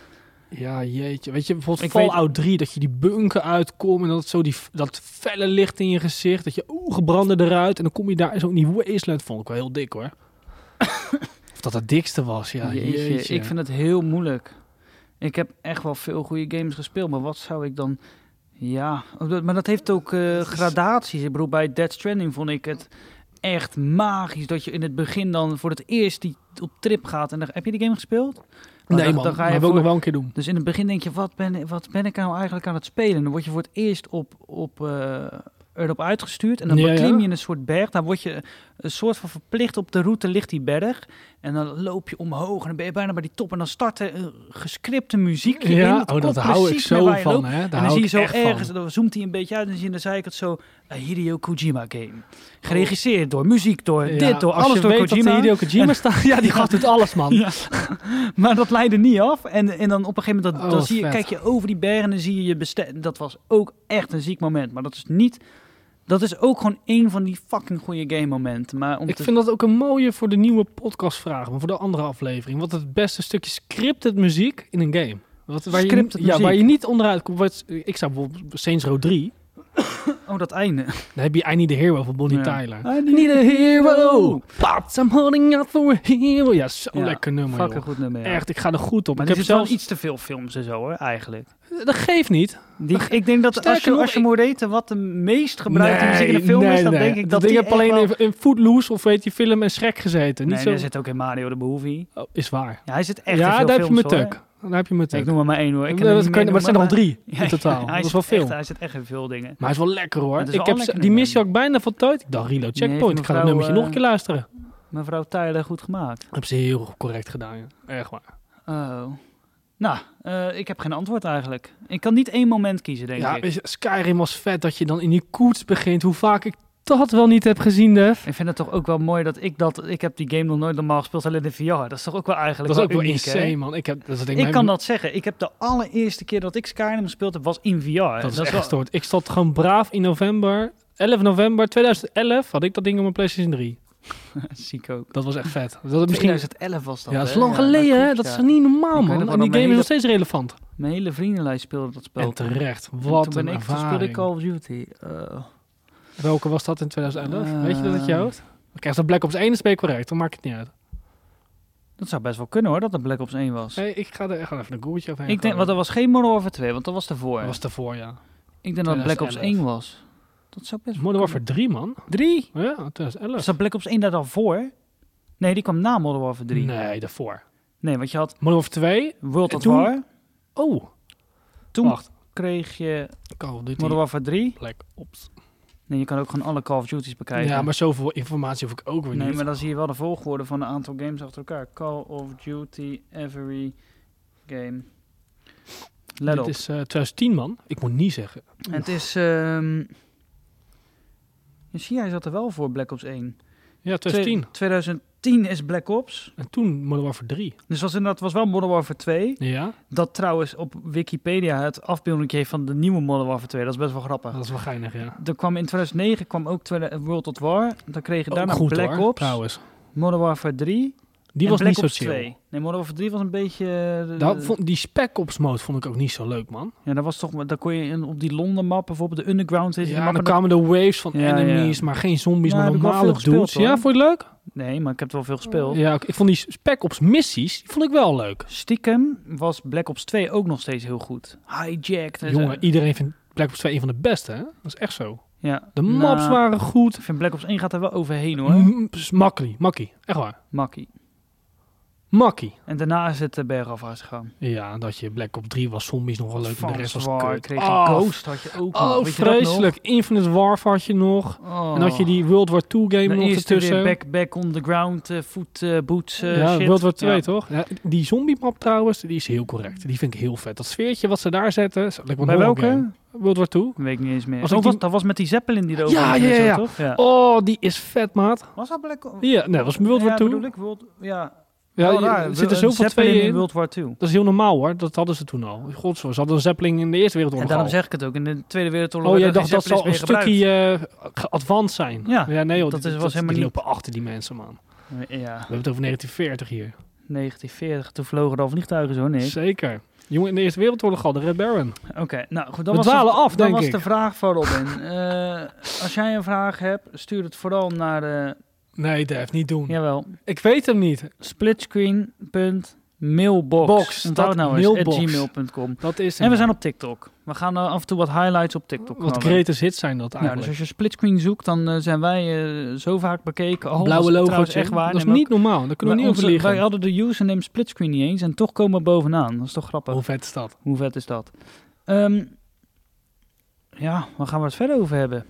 Speaker 2: Ja, jeetje. Weet je, bijvoorbeeld
Speaker 1: Ik weet-
Speaker 2: Fallout 3, dat je die bunker uitkomt en dat zo die, dat felle licht in je gezicht, dat je ogen branden eruit en dan kom je daar in zo'n die wasteland, vond ik wel heel dik, hoor. of dat het dikste was, ja, jeetje.
Speaker 1: Jeetje, Ik vind het heel moeilijk. Ik heb echt wel veel goede games gespeeld, maar wat zou ik dan... Ja, maar dat heeft ook eh, gradaties. Ik bedoel, bij Dead Stranding vond ik het echt magisch dat je in het begin dan voor het eerst die op trip gaat. En dan, heb je die game gespeeld? Maar
Speaker 2: Nee,
Speaker 1: dan-
Speaker 2: man,
Speaker 1: dan ga je
Speaker 2: maar wil ik
Speaker 1: voor-
Speaker 2: nog wel een keer doen.
Speaker 1: Dus in het begin denk je, wat ben, wat ben ik nou eigenlijk aan het spelen? Dan word je voor het eerst op, op, eh, erop uitgestuurd. En dan
Speaker 2: Ja, ja.
Speaker 1: beklim je een soort berg. Dan word je een soort van verplicht op de route ligt die berg. En dan loop je omhoog en dan ben je bijna bij die top. En dan start er een gescripte muziekje in.
Speaker 2: Ja, oh,
Speaker 1: komt
Speaker 2: dat hou ik
Speaker 1: precies bij
Speaker 2: zo
Speaker 1: waar je
Speaker 2: van,
Speaker 1: loopt.
Speaker 2: hè. Daar
Speaker 1: en dan
Speaker 2: hou
Speaker 1: zie je
Speaker 2: ik
Speaker 1: zo
Speaker 2: echt van.
Speaker 1: ergens, dan zoomt hij een beetje uit en dan zie je aan de zijkant zo... Een Hideo Kojima game. Geregisseerd door, muziek door,
Speaker 2: Ja,
Speaker 1: eh, dit door,
Speaker 2: als
Speaker 1: alles
Speaker 2: je
Speaker 1: door
Speaker 2: weet dat
Speaker 1: Kojima.
Speaker 2: er Hideo Kojima staat. Ja, die gast doet alles, man.
Speaker 1: Ja. Maar dat leidde niet af. En, en dan op een gegeven moment, dat,
Speaker 2: Oh,
Speaker 1: dan
Speaker 2: wat
Speaker 1: zie je,
Speaker 2: vet.
Speaker 1: kijk je over die bergen en dan zie je je bestek. Dat was ook echt een ziek moment. Maar dat is niet... Dat is ook gewoon één van die fucking goede game momenten. Maar om
Speaker 2: Ik
Speaker 1: te-
Speaker 2: vind dat ook een mooie voor de nieuwe podcastvraag, maar voor de andere aflevering. Wat het beste stukje scripted muziek in een game. Wat, waar, je,
Speaker 1: Scripted
Speaker 2: ja,
Speaker 1: muziek.
Speaker 2: waar je niet onderuit komt. Wat, ik zou bijvoorbeeld Saints Row 3.
Speaker 1: Oh, dat einde.
Speaker 2: Dan heb je I Need a Hero van Bonnie
Speaker 1: Ja. Ah,
Speaker 2: Tyler.
Speaker 1: I
Speaker 2: I
Speaker 1: need
Speaker 2: need a
Speaker 1: hero.
Speaker 2: hero. But I'm holding out for a hero. Ja, zo'n
Speaker 1: Ja,
Speaker 2: lekker nummer, joh.
Speaker 1: Fucking goed nummer, ja.
Speaker 2: Echt, ik ga er goed op.
Speaker 1: Maar
Speaker 2: ik
Speaker 1: dit is
Speaker 2: heb
Speaker 1: wel
Speaker 2: zelfs... Eh,
Speaker 1: iets te veel films en zo, hoor, eigenlijk.
Speaker 2: Dat geeft niet.
Speaker 1: Die, ik denk dat als
Speaker 2: Sterker
Speaker 1: je,
Speaker 2: nog,
Speaker 1: als je
Speaker 2: ik-
Speaker 1: moet weten wat de meest gebruikte muziek in een film is, dan denk ik dat
Speaker 2: Ik
Speaker 1: die
Speaker 2: heb
Speaker 1: echt
Speaker 2: alleen
Speaker 1: wel-
Speaker 2: in, in Footloose of weet je, film en Shrek gezeten. Niet
Speaker 1: Nee,
Speaker 2: zo...
Speaker 1: daar zit ook in Mario de Behoefie.
Speaker 2: Oh, is waar.
Speaker 1: Ja, hij zit echt in
Speaker 2: ja,
Speaker 1: veel
Speaker 2: daar heb je
Speaker 1: films,
Speaker 2: me
Speaker 1: hoor.
Speaker 2: tuk. Daar heb je me tuk.
Speaker 1: Ik noem er maar één hoor. Ik kan
Speaker 2: Ja,
Speaker 1: er
Speaker 2: dat
Speaker 1: niet
Speaker 2: kunnen-
Speaker 1: meer
Speaker 2: maar het zijn er al
Speaker 1: noemen,
Speaker 2: drie
Speaker 1: maar-
Speaker 2: in
Speaker 1: hij
Speaker 2: totaal. dat is
Speaker 1: zit
Speaker 2: wel veel.
Speaker 1: echt- hij zit echt in veel dingen.
Speaker 2: Maar hij is wel lekker hoor.
Speaker 1: Het is
Speaker 2: Ik
Speaker 1: wel
Speaker 2: heb,
Speaker 1: een lekker
Speaker 2: die
Speaker 1: nummer.
Speaker 2: missie had ik bijna voltooid. Ik dacht reload
Speaker 1: heeft
Speaker 2: checkpoint. Ik ga dat
Speaker 1: mevrouw,
Speaker 2: nummertje nog
Speaker 1: eh,
Speaker 2: een keer luisteren.
Speaker 1: Mevrouw Tyler goed gemaakt.
Speaker 2: Dat heb ze heel correct gedaan. Ja. Echt waar.
Speaker 1: Oh. Nou, eh, ik heb geen antwoord eigenlijk. Ik kan niet één moment kiezen, denk
Speaker 2: Ja,
Speaker 1: ik.
Speaker 2: weet je, Skyrim was vet dat je dan in die koets begint. Hoe vaak ik dat wel niet heb gezien, Def.
Speaker 1: Ik vind het toch ook wel mooi dat ik dat... Ik heb die game nog nooit normaal gespeeld, alleen de VR. Dat is toch ook wel
Speaker 2: Dat
Speaker 1: eigenlijk
Speaker 2: was ook wel
Speaker 1: uniek, hè?
Speaker 2: insane, man. Ik, heb, dat is, denk
Speaker 1: Ik
Speaker 2: mijn-
Speaker 1: kan dat zeggen. Ik heb de allereerste keer dat ik Skyrim gespeeld heb, was in VR.
Speaker 2: Dat,
Speaker 1: En
Speaker 2: is
Speaker 1: dat
Speaker 2: echt
Speaker 1: wel-
Speaker 2: gestoord. Ik zat gewoon braaf in november. 11 november 2011 had ik dat ding op mijn PlayStation 3.
Speaker 1: Ziek ook.
Speaker 2: Dat was echt vet. Dat was misschien...
Speaker 1: 2011 was dat,
Speaker 2: Ja, dat is
Speaker 1: hè?
Speaker 2: lang
Speaker 1: Ja,
Speaker 2: geleden, hè?
Speaker 1: klopt,
Speaker 2: Dat is
Speaker 1: ja.
Speaker 2: niet
Speaker 1: Ik
Speaker 2: normaal,
Speaker 1: weet nog
Speaker 2: man.
Speaker 1: wel
Speaker 2: En
Speaker 1: dat
Speaker 2: die game
Speaker 1: mijn
Speaker 2: is nog
Speaker 1: hele-
Speaker 2: steeds relevant.
Speaker 1: Mijn hele vriendenlijst speelde dat spel.
Speaker 2: En terecht.
Speaker 1: En
Speaker 2: Wat
Speaker 1: toen
Speaker 2: een
Speaker 1: ben ik, toen speelde ik
Speaker 2: ervaring.
Speaker 1: Call of Duty. Eh,
Speaker 2: Welke was dat in 2011?
Speaker 1: Eh,
Speaker 2: Weet je dat uit je hoofd? Dan krijg je dat Black Ops 1 is ben je correct, dan maakt het niet uit.
Speaker 1: dat zou best wel kunnen hoor, dat dat Black Ops 1 was.
Speaker 2: Nee, ik ga er echt even een googeltje overheen.
Speaker 1: Ik denk, want
Speaker 2: gooien.
Speaker 1: dat was geen Modern Warfare 2, want dat was daarvoor.
Speaker 2: Dat was daarvoor, ja.
Speaker 1: ik denk dat het Black Ops
Speaker 2: 2011.
Speaker 1: 1 was. Dat zou best
Speaker 2: Modern Warfare 3, man. Oh,
Speaker 1: 3?
Speaker 2: Ja, 2011.
Speaker 1: Was dat Black Ops 1 daar dan voor? Nee, die kwam na Modern Warfare 3. Nee,
Speaker 2: Nee, daarvoor.
Speaker 1: want je had
Speaker 2: Modern Warfare 2.
Speaker 1: World
Speaker 2: En
Speaker 1: of
Speaker 2: toen-
Speaker 1: War.
Speaker 2: Oh,
Speaker 1: Toen
Speaker 2: wacht.
Speaker 1: kreeg je
Speaker 2: Call of Duty
Speaker 1: Modern Warfare 3.
Speaker 2: Black Ops.
Speaker 1: Nee, je kan ook gewoon alle Call of Duty's bekijken.
Speaker 2: Ja, maar zoveel informatie hoef ik ook weer
Speaker 1: Nee,
Speaker 2: niet.
Speaker 1: maar dan zie je wel de volgorde van een aantal games achter elkaar. Call of Duty, every game. Let
Speaker 2: Dit
Speaker 1: op.
Speaker 2: is eh, 2010, man. Ik moet niet zeggen.
Speaker 1: En het is... ehm je ziet, hij zat er wel voor, Black Ops 1.
Speaker 2: Ja, 2010.
Speaker 1: Twee- 2010 is Black Ops.
Speaker 2: En toen Modern Warfare 3.
Speaker 1: Dus was inderdaad was wel Modern Warfare 2.
Speaker 2: Ja,
Speaker 1: Dat trouwens op Wikipedia het afbeelding heeft van de nieuwe Modern Warfare 2. Dat is best wel grappig.
Speaker 2: dat is wel geinig, ja.
Speaker 1: Er kwam in 2009 kwam ook tweede- World at War. Dan kreeg je
Speaker 2: Ook
Speaker 1: daarna
Speaker 2: Oh, goed,
Speaker 1: Black
Speaker 2: hoor,
Speaker 1: Ops,
Speaker 2: trouwens.
Speaker 1: Modern Warfare 3.
Speaker 2: Die
Speaker 1: en
Speaker 2: was
Speaker 1: Black
Speaker 2: niet zo
Speaker 1: Ops
Speaker 2: chill.
Speaker 1: 2. Nee, Modern Warfare 3 was een beetje... eh,
Speaker 2: Daar vond- die Spec Ops mode vond ik ook niet zo leuk, man.
Speaker 1: Ja, dat was toch... Daar kon je in, op die Londen map, bijvoorbeeld de underground... is die
Speaker 2: Ja,
Speaker 1: map
Speaker 2: dan
Speaker 1: en dat-
Speaker 2: kwamen de waves van
Speaker 1: Ja, ja.
Speaker 2: enemies, maar geen zombies,
Speaker 1: Ja,
Speaker 2: maar
Speaker 1: heb ik wel
Speaker 2: normale
Speaker 1: veel gespeeld,
Speaker 2: dudes.
Speaker 1: hoor.
Speaker 2: Ja, vond je het
Speaker 1: Nee, maar ik heb er wel veel gespeeld.
Speaker 2: leuk? Ja, ik, ik vond die spec ops missies, die vond ik wel leuk.
Speaker 1: Stiekem was Black Ops 2 ook nog steeds heel goed. Hijacked. en zo.
Speaker 2: Jongen, iedereen vindt Black Ops 2 een van de beste, hè? Dat is echt zo.
Speaker 1: Ja.
Speaker 2: De maps
Speaker 1: Nou,
Speaker 2: waren goed. Mhm.
Speaker 1: Ik vind Black Ops 1 gaat er wel overheen hoor.
Speaker 2: M- s- Makkie, makkie, echt waar.
Speaker 1: Makkie.
Speaker 2: Makkie.
Speaker 1: En daarna is het eh, bergafwaarts gegaan.
Speaker 2: Ja, dat je Black Ops 3 was zombies nog wel leuk. En de rest was
Speaker 1: War,
Speaker 2: kut.
Speaker 1: kreeg je
Speaker 2: Oh,
Speaker 1: Ghost, had je ook nog.
Speaker 2: Oh,
Speaker 1: Weet je dat nog?
Speaker 2: vreselijk. Infinite Warfare had je nog.
Speaker 1: Oh.
Speaker 2: En had je die World War 2 game
Speaker 1: Dan
Speaker 2: nog
Speaker 1: eerst weer
Speaker 2: ertussen.
Speaker 1: back, back on the ground, eh voet, eh, boots, eh,
Speaker 2: ja,
Speaker 1: shit.
Speaker 2: World War 2
Speaker 1: Ja.
Speaker 2: toch? Ja, die zombie map trouwens, die is heel correct. Die vind ik heel vet. Dat sfeertje wat ze daar zetten. is lekker een
Speaker 1: Bij
Speaker 2: horror
Speaker 1: welke?
Speaker 2: game. World War 2.
Speaker 1: Weet ik niet eens meer.
Speaker 2: Was
Speaker 1: dat,
Speaker 2: ook die-
Speaker 1: was, dat was met die Zeppelin die erover
Speaker 2: Ja,
Speaker 1: ging en
Speaker 2: ja,
Speaker 1: zo,
Speaker 2: ja.
Speaker 1: toch? Ja.
Speaker 2: Oh, die is vet, maat.
Speaker 1: Was dat Black Ops?
Speaker 2: Ja, nee, dat was World War
Speaker 1: ja,
Speaker 2: 2.
Speaker 1: bedoel ik, World, ja.
Speaker 2: Ja,
Speaker 1: Oh,
Speaker 2: je-
Speaker 1: raar.
Speaker 2: er
Speaker 1: Een
Speaker 2: zitten zoveel
Speaker 1: Zeppelin
Speaker 2: tweeën in.
Speaker 1: in World War 2.
Speaker 2: Dat is heel normaal hoor. Dat hadden ze toen al. God, ze hadden een Zeppelin in de Eerste
Speaker 1: En
Speaker 2: Wereldoorlog
Speaker 1: daarom
Speaker 2: al.
Speaker 1: zeg ik het ook. In de Tweede Wereldoorlog
Speaker 2: Oh, jij
Speaker 1: werden
Speaker 2: dacht
Speaker 1: geen
Speaker 2: dat zal een
Speaker 1: Zeppelins meer
Speaker 2: stukje eh, ge- advanced zijn.
Speaker 1: Ja,
Speaker 2: nee, joh,
Speaker 1: dat
Speaker 2: die-
Speaker 1: is- was
Speaker 2: die
Speaker 1: helemaal niet-
Speaker 2: lopen achter die mensen, man. We
Speaker 1: gebruikt. Ja,
Speaker 2: hebben het over 1940 hier.
Speaker 1: 1940. Toen vlogen er al vliegtuigen zo, nee.
Speaker 2: Zeker. Jongen, in de Eerste Wereldoorlog al, de Red Baron.
Speaker 1: Oké, nou goed. Dan
Speaker 2: We
Speaker 1: was de-
Speaker 2: dwalen af,
Speaker 1: dan
Speaker 2: denk
Speaker 1: was
Speaker 2: ik.
Speaker 1: de vraag van Robin. Eh, als jij een vraag hebt, stuur het vooral naar, de
Speaker 2: Nee, Dave, niet doen.
Speaker 1: jawel,
Speaker 2: Ik weet hem niet.
Speaker 1: splitscreen.mailbox.
Speaker 2: Box,
Speaker 1: Onthoud
Speaker 2: dat
Speaker 1: nou eens, at
Speaker 2: mailbox.
Speaker 1: gmail.com.
Speaker 2: Dat is hem.
Speaker 1: En we zijn op TikTok. We gaan eh, af en toe wat highlights op TikTok
Speaker 2: Wat
Speaker 1: knallen.
Speaker 2: greatest hits zijn dat
Speaker 1: Ja, dus
Speaker 2: eigenlijk.
Speaker 1: als je splitscreen zoekt, dan eh, zijn wij eh, zo vaak bekeken. Oh,
Speaker 2: Blauwe
Speaker 1: logo
Speaker 2: logo's,
Speaker 1: echt waar.
Speaker 2: Dat is
Speaker 1: Nee, maar
Speaker 2: niet normaal. Daar
Speaker 1: ook-
Speaker 2: kunnen we niet
Speaker 1: onze-
Speaker 2: over
Speaker 1: Wij
Speaker 2: liegen.
Speaker 1: hadden de username splitscreen niet eens en toch komen we bovenaan. Dat is toch grappig.
Speaker 2: Hoe vet is dat?
Speaker 1: Hoe vet is dat? Ehm, ja, waar gaan we het verder over hebben?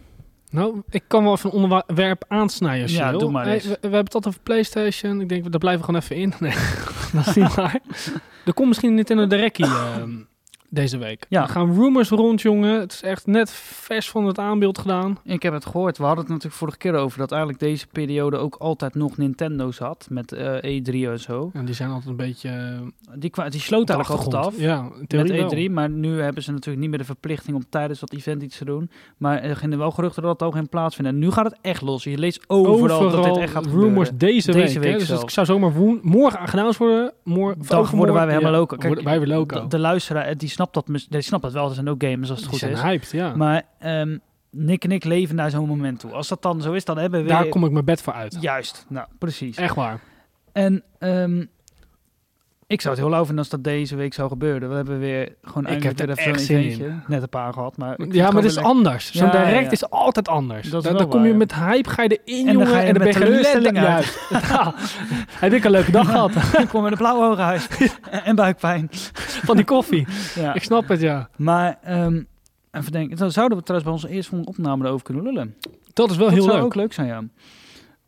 Speaker 2: Nou, ik kan wel even een onderwerp aansnijden. als je
Speaker 1: Ja,
Speaker 2: wil.
Speaker 1: doe maar
Speaker 2: Hey,
Speaker 1: eens.
Speaker 2: we, we hebben het altijd over PlayStation. Ik denk, daar blijven we gewoon even in. Nee, dat is niet waar. Er komt misschien een Nintendo Directie ehm, deze week.
Speaker 1: Ja.
Speaker 2: Er gaan rumors rond, jongen. Het is echt net vers van het aanbeeld gedaan.
Speaker 1: Ik heb het gehoord. We hadden het natuurlijk vorige keer over dat eigenlijk deze periode ook altijd nog Nintendo's had met eh, E3 en zo.
Speaker 2: En die zijn altijd een beetje... eh,
Speaker 1: Die, kwa- die sloot
Speaker 2: op de
Speaker 1: eigenlijk altijd af.
Speaker 2: achtergrond. Ja, in
Speaker 1: Met E
Speaker 2: theorie wel.
Speaker 1: E3, maar nu hebben ze natuurlijk niet meer de verplichting om tijdens dat event iets te doen. Maar er gingen wel geruchten dat het ook geen plaatsvindt. En nu gaat het echt los. Je leest overal, dat dit echt gaat
Speaker 2: rumors
Speaker 1: gebeuren.
Speaker 2: deze,
Speaker 1: Deze
Speaker 2: week. hè.
Speaker 1: week
Speaker 2: Dus
Speaker 1: zelfs.
Speaker 2: het zou zomaar woen, morgen genaamd worden. Mor, of
Speaker 1: Dan worden wij
Speaker 2: overmorgen.
Speaker 1: weer helemaal
Speaker 2: Ja,
Speaker 1: loco. Kijk,
Speaker 2: worden wij weer loco.
Speaker 1: De, de luisteraar, eh, die snapt, dat, mis- die snapt dat wel. Er zijn ook gamers als het
Speaker 2: Die
Speaker 1: goed
Speaker 2: zijn
Speaker 1: is.
Speaker 2: hyped, ja.
Speaker 1: Maar ehm, Nick en ik leven naar zo'n moment toe. Als dat dan zo is, dan hebben we weer...
Speaker 2: Daar kom ik mijn bed voor uit.
Speaker 1: Juist, nou precies.
Speaker 2: Echt waar.
Speaker 1: En ehm, ik zou het heel lauw vinden als dat deze week zou gebeuren. We hebben weer gewoon
Speaker 2: Ik heb
Speaker 1: eindelijk
Speaker 2: er
Speaker 1: weer
Speaker 2: echt
Speaker 1: even zo'n
Speaker 2: zin in.
Speaker 1: eventje. Net een paar gehad, maar... ik vind
Speaker 2: Ja, maar
Speaker 1: gewoon
Speaker 2: het is
Speaker 1: weer
Speaker 2: anders. Zo'n
Speaker 1: Ja,
Speaker 2: direct
Speaker 1: ja.
Speaker 2: is altijd anders.
Speaker 1: Dat is wel
Speaker 2: dan dan kom
Speaker 1: waar,
Speaker 2: je
Speaker 1: ja.
Speaker 2: met hype, ga je erin,
Speaker 1: En dan
Speaker 2: jongen.
Speaker 1: ga je
Speaker 2: en dan
Speaker 1: met
Speaker 2: ben je
Speaker 1: teleurstelling
Speaker 2: letterlijk- Ja. Heb ik een leuke dag gehad
Speaker 1: lekker. Ik kom met een blauwe ogen uit en, en buikpijn.
Speaker 2: van die koffie.
Speaker 1: Ja.
Speaker 2: Ik snap het, ja.
Speaker 1: Maar, ehm even denken, dan zouden we trouwens bij onze eerste opname erover kunnen lullen.
Speaker 2: Dat is wel
Speaker 1: dat
Speaker 2: Oh, heel
Speaker 1: zou
Speaker 2: leuk.
Speaker 1: ook leuk zijn, ja.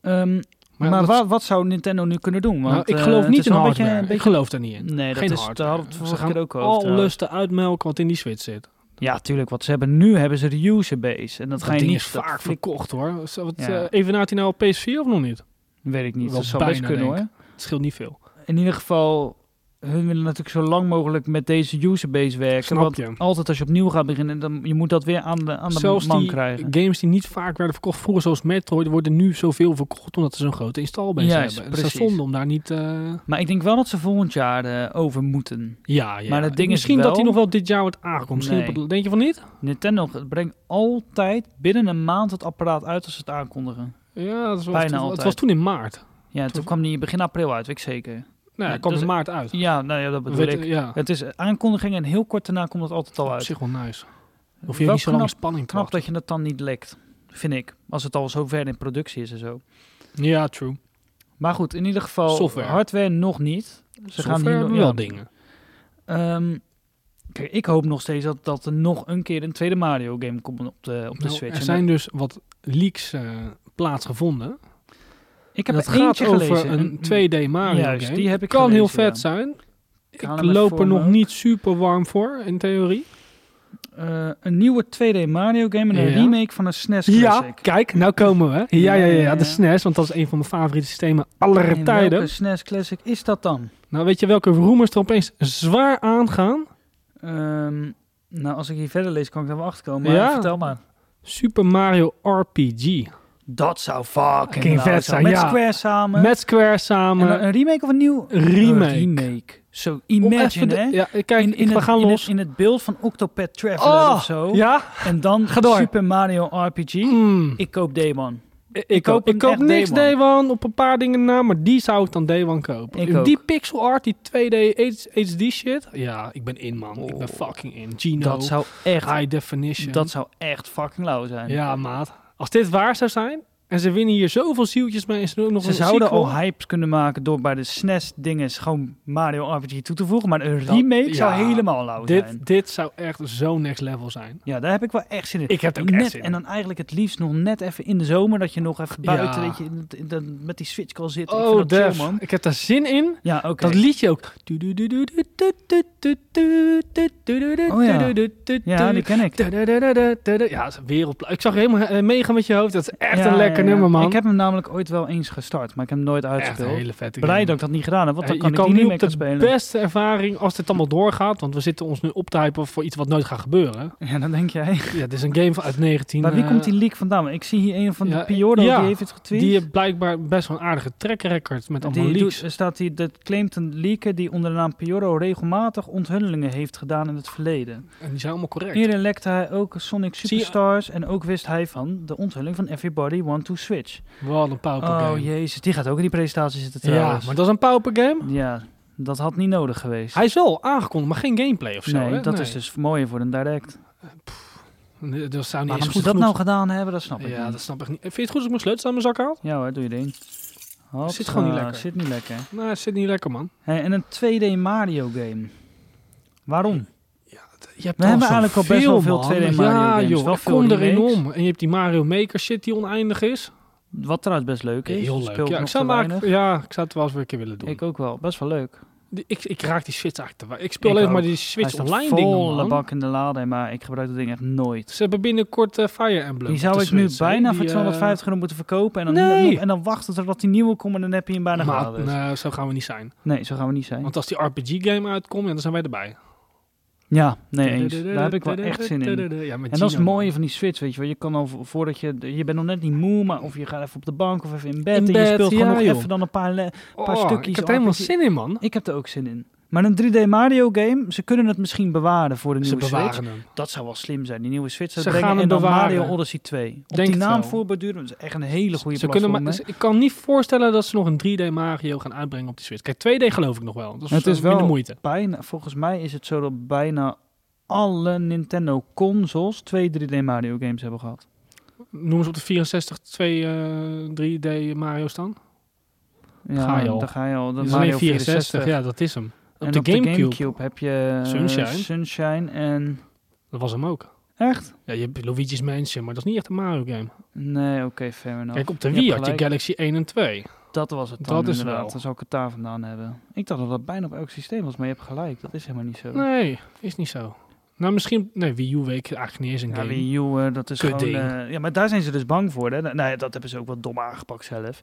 Speaker 1: Ehm,
Speaker 2: Maar,
Speaker 1: maar
Speaker 2: dat-
Speaker 1: wa- wat zou Nintendo nu kunnen doen?
Speaker 2: nou,
Speaker 1: Want,
Speaker 2: ik
Speaker 1: eh,
Speaker 2: geloof
Speaker 1: het
Speaker 2: niet
Speaker 1: is
Speaker 2: in
Speaker 1: wel
Speaker 2: hardware.
Speaker 1: Een beetje,
Speaker 2: Ik geloof daar niet
Speaker 1: een
Speaker 2: in.
Speaker 1: beetje, nee, dat
Speaker 2: Geen
Speaker 1: is, daar
Speaker 2: hardware.
Speaker 1: hadden we het
Speaker 2: Ze
Speaker 1: vorige
Speaker 2: gaan
Speaker 1: keer ook over.
Speaker 2: al
Speaker 1: trouwens.
Speaker 2: lusten uitmelken wat in die Switch zit.
Speaker 1: Ja, tuurlijk. Want ze hebben, nu hebben ze de userbase. En dat,
Speaker 2: Dat
Speaker 1: ga je
Speaker 2: ding
Speaker 1: niet...
Speaker 2: is
Speaker 1: dat
Speaker 2: vaak
Speaker 1: flik-
Speaker 2: verkocht, hoor. Zo, Wat,
Speaker 1: Ja.
Speaker 2: eh, evenaart hij nou op PS4 of nog niet?
Speaker 1: Weet ik niet.
Speaker 2: Wel
Speaker 1: dat zou best
Speaker 2: bijna,
Speaker 1: kunnen
Speaker 2: denk
Speaker 1: hoor.
Speaker 2: Het scheelt niet veel.
Speaker 1: In ieder geval, hun willen natuurlijk zo lang mogelijk met deze userbase werken.
Speaker 2: Snap
Speaker 1: want
Speaker 2: je.
Speaker 1: altijd als je opnieuw gaat beginnen, dan je moet dat weer aan de, aan de
Speaker 2: Zelfs
Speaker 1: man
Speaker 2: die
Speaker 1: krijgen.
Speaker 2: games die niet vaak werden verkocht vroeger, zoals Metroid, worden nu zoveel verkocht omdat ze zo'n grote installbase
Speaker 1: Juist,
Speaker 2: hebben. Het is
Speaker 1: precies.
Speaker 2: zonde om daar niet... eh,
Speaker 1: Maar ik denk wel dat ze volgend jaar eh, over moeten.
Speaker 2: Ja, ja.
Speaker 1: Maar het ding is
Speaker 2: Misschien
Speaker 1: wel-
Speaker 2: dat hij nog wel dit jaar wordt aangekomen. Misschien
Speaker 1: Nee.
Speaker 2: op het- denk je van niet?
Speaker 1: Nintendo brengt altijd binnen een maand het apparaat uit als ze het aankondigen.
Speaker 2: Ja, dat was,
Speaker 1: Bijna
Speaker 2: het,
Speaker 1: altijd.
Speaker 2: het was toen in maart.
Speaker 1: Ja, toen
Speaker 2: Toen-
Speaker 1: kwam die begin april uit, weet ik zeker.
Speaker 2: Nou,
Speaker 1: Ja,
Speaker 2: ja, kwam
Speaker 1: dus-
Speaker 2: in maart uit.
Speaker 1: Ja, nou ja, dat bedoel
Speaker 2: Weet-
Speaker 1: ik.
Speaker 2: ja.
Speaker 1: Het is aankondiging en heel kort daarna komt het altijd al
Speaker 2: Op
Speaker 1: uit.
Speaker 2: zich wel nice. Hoef je
Speaker 1: Wel
Speaker 2: ook niet zo
Speaker 1: knap,
Speaker 2: lang in spanning te
Speaker 1: knap
Speaker 2: wachten.
Speaker 1: dat je het dan niet lekt, vind ik. Als het al zo ver in productie is en zo.
Speaker 2: Ja, true.
Speaker 1: Maar goed, in ieder geval
Speaker 2: Software.
Speaker 1: hardware nog niet. Ze
Speaker 2: Ze gaan
Speaker 1: gaan hier
Speaker 2: hebben
Speaker 1: nog-
Speaker 2: we wel
Speaker 1: ja.
Speaker 2: dingen.
Speaker 1: Ehm, kijk, ik hoop nog steeds dat, dat er nog een keer een tweede Mario game komt op de, op de
Speaker 2: Nou,
Speaker 1: Switch.
Speaker 2: er
Speaker 1: En
Speaker 2: zijn dus wat leaks eh, plaatsgevonden.
Speaker 1: ik
Speaker 2: En
Speaker 1: heb
Speaker 2: dat
Speaker 1: er
Speaker 2: gaat
Speaker 1: eentje
Speaker 2: over
Speaker 1: gelezen. eh,
Speaker 2: een 2D Mario
Speaker 1: Juist,
Speaker 2: game.
Speaker 1: die heb ik
Speaker 2: kan
Speaker 1: gelezen,
Speaker 2: heel vet
Speaker 1: ja.
Speaker 2: zijn. Ik
Speaker 1: haal hem even
Speaker 2: loop
Speaker 1: voor
Speaker 2: er
Speaker 1: me
Speaker 2: nog
Speaker 1: ook.
Speaker 2: niet super warm voor, in theorie.
Speaker 1: eh, een nieuwe 2D Mario game en een
Speaker 2: Ja.
Speaker 1: remake van een SNES
Speaker 2: Ja,
Speaker 1: Classic.
Speaker 2: kijk, nou komen we.
Speaker 1: Ja,
Speaker 2: Ja, ja, ja,
Speaker 1: ja, ja.
Speaker 2: de SNES, want dat is een van mijn favoriete systemen aller
Speaker 1: En
Speaker 2: tijden.
Speaker 1: welke SNES Classic is dat dan?
Speaker 2: Nou, weet je welke rumors er opeens zwaar aangaan?
Speaker 1: Ehm, nou, als ik hier verder lees, kan ik daar wel achter komen. Maar
Speaker 2: Ja.
Speaker 1: vertel maar.
Speaker 2: Super Mario RPG.
Speaker 1: Dat zou fucking
Speaker 2: King
Speaker 1: lauw
Speaker 2: vet zijn,
Speaker 1: Met
Speaker 2: ja.
Speaker 1: Square samen.
Speaker 2: Met Square
Speaker 1: En
Speaker 2: samen.
Speaker 1: dan een remake of een nieuw?
Speaker 2: remake.
Speaker 1: Een remake. Zo,
Speaker 2: Om
Speaker 1: imagine
Speaker 2: even de-
Speaker 1: hè.
Speaker 2: Ja, kijk,
Speaker 1: in, in,
Speaker 2: we
Speaker 1: het,
Speaker 2: gaan
Speaker 1: in,
Speaker 2: los.
Speaker 1: Het, in het beeld van Octopath Traveler
Speaker 2: Oh,
Speaker 1: of zo.
Speaker 2: ja?
Speaker 1: En dan
Speaker 2: Ga door.
Speaker 1: Super Mario RPG.
Speaker 2: Mm.
Speaker 1: Ik koop Daemon.
Speaker 2: Ik,
Speaker 1: ik
Speaker 2: koop,
Speaker 1: koop hem
Speaker 2: ik koop
Speaker 1: echt
Speaker 2: niks
Speaker 1: Day One.
Speaker 2: Day One op een paar dingen na, maar die zou ik dan Day One kopen.
Speaker 1: Ik ook.
Speaker 2: Die pixel art, die 2D HD shit. Ja, ik ben in, man. Ik ben
Speaker 1: Oh.
Speaker 2: fucking in. Gino,
Speaker 1: Dat zou echt,
Speaker 2: high definition.
Speaker 1: dat zou echt fucking lauw zijn.
Speaker 2: ja, maat. Als dit waar zou zijn, En ze winnen hier zoveel zieltjes mee. En ze doen ook nog
Speaker 1: Ze
Speaker 2: een
Speaker 1: zouden
Speaker 2: sequel.
Speaker 1: al hype kunnen maken door bij de SNES-dinges gewoon Mario RPG toe te voegen. Maar een remake
Speaker 2: ja,
Speaker 1: zou helemaal lauw zijn.
Speaker 2: dit, dit zou echt zo next level zijn.
Speaker 1: Ja, daar heb ik wel echt zin in.
Speaker 2: Ik heb er ook
Speaker 1: net,
Speaker 2: echt zin in.
Speaker 1: En dan eigenlijk het liefst nog net even in de zomer. Dat je nog even buiten,
Speaker 2: Ja.
Speaker 1: weet je, in- in- in- met die Switch kan zitten. ik
Speaker 2: Oh,
Speaker 1: vind dat chill,
Speaker 2: Def.
Speaker 1: man.
Speaker 2: Ik heb daar zin in.
Speaker 1: Ja, oké.
Speaker 2: Dat liedje ook. Oh
Speaker 1: Oh ja. Ja, die ken ik.
Speaker 2: Ja, dat is een wereldpla- Ik zag helemaal eh, meegaan met je hoofd. Dat is echt
Speaker 1: Ja,
Speaker 2: een
Speaker 1: ja,
Speaker 2: lekker
Speaker 1: ja.
Speaker 2: nummer, man.
Speaker 1: Ik heb hem namelijk ooit wel eens gestart, maar ik heb hem nooit
Speaker 2: echt een
Speaker 1: uitgespeeld.
Speaker 2: hele vette
Speaker 1: Blij
Speaker 2: game.
Speaker 1: dat ik dat niet gedaan heb, want dan
Speaker 2: Eh,
Speaker 1: kan
Speaker 2: je
Speaker 1: ik
Speaker 2: kan
Speaker 1: die
Speaker 2: nu
Speaker 1: niet
Speaker 2: op
Speaker 1: meer
Speaker 2: de
Speaker 1: gaan spelen.
Speaker 2: beste ervaring, als dit allemaal doorgaat, want we zitten ons nu op te hypen voor iets wat nooit gaat gebeuren.
Speaker 1: Ja, dan denk jij.
Speaker 2: Ja, dit is een game van- uit 19...
Speaker 1: Maar wie
Speaker 2: eh,
Speaker 1: komt die leak vandaan? Want Ik zie hier een van
Speaker 2: ja,
Speaker 1: de Pioro,
Speaker 2: ja,
Speaker 1: die heeft het getweet.
Speaker 2: Die heeft blijkbaar best wel een aardige track record met allemaal
Speaker 1: Die
Speaker 2: leaks.
Speaker 1: doet- er staat hier dat claimt een leaker die onder de naam Pioro regelmatig onthullingen heeft gedaan in het verleden.
Speaker 2: En die zijn allemaal correct.
Speaker 1: Eerder lekte hij ook Sonic
Speaker 2: Zie je-
Speaker 1: Superstars en ook wist hij van de onthulling van Everybody Want to Switch.
Speaker 2: Wat een pauper
Speaker 1: Oh
Speaker 2: game.
Speaker 1: jezus, die gaat ook in die presentatie zitten
Speaker 2: Ja,
Speaker 1: trouwens.
Speaker 2: maar dat is een pauper game.
Speaker 1: Ja, dat had niet nodig geweest.
Speaker 2: Hij is wel aangekondigd, maar geen gameplay of zo.
Speaker 1: nee,
Speaker 2: hè? Oh,
Speaker 1: dat is dus mooier voor een direct.
Speaker 2: Nee, Dat zou niet
Speaker 1: Waarom ze
Speaker 2: eens goed
Speaker 1: dat
Speaker 2: genoeg
Speaker 1: nou gedaan hebben, dat snap ik
Speaker 2: Ja,
Speaker 1: niet.
Speaker 2: dat snap ik niet. Vind je het goed als ik mijn sleutels aan mijn zak haal?
Speaker 1: Ja hoor, doe je ding.
Speaker 2: Zit gewoon niet lekker.
Speaker 1: Zit niet lekker.
Speaker 2: Nou, het zit niet lekker, man.
Speaker 1: Hé, en een 2D Mario game. Waarom?
Speaker 2: Je hebt
Speaker 1: We
Speaker 2: al
Speaker 1: hebben
Speaker 2: zo
Speaker 1: eigenlijk al best wel veel
Speaker 2: man.
Speaker 1: 2D Mario
Speaker 2: ja,
Speaker 1: games.
Speaker 2: joh,
Speaker 1: Wel
Speaker 2: ik
Speaker 1: veel
Speaker 2: kom erin
Speaker 1: remakes.
Speaker 2: om. En je hebt die Mario Maker shit die oneindig is.
Speaker 1: Wat trouwens best leuk is.
Speaker 2: Heel
Speaker 1: Speel
Speaker 2: leuk.
Speaker 1: ik
Speaker 2: Ja, ik
Speaker 1: nog
Speaker 2: zou,
Speaker 1: te
Speaker 2: hem eigenlijk-
Speaker 1: weinig.
Speaker 2: ja, ik zou het wel eens weer een keer willen doen.
Speaker 1: Ik ook wel. Best wel leuk.
Speaker 2: Die- Ik, ik raak die Switch eigenlijk te weinig. Ik speel
Speaker 1: Ik
Speaker 2: alleen maar
Speaker 1: ook.
Speaker 2: die
Speaker 1: Hij
Speaker 2: Switch
Speaker 1: staat
Speaker 2: online dingen,
Speaker 1: volle
Speaker 2: man.
Speaker 1: bak in de lade, maar ik gebruik dat ding echt nooit.
Speaker 2: Ze hebben binnenkort eh, Fire Emblem.
Speaker 1: Die
Speaker 2: op
Speaker 1: zou
Speaker 2: de
Speaker 1: ik nu
Speaker 2: Switch, hè?
Speaker 1: bijna
Speaker 2: Die,
Speaker 1: voor
Speaker 2: eh,
Speaker 1: 250 euro moeten verkopen. En dan,
Speaker 2: Nee!
Speaker 1: en dan wachten totdat die nieuwe komt en dan heb je hem bijna
Speaker 2: maar,
Speaker 1: gehaald. dus.
Speaker 2: nou, zo gaan we niet zijn.
Speaker 1: Nee, zo gaan we niet zijn.
Speaker 2: Want als die RPG-game uitkomt, ja, dan zijn wij erbij.
Speaker 1: Ja, nee eens. Daar heb ik wel echt zin in.
Speaker 2: Ja, met
Speaker 1: En dat is het
Speaker 2: Gino.
Speaker 1: mooie van die Switch, weet je wel. Je kan al vo- voordat je... Je bent nog net niet moe, maar of je gaat even op de bank of even in bed.
Speaker 2: In
Speaker 1: en
Speaker 2: bed,
Speaker 1: je speelt
Speaker 2: ja,
Speaker 1: gewoon nog
Speaker 2: joh.
Speaker 1: even dan een paar... le- paar
Speaker 2: oh,
Speaker 1: stukjes
Speaker 2: Ik heb er helemaal
Speaker 1: RPG.
Speaker 2: zin in, man.
Speaker 1: Ik heb er ook zin in. Maar een 3D Mario game, ze kunnen het misschien bewaren voor de
Speaker 2: Ze
Speaker 1: nieuwe Switch.
Speaker 2: bewaren hem.
Speaker 1: Dat zou wel slim zijn, die nieuwe Switch
Speaker 2: Ze
Speaker 1: zou brengen
Speaker 2: gaan hem
Speaker 1: en dan
Speaker 2: bewaren.
Speaker 1: Mario Odyssey 2. Op
Speaker 2: Denk
Speaker 1: die
Speaker 2: het
Speaker 1: naam
Speaker 2: wel.
Speaker 1: voorbeduren, dat is echt een hele goede
Speaker 2: Ze kunnen
Speaker 1: platform.
Speaker 2: maar,
Speaker 1: hè?
Speaker 2: ze- ik kan niet voorstellen dat ze nog een 3D Mario gaan uitbrengen op die Switch. Kijk, 2D geloof ik nog wel. Dat is,
Speaker 1: Het is
Speaker 2: eh, minder
Speaker 1: wel-
Speaker 2: moeite.
Speaker 1: bijna, volgens mij is het zo dat bijna alle Nintendo consoles twee 3D Mario games hebben gehad.
Speaker 2: Noem eens op de 64 twee eh, 3D Mario's dan.
Speaker 1: Ja,
Speaker 2: Ga je al.
Speaker 1: Daar ga je al.
Speaker 2: Dat
Speaker 1: De
Speaker 2: is
Speaker 1: Mario
Speaker 2: alleen
Speaker 1: 64.
Speaker 2: 64, ja, dat is hem. Op,
Speaker 1: en
Speaker 2: de,
Speaker 1: op
Speaker 2: GameCube,
Speaker 1: de Gamecube heb je eh,
Speaker 2: Sunshine.
Speaker 1: Sunshine en...
Speaker 2: dat was hem ook.
Speaker 1: Echt?
Speaker 2: Ja, je hebt Luigi's Mansion, maar dat is niet echt een Mario game.
Speaker 1: Nee, oké, fair enough.
Speaker 2: Kijk, op de
Speaker 1: Je
Speaker 2: Wii
Speaker 1: hebt
Speaker 2: had je
Speaker 1: gelijk.
Speaker 2: Galaxy 1 en 2.
Speaker 1: Dat was het dan
Speaker 2: Dat is
Speaker 1: inderdaad.
Speaker 2: wel.
Speaker 1: Dan zou ik het daar vandaan hebben. Ik dacht dat dat bijna op elk systeem was, maar je hebt gelijk. Dat is helemaal niet zo.
Speaker 2: Nee, is niet zo. Nou, misschien... Nee, Wii U weet ik eigenlijk niet eens een
Speaker 1: Ja,
Speaker 2: game.
Speaker 1: Wii U, eh, dat is
Speaker 2: Kut
Speaker 1: gewoon...
Speaker 2: ding.
Speaker 1: eh, ja, maar daar zijn ze dus bang voor. Hè? Nou ja, dat hebben ze ook wat dom aangepakt zelf.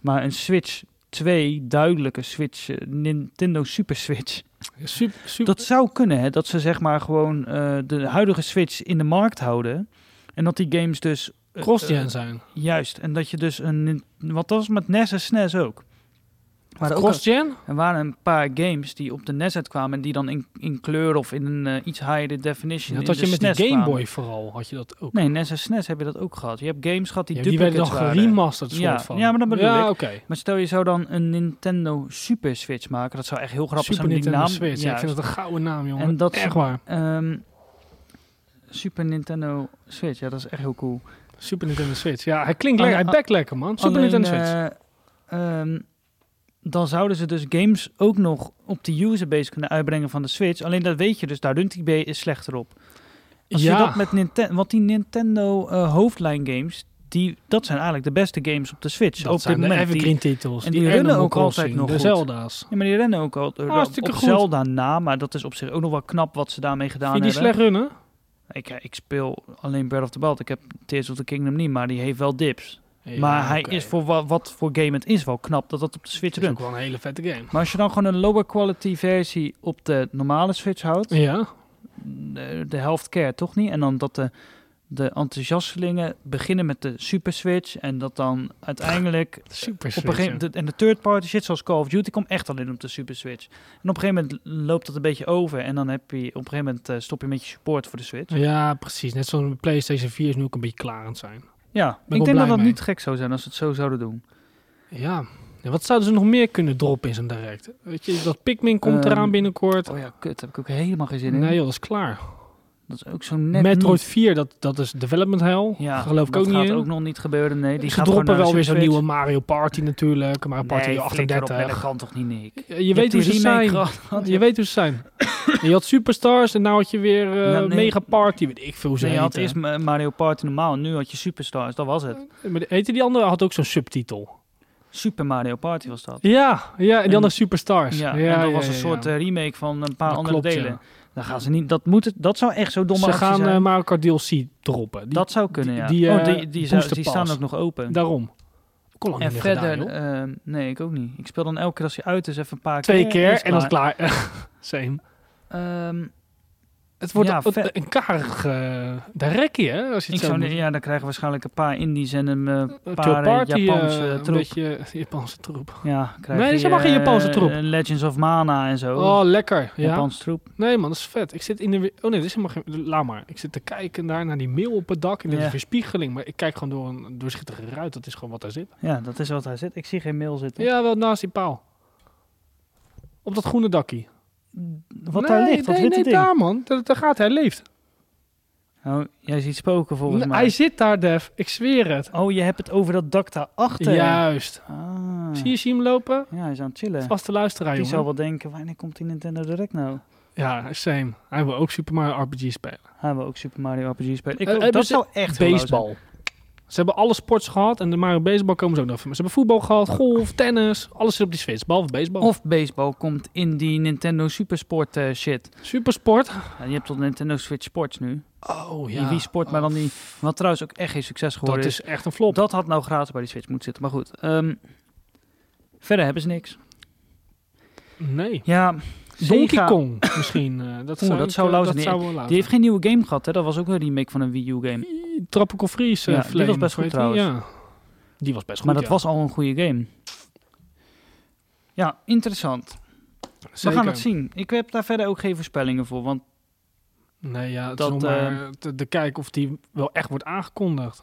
Speaker 1: Maar een Switch 2, duidelijke Switch, eh, Nintendo Super Switch.
Speaker 2: Super, super...
Speaker 1: Dat zou kunnen, hè? Dat ze zeg maar gewoon eh, de huidige Switch in de markt houden. En dat die games dus... eh,
Speaker 2: cross-gen
Speaker 1: eh,
Speaker 2: zijn.
Speaker 1: juist. En dat je dus een... nin- Want dat was met NES en SNES ook. Maar ook
Speaker 2: Cross-gen?
Speaker 1: er waren een paar games die op de NES uitkwamen... en die dan in, in kleur of in een eh, iets higher definition...
Speaker 2: Dat
Speaker 1: in
Speaker 2: had
Speaker 1: de
Speaker 2: je met die
Speaker 1: SNES
Speaker 2: Game
Speaker 1: kwamen.
Speaker 2: Boy vooral, had je dat ook.
Speaker 1: Nee, NES en SNES heb je dat ook gehad. Je hebt games gehad die
Speaker 2: Ja, die werden
Speaker 1: duplicates
Speaker 2: dan
Speaker 1: waren.
Speaker 2: geremasterd soort
Speaker 1: Ja,
Speaker 2: van.
Speaker 1: ja, maar dat bedoel
Speaker 2: ja,
Speaker 1: ik.
Speaker 2: oké.
Speaker 1: Maar stel je zou dan een Nintendo Super Switch maken. Dat zou echt heel grappig
Speaker 2: Super
Speaker 1: zijn. om die
Speaker 2: Nintendo
Speaker 1: naam,
Speaker 2: Switch. Ja, ik vind dat een gouden naam, jongen.
Speaker 1: En dat-
Speaker 2: Echt waar.
Speaker 1: Ehm, Super Nintendo Switch, ja, dat is echt heel cool.
Speaker 2: Super Nintendo Switch. Ja, hij klinkt
Speaker 1: Alleen-
Speaker 2: lekker. Hij bekt lekker, man. Super
Speaker 1: Alleen,
Speaker 2: Nintendo Switch.
Speaker 1: eh, ehm, dan zouden ze dus games ook nog op de userbase kunnen uitbrengen van de Switch. Alleen dat weet je dus, daar Dunt is slechter op. Als
Speaker 2: Ja.
Speaker 1: je dat met Nintendo, want die Nintendo eh, hoofdlijn games, die, dat zijn eigenlijk de beste games op de Switch.
Speaker 2: dat
Speaker 1: op
Speaker 2: zijn
Speaker 1: dit
Speaker 2: de
Speaker 1: moment. Die-
Speaker 2: evergreen titels.
Speaker 1: en die runnen
Speaker 2: Animal
Speaker 1: ook altijd
Speaker 2: Crossing,
Speaker 1: nog
Speaker 2: De
Speaker 1: goed.
Speaker 2: Zelda's.
Speaker 1: Ja, maar die rennen ook al eh,
Speaker 2: Hartstikke
Speaker 1: op
Speaker 2: goed.
Speaker 1: Zelda na, maar dat is op zich ook nog wel knap wat ze daarmee gedaan
Speaker 2: Vind je die
Speaker 1: hebben.
Speaker 2: slecht runnen?
Speaker 1: Ik, eh, ik speel alleen Breath of the Wild. Ik heb Tears of the Kingdom niet, maar die heeft wel dips. maar hij is voor wa- wat voor game het is wel knap dat dat op de Switch
Speaker 2: Het is ook
Speaker 1: runt.
Speaker 2: wel een hele vette game.
Speaker 1: Maar als je dan gewoon een lower quality versie op de normale Switch houdt,
Speaker 2: Ja.
Speaker 1: de, de helft care toch niet? En dan dat de, de enthousiastelingen beginnen met de Super Switch en dat dan uiteindelijk
Speaker 2: Super
Speaker 1: op een gegeven moment- en de third party shit zoals Call of Duty komt echt alleen op de Super Switch. En op een gegeven moment loopt dat een beetje over. En dan heb je op een gegeven moment eh, stop je met je support voor de Switch.
Speaker 2: Ja, precies. Net zo'n PlayStation 4 is nu ook een beetje klaar aan het zijn.
Speaker 1: Ja,
Speaker 2: wel
Speaker 1: ik denk
Speaker 2: blij
Speaker 1: dat dat
Speaker 2: mee.
Speaker 1: niet gek zou zijn als ze het zo zouden doen.
Speaker 2: Ja. Ja, wat zouden ze nog meer kunnen droppen in zo'n direct? Weet je, dat Pikmin komt
Speaker 1: Ehm,
Speaker 2: eraan binnenkort.
Speaker 1: Oh ja, kut, daar heb ik ook helemaal geen zin in.
Speaker 2: Nee joh, dat is klaar.
Speaker 1: Dat is ook zo net
Speaker 2: Metroid
Speaker 1: niet.
Speaker 2: 4, dat, dat is development hell.
Speaker 1: Ja,
Speaker 2: geloof ik ook
Speaker 1: dat
Speaker 2: niet
Speaker 1: gaat
Speaker 2: in.
Speaker 1: ook nog niet gebeuren. Nee, die
Speaker 2: Ze
Speaker 1: gaat gewoon
Speaker 2: droppen
Speaker 1: naar
Speaker 2: wel
Speaker 1: de
Speaker 2: weer zo'n
Speaker 1: Switch.
Speaker 2: nieuwe Mario Party natuurlijk. Mario Party
Speaker 1: nee, flikker op,
Speaker 2: 38.
Speaker 1: nee, dat kan toch niet, Nick?
Speaker 2: Je, weet hoe ze zijn. Je weet hoe ze zijn. je had Superstars en nou had je weer eh,
Speaker 1: Nou, nee.
Speaker 2: Mega Party. Weet ik veel hoe ze
Speaker 1: Nee, je had
Speaker 2: heten.
Speaker 1: eerst Ma- Mario Party normaal en nu had je Superstars, dat was het.
Speaker 2: Maar de- Heette die andere? Had ook zo'n subtitel.
Speaker 1: Super Mario Party was dat.
Speaker 2: Ja, ja en die
Speaker 1: En-
Speaker 2: andere Superstars.
Speaker 1: Ja,
Speaker 2: Ja,
Speaker 1: en dat
Speaker 2: ja,
Speaker 1: was een
Speaker 2: ja,
Speaker 1: soort
Speaker 2: ja.
Speaker 1: eh, remake van een paar
Speaker 2: Dat
Speaker 1: andere
Speaker 2: klopt, ja.
Speaker 1: delen. Dan gaan ze niet, dat, moet het, dat zou echt zo domme
Speaker 2: Ze
Speaker 1: actie
Speaker 2: gaan
Speaker 1: zijn.
Speaker 2: eh Mario Kart DLC droppen. Die-
Speaker 1: dat zou kunnen, ja.
Speaker 2: die, eh,
Speaker 1: oh, die, die, zou-
Speaker 2: Booster
Speaker 1: die
Speaker 2: Pass.
Speaker 1: staan ook nog open.
Speaker 2: Daarom. Kon lang
Speaker 1: en
Speaker 2: niet meer
Speaker 1: verder,
Speaker 2: gedaan, joh.
Speaker 1: eh, nee, ik ook niet. Ik speel dan elke keer als hij uit is even een paar
Speaker 2: Twee
Speaker 1: keer.
Speaker 2: keer en dan is het klaar. Same.
Speaker 1: Ehm,
Speaker 2: Het wordt
Speaker 1: Ja,
Speaker 2: een-
Speaker 1: vet.
Speaker 2: een karig eh rekkie, hè? Als je
Speaker 1: ik
Speaker 2: het zo
Speaker 1: zou,
Speaker 2: moet.
Speaker 1: ja, dan krijgen we waarschijnlijk een paar Indies en een eh,
Speaker 2: Een
Speaker 1: paar eh,
Speaker 2: party,
Speaker 1: Japanse
Speaker 2: eh,
Speaker 1: eh,
Speaker 2: Een
Speaker 1: troep.
Speaker 2: beetje Japanse troep.
Speaker 1: Ja, krijg
Speaker 2: Nee,
Speaker 1: je,
Speaker 2: ze mag geen
Speaker 1: eh,
Speaker 2: Japanse troep.
Speaker 1: Legends of Mana en zo.
Speaker 2: Oh, lekker. Ja.
Speaker 1: Japanse troep.
Speaker 2: Nee, man, dat is vet. Ik zit in de... wi- Oh nee, dit is helemaal geen... Laat maar. Ik zit te kijken daar naar die mail op het dak. En dit
Speaker 1: Ja.
Speaker 2: is weerspiegeling. Maar ik kijk gewoon door een doorzichtige ruit. Dat is gewoon wat daar zit.
Speaker 1: Ja, dat is wat hij zit. Ik zie geen mail zitten.
Speaker 2: Ja, wel naast die paal. Op dat groene dakkie.
Speaker 1: Wat
Speaker 2: nee,
Speaker 1: daar ligt, dat
Speaker 2: nee,
Speaker 1: witte
Speaker 2: nee,
Speaker 1: ding.
Speaker 2: daar man. Daar, daar gaat hij, hij leeft.
Speaker 1: Oh, jij ziet spoken volgens
Speaker 2: Nee,
Speaker 1: mij.
Speaker 2: Hij zit daar, Def. Ik zweer het.
Speaker 1: Oh, je hebt het over dat dak daarachter.
Speaker 2: Juist.
Speaker 1: eh. Ah.
Speaker 2: Zie je, zie je hem lopen?
Speaker 1: Ja, hij is aan het chillen.
Speaker 2: Vaste luisteraar,
Speaker 1: Die
Speaker 2: jongen.
Speaker 1: zal wel denken, wanneer komt die Nintendo Direct nou?
Speaker 2: Ja, same. Hij wil ook Super Mario RPG spelen.
Speaker 1: Gaan we ook Super Mario RPG spelen? Ik,
Speaker 2: Eh,
Speaker 1: ook-
Speaker 2: hebben
Speaker 1: dat
Speaker 2: ze
Speaker 1: zou echt heel leuk zijn.
Speaker 2: Baseball. Ze hebben alle sports gehad en de Mario Baseball komen ze ook nog even. Ze hebben voetbal gehad, golf, tennis, alles zit op die Switch, behalve baseball.
Speaker 1: Of baseball komt in die Nintendo Supersport eh, shit.
Speaker 2: supersport.
Speaker 1: Ja, je hebt tot Nintendo Switch Sports nu.
Speaker 2: Oh
Speaker 1: Die Wii Sport, maar dan die... Wat trouwens ook echt geen succes geworden
Speaker 2: Dat is echt een flop.
Speaker 1: Dat had nou gratis bij die Switch moeten zitten. Maar goed, ehm, verder hebben ze niks.
Speaker 2: Nee.
Speaker 1: Ja,
Speaker 2: Donkey
Speaker 1: Sega-
Speaker 2: Kong misschien. eh, dat,
Speaker 1: Oeh,
Speaker 2: zou
Speaker 1: dat
Speaker 2: ik,
Speaker 1: zou
Speaker 2: eh,
Speaker 1: lauw
Speaker 2: dat
Speaker 1: zijn.
Speaker 2: zou wel lauw
Speaker 1: Die heeft
Speaker 2: zijn.
Speaker 1: geen nieuwe game gehad, hè? Dat was ook een remake van een Wii U game.
Speaker 2: Tropical Freeze eh,
Speaker 1: Ja, die
Speaker 2: Flame,
Speaker 1: was best
Speaker 2: of
Speaker 1: goed
Speaker 2: hoe heet die? Ja. Die was best goed,
Speaker 1: Maar dat
Speaker 2: ja.
Speaker 1: was al een goede game. Ja, interessant. We
Speaker 2: Zeker.
Speaker 1: gaan het zien. Ik heb daar verder ook geen voorspellingen voor. Want
Speaker 2: Nee, ja, het
Speaker 1: Dat, eh,
Speaker 2: is nog maar te, te kijken of die wel echt wordt aangekondigd.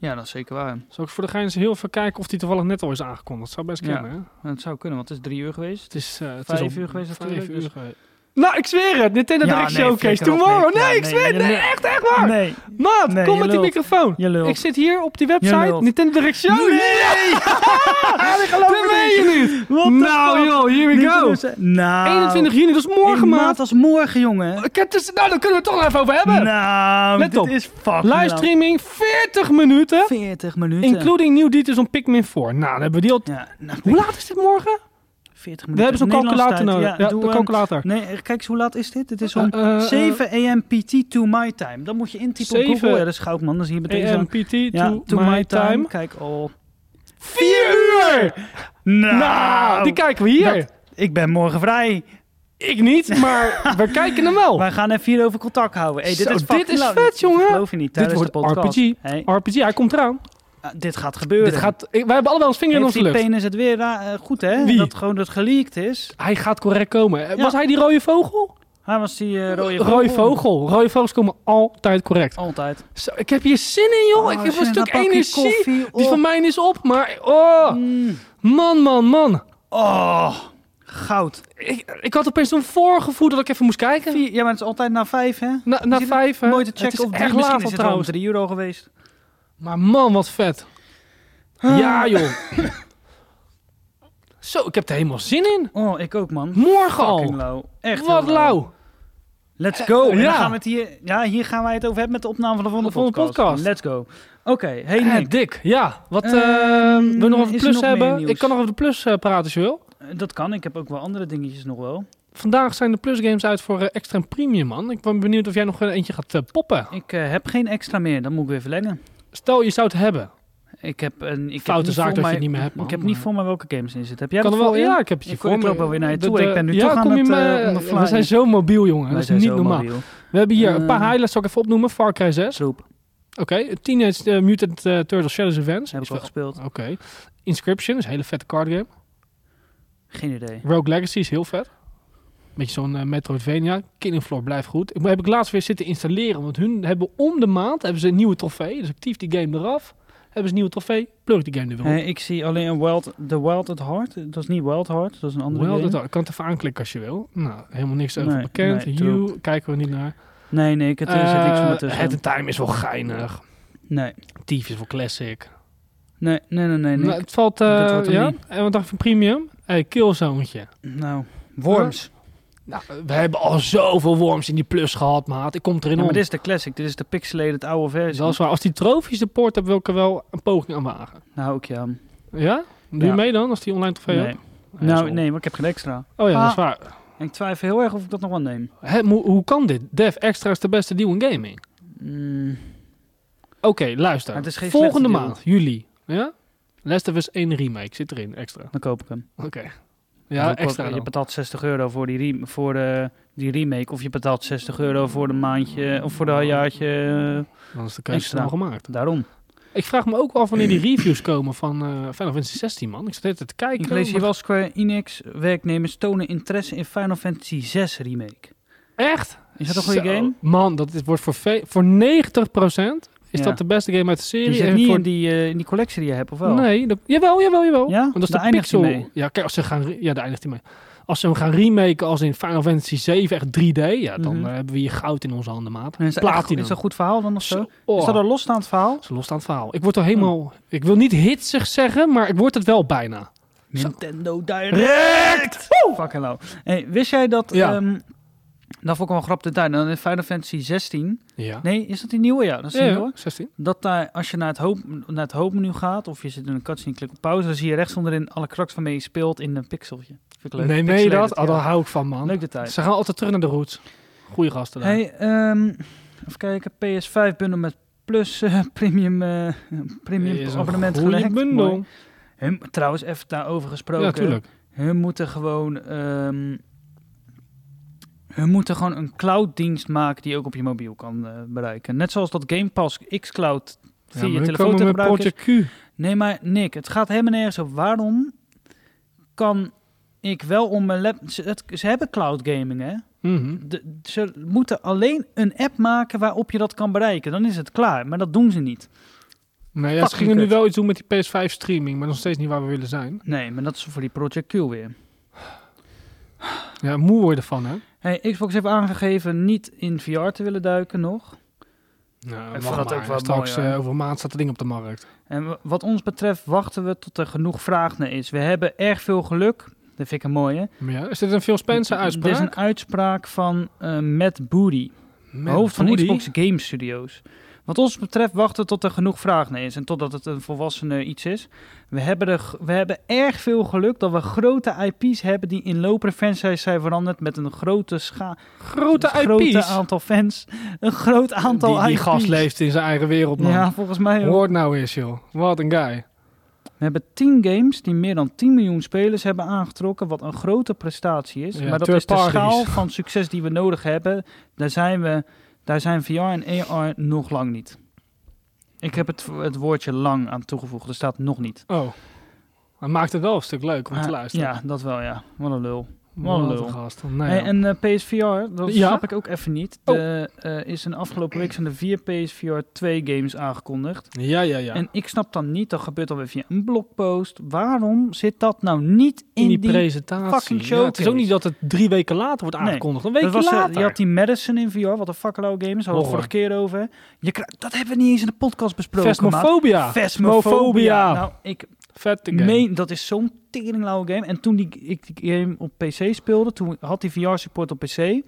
Speaker 1: ja, dat is zeker waar.
Speaker 2: Zou ik voor de gein eens heel veel kijken of die toevallig net al is aangekondigd. zou best
Speaker 1: Ja.
Speaker 2: kunnen, hè?
Speaker 1: Het zou kunnen, want het is drie uur geweest.
Speaker 2: Het is, eh, het
Speaker 1: Vijf
Speaker 2: is al
Speaker 1: uur geweest
Speaker 2: vijf
Speaker 1: natuurlijk,
Speaker 2: uur
Speaker 1: dus-
Speaker 2: geweest. Nou, ik zweer het. Nintendo
Speaker 1: Ja,
Speaker 2: Direct
Speaker 1: nee,
Speaker 2: Showcase
Speaker 1: flikker op,
Speaker 2: tomorrow.
Speaker 1: Nick. Ja,
Speaker 2: Nee, ik
Speaker 1: nee,
Speaker 2: zweer het.
Speaker 1: nee,
Speaker 2: Nee,
Speaker 1: nee.
Speaker 2: echt, echt waar.
Speaker 1: Nee,
Speaker 2: Maat,
Speaker 1: Nee,
Speaker 2: kom
Speaker 1: je
Speaker 2: met die
Speaker 1: lult.
Speaker 2: microfoon.
Speaker 1: je lult.
Speaker 2: Ik zit hier op die website.
Speaker 1: lult.
Speaker 2: Nintendo Direct Show. Ah,
Speaker 1: ik geloof
Speaker 2: dat
Speaker 1: het
Speaker 2: weet
Speaker 1: niet.
Speaker 2: je niet.
Speaker 1: What the
Speaker 2: Nou
Speaker 1: fuck?
Speaker 2: joh, here we
Speaker 1: Nintendo
Speaker 2: go.
Speaker 1: is- Nou,
Speaker 2: 21 juni, dat is morgen,
Speaker 1: een maand
Speaker 2: maat.
Speaker 1: als morgen, jongen.
Speaker 2: Ik heb dus- Nou, daar kunnen we het toch nog even over hebben.
Speaker 1: Nou,
Speaker 2: Let
Speaker 1: dit
Speaker 2: op.
Speaker 1: is fucking lang.
Speaker 2: Live streaming 40 minuten.
Speaker 1: 40 minuten.
Speaker 2: Including nieuw details om Pikmin 4. Nou, dan hebben we die al...
Speaker 1: Ja, nou,
Speaker 2: Hoe laat is dit morgen?
Speaker 1: 40 minuten.
Speaker 2: We hebben zo'n
Speaker 1: Nederlandse
Speaker 2: calculator
Speaker 1: tijd.
Speaker 2: nodig. Ja,
Speaker 1: doe
Speaker 2: de
Speaker 1: hem.
Speaker 2: calculator.
Speaker 1: Nee, kijk eens, hoe laat is dit? Het is om
Speaker 2: Eh, eh, eh.
Speaker 1: 7 a.m. PT to my time. Dan moet je intypen op
Speaker 2: 7
Speaker 1: Google. Ja, dat is goud, man. Dan zie je meteen zo'n...
Speaker 2: AMPT
Speaker 1: Ja,
Speaker 2: to, my time.
Speaker 1: Kijk, oh. al.
Speaker 2: 4 uur!
Speaker 1: Nou,
Speaker 2: Nou, die kijken we hier.
Speaker 1: dat- ik ben morgen vrij.
Speaker 2: Ik niet, maar we kijken hem wel.
Speaker 1: Wij gaan even hierover contact houden. Hey, dit
Speaker 2: Oh. Zo,
Speaker 1: is,
Speaker 2: dit
Speaker 1: fucking
Speaker 2: is
Speaker 1: leuk.
Speaker 2: vet, jongen.
Speaker 1: Ik geloof je niet,
Speaker 2: Dit
Speaker 1: tijdens
Speaker 2: wordt
Speaker 1: de podcast.
Speaker 2: RPG.
Speaker 1: Hey,
Speaker 2: RPG, hij komt eraan.
Speaker 1: ah, dit gaat gebeuren.
Speaker 2: Dit gaat, ik- wij hebben allemaal ons vinger in
Speaker 1: Heeft
Speaker 2: onze
Speaker 1: die
Speaker 2: lucht.
Speaker 1: penis het weer ra- eh, goed, hè?
Speaker 2: Wie?
Speaker 1: Dat gewoon dat geleakt is.
Speaker 2: Hij gaat correct komen. Eh,
Speaker 1: Ja.
Speaker 2: Was hij die rode vogel?
Speaker 1: Hij was die eh, rode vogel.
Speaker 2: Rode vogel. Rode vogels komen altijd correct.
Speaker 1: Altijd.
Speaker 2: Zo, ik heb hier zin in, joh. ik
Speaker 1: Oh,
Speaker 2: heb een
Speaker 1: zin,
Speaker 2: stuk
Speaker 1: dan pak ik
Speaker 2: energie.
Speaker 1: koffie
Speaker 2: Die
Speaker 1: op.
Speaker 2: van mij is op, maar... Oh,
Speaker 1: Mm.
Speaker 2: man, man, man.
Speaker 1: Oh, goud.
Speaker 2: Ik, ik had opeens zo'n voorgevoel dat ik even moest kijken.
Speaker 1: Vier, ja, maar het is altijd na vijf, hè?
Speaker 2: Na, na
Speaker 1: Is het
Speaker 2: vijf, hè.
Speaker 1: Mooi te
Speaker 2: Het is
Speaker 1: checken op drie.
Speaker 2: echt
Speaker 1: Misschien
Speaker 2: laat
Speaker 1: is het wel
Speaker 2: al
Speaker 1: om
Speaker 2: trouwens.
Speaker 1: drie euro geweest.
Speaker 2: Maar man, wat vet. Ja, joh. Ah. Zo, ik heb er helemaal zin in.
Speaker 1: Oh, ik ook, man.
Speaker 2: Morgen
Speaker 1: Fucking
Speaker 2: al.
Speaker 1: lauw. Echt
Speaker 2: Wat
Speaker 1: heel lauw.
Speaker 2: lauw. Eh,
Speaker 1: Let's go. En
Speaker 2: ja.
Speaker 1: dan gaan we het hier, ja, hier gaan wij het over hebben met de opname van de volgende,
Speaker 2: volgende podcast.
Speaker 1: Let's go. Oké, hey
Speaker 2: Eh,
Speaker 1: Nick.
Speaker 2: dik, ja. Wat,
Speaker 1: Ehm,
Speaker 2: eh, wil je nog over de
Speaker 1: is
Speaker 2: plus
Speaker 1: er nog meer
Speaker 2: hebben?
Speaker 1: nieuws?
Speaker 2: Ik kan nog over de plus eh, praten als je wil.
Speaker 1: Eh, Dat kan, ik heb ook wel andere dingetjes nog wel.
Speaker 2: Vandaag zijn de plus games uit voor eh, extra en premium, man. Ik ben benieuwd of jij nog eh, eentje gaat eh, poppen.
Speaker 1: Ik eh, heb geen extra meer, dan moet ik weer verlengen.
Speaker 2: Stel, je zou het hebben.
Speaker 1: Ik heb een... Ik
Speaker 2: Foute
Speaker 1: heb niet voor
Speaker 2: zaak dat je
Speaker 1: mij-
Speaker 2: het niet meer hebt, man,
Speaker 1: Ik heb
Speaker 2: maar-
Speaker 1: niet voor mij welke games in zitten. Heb jij
Speaker 2: kan
Speaker 1: dat
Speaker 2: er wel,
Speaker 1: voor je?
Speaker 2: ja, ik heb het je
Speaker 1: Ik-
Speaker 2: voor
Speaker 1: ik
Speaker 2: me.
Speaker 1: loop alweer naar je toe. Ik ben nu
Speaker 2: ja,
Speaker 1: toch aan
Speaker 2: kom je
Speaker 1: het,
Speaker 2: me-
Speaker 1: eh, on the
Speaker 2: We
Speaker 1: fly.
Speaker 2: zijn zo mobiel, jongen.
Speaker 1: Wij
Speaker 2: dat
Speaker 1: zijn
Speaker 2: is niet
Speaker 1: zo
Speaker 2: normaal.
Speaker 1: mobiel.
Speaker 2: We hebben hier een
Speaker 1: Eh.
Speaker 2: paar highlights, zal ik even opnoemen. Far Cry 6.
Speaker 1: Troep,
Speaker 2: Oké. Teenage eh, Mutant eh, Turtles Shadows Events.
Speaker 1: heb ik wel gespeeld.
Speaker 2: Oké. Inscription is een hele vette card game.
Speaker 1: Geen idee.
Speaker 2: Rogue Legacy is heel vet. Beetje zo'n eh, Metroidvania. Killing Floor blijft goed. Ik heb ik laatst weer zitten installeren. Want hun hebben om de maand hebben ze een nieuwe trofee. Dus actief die game eraf. Hebben ze een nieuwe trofee. Plug die game er weer op.
Speaker 1: Eh, ik zie alleen een Wild, The Wild at Heart. Dat is niet Wild Heart, dat is een andere
Speaker 2: Hoewel,
Speaker 1: game.
Speaker 2: dat ik kan het even aanklikken als je wil. Nou, helemaal niks over
Speaker 1: Nee,
Speaker 2: bekend.
Speaker 1: nee,
Speaker 2: you, kijken we niet naar.
Speaker 1: Nee, nee, ik had, er zit niks van me
Speaker 2: Eh,
Speaker 1: tussen.
Speaker 2: Head in Time is wel geinig.
Speaker 1: nee.
Speaker 2: Tief is wel classic.
Speaker 1: Nee, nee, nee, nee. nee.
Speaker 2: Nou, het valt, eh,
Speaker 1: dat wordt hem
Speaker 2: ja.
Speaker 1: niet.
Speaker 2: En wat dacht je van Premium? Hey, Killzone.
Speaker 1: nou, Worms.
Speaker 2: Nou, we hebben al zoveel worms in die plus gehad, maat. Ik kom erin
Speaker 1: Ja, maar
Speaker 2: om.
Speaker 1: dit is de classic. Dit is de pixelated oude versie.
Speaker 2: Dat is waar. Als die trofies de poort hebben, wil ik er wel een poging aan wagen.
Speaker 1: Nou, ook ja.
Speaker 2: Ja? Doe je
Speaker 1: Ja.
Speaker 2: mee dan, als die online trofee
Speaker 1: Nee.
Speaker 2: hebt? Hij is
Speaker 1: Nou,
Speaker 2: op.
Speaker 1: nee, maar ik heb geen extra.
Speaker 2: Oh ja, dat is
Speaker 1: Ah.
Speaker 2: waar.
Speaker 1: En ik twijfel heel erg of ik dat nog wel neem.
Speaker 2: Hè, mo- hoe kan dit? Dev Extra is de beste deal in gaming.
Speaker 1: Mm,
Speaker 2: Oké, luister.
Speaker 1: Maar het is geen
Speaker 2: Volgende
Speaker 1: slechte
Speaker 2: maand, juli. Ja? Last of Us 1 remake zit erin, extra.
Speaker 1: dan koop ik hem.
Speaker 2: Oké.
Speaker 1: Dus
Speaker 2: Ja,
Speaker 1: ook wel-
Speaker 2: extra
Speaker 1: Je
Speaker 2: dan.
Speaker 1: betaalt 60 euro voor, die, rem- voor de, die remake. Of je betaalt 60 euro voor de maandje. Of voor dat jaartje. eh,
Speaker 2: Dan is de keuze
Speaker 1: Extra.
Speaker 2: snel gemaakt.
Speaker 1: Daarom.
Speaker 2: Ik vraag me ook wel af wanneer die reviews komen van eh Final Fantasy 16, man. Ik zat de hele tijd te kijken.
Speaker 1: Ik lees hier
Speaker 2: maar-
Speaker 1: wel Square Enix. Werknemers tonen interesse in Final Fantasy 6 remake.
Speaker 2: Echt?
Speaker 1: Is dat een goede
Speaker 2: Zo.
Speaker 1: game?
Speaker 2: Man, dat is, wordt voor, ve- voor 90% is
Speaker 1: Ja.
Speaker 2: dat de beste game uit de serie.
Speaker 1: Die zit
Speaker 2: en
Speaker 1: niet
Speaker 2: voor
Speaker 1: in die, eh, in die collectie die je hebt, of wel?
Speaker 2: Nee, dat- jawel, jawel, jawel.
Speaker 1: Ja?
Speaker 2: Want dat is
Speaker 1: Daar
Speaker 2: de
Speaker 1: eindigt hij
Speaker 2: pixel.
Speaker 1: mee.
Speaker 2: Ja, kijk, als ze gaan, re- ja, daar eindigt hij mee. Als ze hem gaan remaken als in Final Fantasy 7, echt 3D, ja, dan
Speaker 1: Mhm.
Speaker 2: eh, hebben we hier goud in onze handen, maat.
Speaker 1: En Is dat, echt, is
Speaker 2: Platinum.
Speaker 1: dat een goed verhaal dan of zo?
Speaker 2: Zo, oh,
Speaker 1: Is dat Oh. een losstaand verhaal?
Speaker 2: dat is een losstaand verhaal. Ik word er helemaal, ik wil niet hitsig zeggen, maar ik word het wel bijna.
Speaker 1: Nintendo Direct! Fucking low. Hey, wist jij dat...
Speaker 2: Ja.
Speaker 1: ehm, dat vond ik wel een grap te tuin. Dan in Final Fantasy 16...
Speaker 2: Ja.
Speaker 1: Nee, is dat die nieuwe? Ja, dat is die
Speaker 2: Ja, ja,
Speaker 1: nieuwe.
Speaker 2: 16.
Speaker 1: Dat daar, als je naar het, hoop, naar het hoopmenu gaat... of je zit in een cutscene, klik op pauze... dan zie je rechts onderin alle cracks waarmee je speelt in een pixeltje. Vind ik leuk.
Speaker 2: Nee, nee,
Speaker 1: Pixelated,
Speaker 2: dat, oh,
Speaker 1: ja.
Speaker 2: daar hou ik van, man.
Speaker 1: Leuk detail.
Speaker 2: Ze gaan altijd terug naar de roots. Goeie gasten daar.
Speaker 1: Hey, ehm, even kijken. PS5 bundel met plus eh, premium, eh, premium
Speaker 2: Is een
Speaker 1: abonnement
Speaker 2: goeie
Speaker 1: gelekt.
Speaker 2: bundel.
Speaker 1: Mooi. Hun, trouwens, even daarover gesproken.
Speaker 2: Ja, tuurlijk.
Speaker 1: Hun moeten gewoon... ehm, hun moeten gewoon een clouddienst maken die ook op je mobiel kan eh, bereiken. Net zoals dat Game Pass xCloud
Speaker 2: Ja,
Speaker 1: via
Speaker 2: maar
Speaker 1: je
Speaker 2: hun
Speaker 1: telefoon
Speaker 2: komen
Speaker 1: te
Speaker 2: met
Speaker 1: gebruiken is.
Speaker 2: Project Q.
Speaker 1: Nee, maar Nick, het gaat helemaal nergens op. Waarom kan ik wel om mijn laptop... Ze, het- ze hebben cloud gaming, hè?
Speaker 2: Mhm.
Speaker 1: De- ze moeten alleen een app maken waarop je dat kan bereiken. Dan is het klaar. Maar dat doen ze niet.
Speaker 2: Nou ja, ze
Speaker 1: Fucking
Speaker 2: gingen nu
Speaker 1: kut.
Speaker 2: wel iets doen met die PS5 streaming, maar nog steeds niet waar we willen zijn.
Speaker 1: Nee, maar dat is voor die Project Q weer.
Speaker 2: Ja, moe worden van, hè?
Speaker 1: Hey, Xbox heeft aangegeven niet in VR te willen duiken nog.
Speaker 2: Nou,
Speaker 1: Ik
Speaker 2: mag
Speaker 1: vond dat
Speaker 2: maar.
Speaker 1: ook wel
Speaker 2: Straks
Speaker 1: mooi, hoor.
Speaker 2: eh, over een maand staat het ding op de markt.
Speaker 1: En w- wat ons betreft wachten we tot er genoeg vraag naar is. We hebben erg veel geluk. Dat vind ik een mooie.
Speaker 2: Maar Ja, is dit een Phil Spencer
Speaker 1: Dit is
Speaker 2: uitspraak?
Speaker 1: een uitspraak van eh Matt Booty.
Speaker 2: Met
Speaker 1: hoofd van
Speaker 2: Woody?
Speaker 1: Xbox Game Studios. Wat ons betreft wachten tot er genoeg vraag naar is en totdat het een volwassene iets is. We hebben, er, g- we hebben erg veel geluk dat we grote IP's hebben die in lopende franchise zijn veranderd met een grote scha
Speaker 2: Grote
Speaker 1: een grote
Speaker 2: IP's.
Speaker 1: aantal fans. Een groot aantal
Speaker 2: die, die
Speaker 1: IP's.
Speaker 2: gast leeft in zijn eigen wereld, man.
Speaker 1: Ja, volgens mij ook.
Speaker 2: Hoor nou eens, joh. Wat een guy.
Speaker 1: We hebben 10 games die meer dan 10 miljoen spelers hebben aangetrokken, wat een grote prestatie is.
Speaker 2: Ja,
Speaker 1: maar dat
Speaker 2: third
Speaker 1: is de
Speaker 2: parties.
Speaker 1: schaal van succes die we nodig hebben. Daar zijn, we, daar zijn VR en AR nog lang niet. Ik heb het, het woordje lang aan toegevoegd, er staat nog niet.
Speaker 2: Oh. Hij maakt het wel een stuk leuk om te
Speaker 1: Ah,
Speaker 2: luisteren.
Speaker 1: Ja, dat wel, ja. Wat een lul.
Speaker 2: Wat
Speaker 1: wat
Speaker 2: een
Speaker 1: een
Speaker 2: gast. Nou,
Speaker 1: Hey,
Speaker 2: ja.
Speaker 1: en eh, PSVR, dat
Speaker 2: Ja.
Speaker 1: snap ik ook even niet.
Speaker 2: Oh.
Speaker 1: De, eh, is in de afgelopen week zijn er vier PSVR 2 games aangekondigd.
Speaker 2: ja, ja, ja.
Speaker 1: En ik snap dan niet, dat gebeurt alweer via een blogpost. Waarom zit dat nou niet in,
Speaker 2: in die,
Speaker 1: die
Speaker 2: presentatie.
Speaker 1: fucking
Speaker 2: Ja, het is
Speaker 1: showcase.
Speaker 2: ook niet dat het drie weken later wordt
Speaker 1: Nee.
Speaker 2: aangekondigd. Een
Speaker 1: Dat
Speaker 2: weekje
Speaker 1: was, eh,
Speaker 2: later.
Speaker 1: je had die Madison in VR, wat een fucklow game is. Hadden we
Speaker 2: Horror.
Speaker 1: het vorige keer over. Je krijgt- dat hebben we niet eens in de podcast besproken. maat.
Speaker 2: Vesmofobia.
Speaker 1: Phasmophobia. Nou, ik
Speaker 2: Vette game.
Speaker 1: meen, dat is zo'n teringlauwe game. En toen die, ik die game op PC speelde, toen had die VR-support op PC.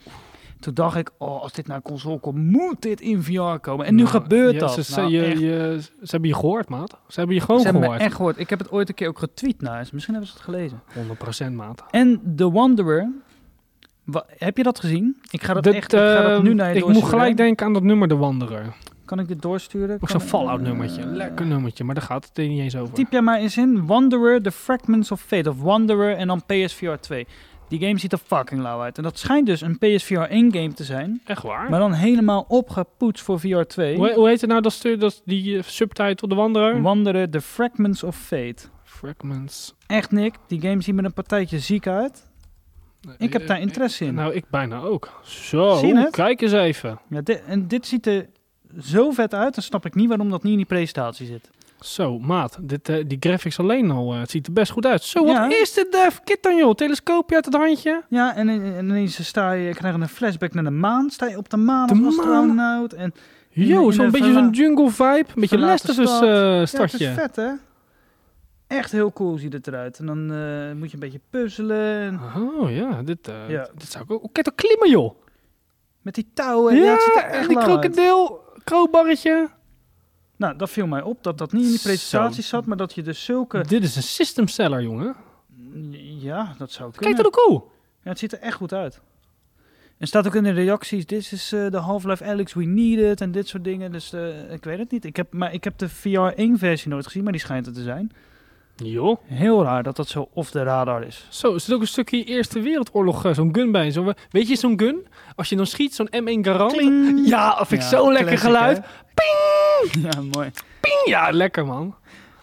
Speaker 1: Toen dacht ik, oh, als dit naar console komt, moet dit in VR komen. En nu
Speaker 2: Nou,
Speaker 1: gebeurt
Speaker 2: ja,
Speaker 1: dat.
Speaker 2: Ze, ze-
Speaker 1: Nou,
Speaker 2: je-
Speaker 1: echt.
Speaker 2: je- ze hebben je gehoord, maat. Ze hebben je gewoon
Speaker 1: Ze hebben me
Speaker 2: gehoord.
Speaker 1: echt gehoord. Ik heb het ooit een keer ook getweet naar eens. Misschien hebben ze het gelezen.
Speaker 2: 100% maat.
Speaker 1: En The Wanderer. Wa- heb je dat gezien? Ik ga dat
Speaker 2: Dit,
Speaker 1: echt ik ga dat
Speaker 2: ehm,
Speaker 1: nu naar je
Speaker 2: Ik moet
Speaker 1: doorsturen.
Speaker 2: gelijk denken aan dat nummer De Wanderer.
Speaker 1: Kan ik dit doorsturen?
Speaker 2: Ook
Speaker 1: Kan
Speaker 2: zo'n
Speaker 1: ik-
Speaker 2: Fallout nummertje.
Speaker 1: Eh,
Speaker 2: Lekker nummertje, maar daar gaat het niet eens over.
Speaker 1: Typ jij maar eens in. Wanderer, The Fragments of Fate. Of Wanderer en dan PSVR 2. Die game ziet er fucking lauw uit. En dat schijnt dus een PSVR 1 game te zijn.
Speaker 2: Echt waar?
Speaker 1: Maar dan helemaal opgepoetst voor VR 2.
Speaker 2: hoe, hoe heet het nou dat, stu- dat die eh, subtitle De Wanderer?
Speaker 1: Wanderer, The Fragments of Fate.
Speaker 2: Fragments.
Speaker 1: Echt Nick, die game ziet met een partijtje ziek uit. Ik heb
Speaker 2: Eh,
Speaker 1: daar
Speaker 2: eh,
Speaker 1: interesse in.
Speaker 2: Nou, ik bijna ook. Zo,
Speaker 1: Zie je het?
Speaker 2: kijk eens even.
Speaker 1: Ja, dit, en dit ziet er zo vet uit. Dan snap ik niet waarom dat niet in die presentatie zit.
Speaker 2: Zo, maat. Dit, eh, die graphics alleen al. eh, het ziet er best goed uit. Zo, wat
Speaker 1: Ja.
Speaker 2: is dit, Def? Kit dan, joh. Telescoopje uit het handje.
Speaker 1: Ja, en, en ineens sta je, krijg je een flashback naar de maan. Sta je op de maan
Speaker 2: De
Speaker 1: als
Speaker 2: maan.
Speaker 1: astronaut. En, In
Speaker 2: Yo,
Speaker 1: een
Speaker 2: zo'n beetje
Speaker 1: verla-
Speaker 2: zo'n jungle vibe. Een beetje
Speaker 1: verlaten
Speaker 2: Lester dus
Speaker 1: stad.
Speaker 2: eh
Speaker 1: ja, het
Speaker 2: stadje.
Speaker 1: is vet, hè? Echt heel cool ziet het eruit. En dan eh, moet je een beetje puzzelen. en
Speaker 2: oh ja, dit, eh,
Speaker 1: Ja.
Speaker 2: dit zou ik ook... Kijk, dat klimmen, joh.
Speaker 1: Met die touwen. Ja, het ziet er echt
Speaker 2: die
Speaker 1: lang uit.
Speaker 2: krokodil, kroonbarretje.
Speaker 1: Nou, dat viel mij op. Dat dat niet in die presentatie zat. Maar dat je dus zulke...
Speaker 2: Dit is een system seller, jongen.
Speaker 1: Ja, dat zou kunnen.
Speaker 2: Kijk dat ook cool.
Speaker 1: Ja, het ziet er echt goed uit. En staat ook in de reacties, this is eh, de Half-Life Alex we need it en dit soort dingen. Dus eh, ik weet het niet. Ik heb, maar ik heb de VR1 versie nooit gezien, maar die schijnt het te zijn.
Speaker 2: Joh.
Speaker 1: Heel raar dat dat zo off de radar is.
Speaker 2: Zo, er zit ook een stukje Eerste Wereldoorlog, eh, zo'n gun bij. Zo, weet je, zo'n gun? Als je dan schiet, zo'n M1 Garand.
Speaker 1: Kling.
Speaker 2: Ja, dat vind ik
Speaker 1: Ja,
Speaker 2: zo'n lekker
Speaker 1: classic,
Speaker 2: geluid.
Speaker 1: hè? Ja, mooi.
Speaker 2: Ja, lekker man.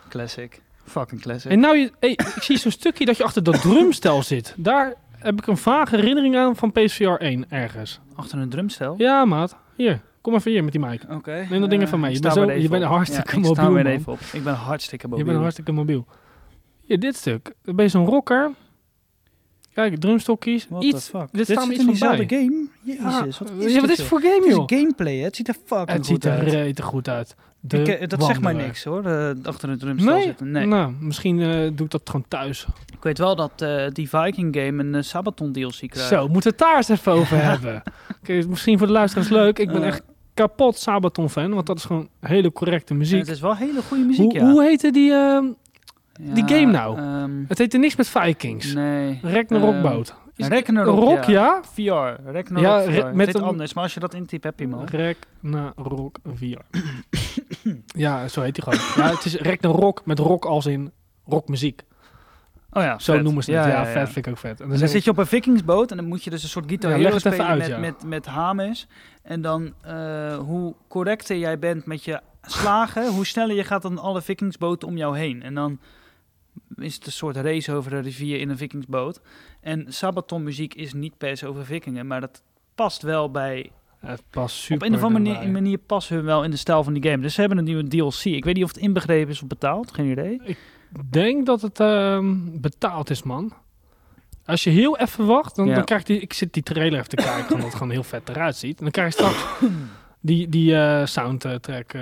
Speaker 1: Classic. Fucking classic.
Speaker 2: En nou, je, hey, ik zie zo'n stukje dat je achter dat drumstel zit. Daar heb ik een vage herinnering aan van PSVR 1 ergens.
Speaker 1: Achter een drumstel.
Speaker 2: Ja, maat. Hier, kom even hier met die mic.
Speaker 1: Oké.
Speaker 2: Neem dat ding
Speaker 1: eh,
Speaker 2: even mee. Je
Speaker 1: ik
Speaker 2: bent
Speaker 1: sta
Speaker 2: zo-
Speaker 1: weer even
Speaker 2: je bent
Speaker 1: op.
Speaker 2: hartstikke
Speaker 1: ja, ik sta
Speaker 2: mobiel,
Speaker 1: weer
Speaker 2: man.
Speaker 1: even op. Ik ben hartstikke mobiel.
Speaker 2: Je bent hartstikke mobiel. Hier, dit stuk. Dan ben je zo'n rocker. Kijk, drumstokjes.
Speaker 1: What
Speaker 2: Iets.
Speaker 1: the fuck?
Speaker 2: Dit staat me
Speaker 1: zit
Speaker 2: iets
Speaker 1: in
Speaker 2: van bij.
Speaker 1: diezelfde game? Jezus, Ah, wat is
Speaker 2: ja, wat
Speaker 1: dit,
Speaker 2: is
Speaker 1: joh?
Speaker 2: het voor game,
Speaker 1: Het is
Speaker 2: joh?
Speaker 1: gameplay, hè? Het ziet er eh, fucking goed
Speaker 2: Het ziet er
Speaker 1: uit.
Speaker 2: rete goed uit. De
Speaker 1: Ik, eh, dat zegt mij
Speaker 2: Wanderer.
Speaker 1: niks hoor, eh, achter een drumstel
Speaker 2: Nee?
Speaker 1: zitten. Nee.
Speaker 2: Nou, misschien eh, doe ik dat gewoon thuis.
Speaker 1: Ik weet wel dat eh, die Viking game een eh, Sabaton DLC krijgt. Eh,
Speaker 2: Zo, moeten we het daar eens even over hebben. Oké, dus misschien voor de luisteraars leuk. Ik ben
Speaker 1: Eh.
Speaker 2: echt kapot Sabaton-fan, want dat is gewoon hele correcte
Speaker 1: En
Speaker 2: muziek.
Speaker 1: het is wel hele goede muziek,
Speaker 2: hoe,
Speaker 1: ja.
Speaker 2: hoe heette die... ehm,
Speaker 1: Ja,
Speaker 2: die game nou?
Speaker 1: ehm,
Speaker 2: het heette niks met Vikings.
Speaker 1: nee.
Speaker 2: Ragnarok
Speaker 1: Ehm,
Speaker 2: boot. Is-
Speaker 1: Ragnarok,
Speaker 2: Rock, ja?
Speaker 1: VR. Ragnarok
Speaker 2: Ja,
Speaker 1: VR.
Speaker 2: re- met
Speaker 1: Met
Speaker 2: een-
Speaker 1: anders, maar als je dat intypt heb je hem al.
Speaker 2: Ragnarok 4. ja, zo heet die gewoon. Ja, het is Ragnarok met rock als in rockmuziek.
Speaker 1: Oh ja,
Speaker 2: Zo
Speaker 1: vet.
Speaker 2: noemen ze het. Ja, vet vind ik ook vet. En dan
Speaker 1: Dan
Speaker 2: zeg ik-
Speaker 1: zit je op een vikingsboot en dan moet je dus een soort Guitar
Speaker 2: Ja,
Speaker 1: Hero
Speaker 2: leg het even
Speaker 1: spelen
Speaker 2: uit,
Speaker 1: met,
Speaker 2: ja.
Speaker 1: met, met hamers. En dan eh, hoe correcter jij bent met je slagen, hoe sneller je gaat dan alle vikingsboten om jou heen. En dan is het een soort race over de rivier in een vikingsboot. En Sabaton muziek is niet per se over vikingen, maar dat past wel bij...
Speaker 2: het past super.
Speaker 1: op een of andere manier,
Speaker 2: erbij.
Speaker 1: manier passen hun wel in de stijl van die game. Dus ze hebben een nieuwe DLC. Ik weet niet of het inbegrepen is of betaald, geen idee.
Speaker 2: denk dat het ehm, betaald is, man. Als je heel even wacht, dan,
Speaker 1: Ja.
Speaker 2: dan krijg je... Die, ik zit die trailer even te kijken, omdat het gewoon heel vet eruit ziet. En dan krijg je straks die, die eh, soundtrack. eh,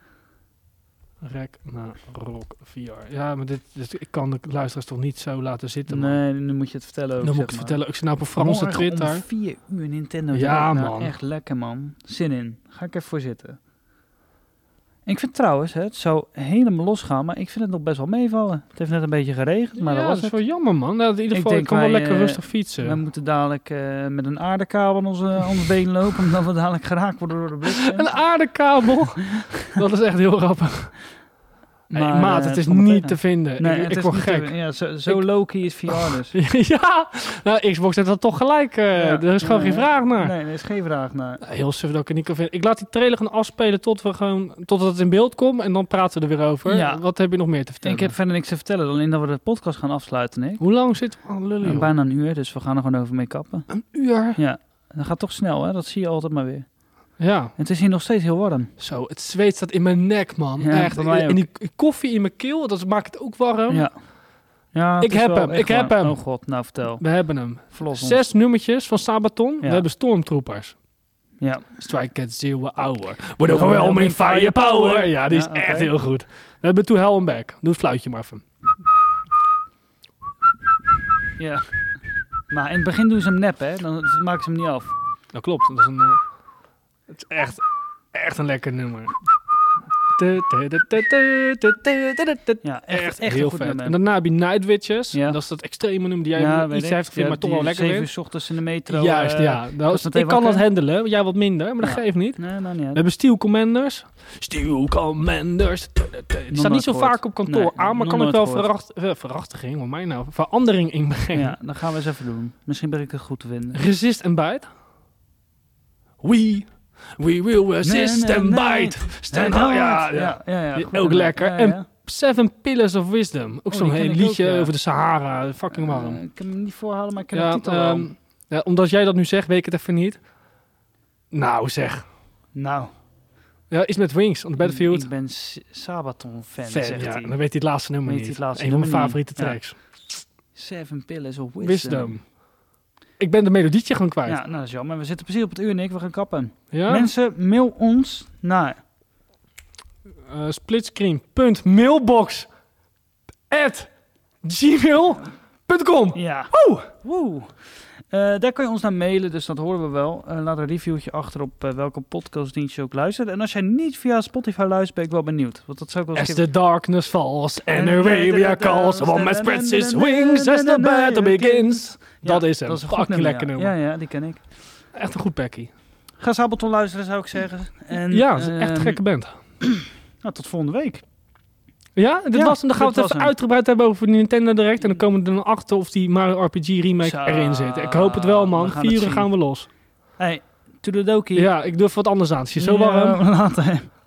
Speaker 1: eh,
Speaker 2: Rek, na, rock, VR. Ja, maar dit, dit- ik kan de luisteraars toch niet zo laten zitten, man.
Speaker 1: Nee, nu moet je het vertellen ook.
Speaker 2: Dan moet
Speaker 1: zeg
Speaker 2: ik het
Speaker 1: maar.
Speaker 2: vertellen. Ik zit nou op een Franse
Speaker 1: Morgen
Speaker 2: Twitter.
Speaker 1: om vier uur Nintendo.
Speaker 2: Ja,
Speaker 1: Direct. Nou,
Speaker 2: man.
Speaker 1: echt lekker, man. Zin in. Ga ik even voor zitten. Ik vind trouwens, hè, het zou helemaal losgaan, maar ik vind het nog best wel meevallen. Het heeft net een beetje geregend, maar
Speaker 2: ja,
Speaker 1: dat was
Speaker 2: is
Speaker 1: het.
Speaker 2: wel jammer, man. Nou, in ieder
Speaker 1: Ik
Speaker 2: geval, ik
Speaker 1: denk
Speaker 2: kan wel
Speaker 1: wij,
Speaker 2: lekker
Speaker 1: eh,
Speaker 2: rustig
Speaker 1: We
Speaker 2: fietsen.
Speaker 1: moeten dadelijk eh, met een aardekabel aan onze, aan ons been lopen, omdat we dadelijk geraakt worden door de bliksem.
Speaker 2: Een aardekabel. dat is echt heel grappig. Maar,
Speaker 1: Maar,
Speaker 2: maat,
Speaker 1: eh,
Speaker 2: het is
Speaker 1: komt wel
Speaker 2: niet te
Speaker 1: tegen.
Speaker 2: vinden.
Speaker 1: Nee,
Speaker 2: ik
Speaker 1: het
Speaker 2: ik
Speaker 1: is
Speaker 2: word
Speaker 1: niet te-
Speaker 2: gek.
Speaker 1: ja, zo, zo
Speaker 2: Ik-
Speaker 1: low-key is VR dus.
Speaker 2: ja, nou, Xbox heeft dat toch gelijk. eh,
Speaker 1: Ja,
Speaker 2: er is
Speaker 1: ja,
Speaker 2: gewoon geen
Speaker 1: ja.
Speaker 2: vraag naar.
Speaker 1: Nee, er is geen vraag naar.
Speaker 2: Nou, Heel suf dat ik het niet kan vinden. Ik laat die trailer gaan afspelen tot we gewoon, totdat het in beeld komt. En dan praten we er weer over.
Speaker 1: Ja.
Speaker 2: Wat heb je nog meer te vertellen?
Speaker 1: Ik heb verder niks te vertellen, alleen dat we de podcast gaan afsluiten, Nick.
Speaker 2: Hoe lang zit we aan lullen,
Speaker 1: Eh,
Speaker 2: Oh, joh?
Speaker 1: bijna een uur, dus we gaan er gewoon over mee kappen.
Speaker 2: Een uur.
Speaker 1: Ja, dat gaat toch snel, hè? Dat zie je altijd maar weer.
Speaker 2: Ja.
Speaker 1: En het is hier nog steeds heel warm.
Speaker 2: Zo, het zweet staat in mijn nek, man.
Speaker 1: Ja,
Speaker 2: echt.
Speaker 1: bij mij
Speaker 2: En die koffie in mijn keel, dat maakt het ook warm.
Speaker 1: Ja. ja het
Speaker 2: Oh. Ik
Speaker 1: is
Speaker 2: heb
Speaker 1: wel
Speaker 2: hem,
Speaker 1: echt
Speaker 2: ik heb
Speaker 1: warm.
Speaker 2: hem.
Speaker 1: Oh god, nou vertel.
Speaker 2: We hebben hem.
Speaker 1: Verlos ons.
Speaker 2: Zes nummertjes van Sabaton. We
Speaker 1: Ja.
Speaker 2: hebben Stormtroopers.
Speaker 1: Ja.
Speaker 2: Strike at zero hour. With overwhelming firepower. Ja, die is
Speaker 1: Ja, oké.
Speaker 2: echt heel goed. We hebben To Hell and Back. Doe het fluitje maar even.
Speaker 1: ja. Maar in het begin doen ze hem nep, hè? Dan maken ze hem niet af.
Speaker 2: Dat klopt. Dat is een, eh, het is echt, echt een lekker nummer.
Speaker 1: Ja, echt,
Speaker 2: Echt,
Speaker 1: echt, een
Speaker 2: heel
Speaker 1: goed
Speaker 2: vet.
Speaker 1: nummer.
Speaker 2: En daarna heb je Night Witches.
Speaker 1: Ja.
Speaker 2: Dat is dat extreme nummer die jij
Speaker 1: ja, weet
Speaker 2: iets
Speaker 1: ik.
Speaker 2: heeft
Speaker 1: Ja,
Speaker 2: gevonden, maar toch
Speaker 1: die
Speaker 2: wel lekker
Speaker 1: Zeven
Speaker 2: vindt.
Speaker 1: uur 's ochtends in de metro.
Speaker 2: Juist,
Speaker 1: eh,
Speaker 2: ja. Nou,
Speaker 1: was
Speaker 2: ik
Speaker 1: meteen
Speaker 2: kan dat
Speaker 1: wakker.
Speaker 2: handelen, jij wat minder, maar dat
Speaker 1: Ja.
Speaker 2: geeft niet.
Speaker 1: Nee, maar niet
Speaker 2: We
Speaker 1: uit.
Speaker 2: hebben Steel Commanders. Steel Commanders. Die staat niet
Speaker 1: nooit
Speaker 2: zo
Speaker 1: gehoord.
Speaker 2: vaak op kantoor
Speaker 1: Nee,
Speaker 2: aan, maar
Speaker 1: nog
Speaker 2: kan ik
Speaker 1: nooit
Speaker 2: wel
Speaker 1: gehoord.
Speaker 2: verracht, eh, verachtiging, wat mij nou, verandering inbrengen.
Speaker 1: Ja, dan gaan we eens even doen. Misschien ben ik het goed te vinden.
Speaker 2: Resist and bite. We, we will resist
Speaker 1: nee,
Speaker 2: and
Speaker 1: nee.
Speaker 2: bite. Stand hard. Ja, ja.
Speaker 1: Oh, ja, ja,
Speaker 2: Die-
Speaker 1: goed
Speaker 2: ook
Speaker 1: nummer.
Speaker 2: lekker.
Speaker 1: Ja,
Speaker 2: En
Speaker 1: ja.
Speaker 2: Seven Pillars of Wisdom. Ook
Speaker 1: Oh,
Speaker 2: zo'n
Speaker 1: die ken
Speaker 2: heel
Speaker 1: ik ook,
Speaker 2: liedje
Speaker 1: ja.
Speaker 2: over de Sahara. Fucking warm.
Speaker 1: Eh, ik kan hem niet voorhalen, maar ik ken
Speaker 2: ja,
Speaker 1: de titel
Speaker 2: ehm,
Speaker 1: wel.
Speaker 2: ja, omdat jij dat nu zegt, weet ik het even niet. Nou zeg.
Speaker 1: Nou,
Speaker 2: Ja, is met Wings on the Battlefield.
Speaker 1: ik ben S- Sabaton-fan,
Speaker 2: Fan,
Speaker 1: Mm, zegt
Speaker 2: ja.
Speaker 1: hij.
Speaker 2: En dan weet hij het laatste nummer
Speaker 1: Weet
Speaker 2: niet.
Speaker 1: hij het laatste
Speaker 2: Een van mijn
Speaker 1: nummer
Speaker 2: favoriete
Speaker 1: niet. Ja.
Speaker 2: tracks.
Speaker 1: Seven Pillars of Wisdom.
Speaker 2: Wisdom. Ik ben de melodietje gewoon kwijt.
Speaker 1: Ja, nou dat is jammer. We zitten precies op het uur, Nick. We gaan kappen.
Speaker 2: Ja?
Speaker 1: Mensen, mail ons naar...
Speaker 2: Eh, splitscreen.mailbox at gmail.com.
Speaker 1: Ja.
Speaker 2: Woe!
Speaker 1: Woe. Eh, daar kan je ons naar mailen, dus dat horen we wel. Eh, laat een reviewtje achter op eh, welke podcastdienst je ook luistert. En als jij niet via Spotify luistert, ben ik wel benieuwd. Want dat zou ik wel eens
Speaker 2: As
Speaker 1: een
Speaker 2: the darkness falls and Arabia calls, one man spreads his wings as the battle begins.
Speaker 1: keer-
Speaker 2: Dat
Speaker 1: Ja,
Speaker 2: is hem.
Speaker 1: een goed
Speaker 2: Fucking lekker
Speaker 1: ja.
Speaker 2: nummer.
Speaker 1: Ja, ja, die ken ik.
Speaker 2: Echt een goed packie.
Speaker 1: Ga Sabaton luisteren, zou ik zeggen. En,
Speaker 2: Ja, het is echt een
Speaker 1: ehm,
Speaker 2: gekke band.
Speaker 1: Nou, tot volgende week.
Speaker 2: Ja, dit
Speaker 1: ja,
Speaker 2: was hem. Dan gaan
Speaker 1: dit
Speaker 2: we het
Speaker 1: was
Speaker 2: even
Speaker 1: hem.
Speaker 2: uitgebreid hebben over Nintendo Direct. En dan komen we er dan achter of die Mario RPG remake
Speaker 1: Zo,
Speaker 2: erin zit. Ik hoop het wel, man.
Speaker 1: we gaan
Speaker 2: Vier
Speaker 1: het
Speaker 2: uur
Speaker 1: zien.
Speaker 2: gaan we los.
Speaker 1: Hey, toededokie.
Speaker 2: Ja, ik durf wat anders aan. Het is hier zo warm.
Speaker 1: Ja, later.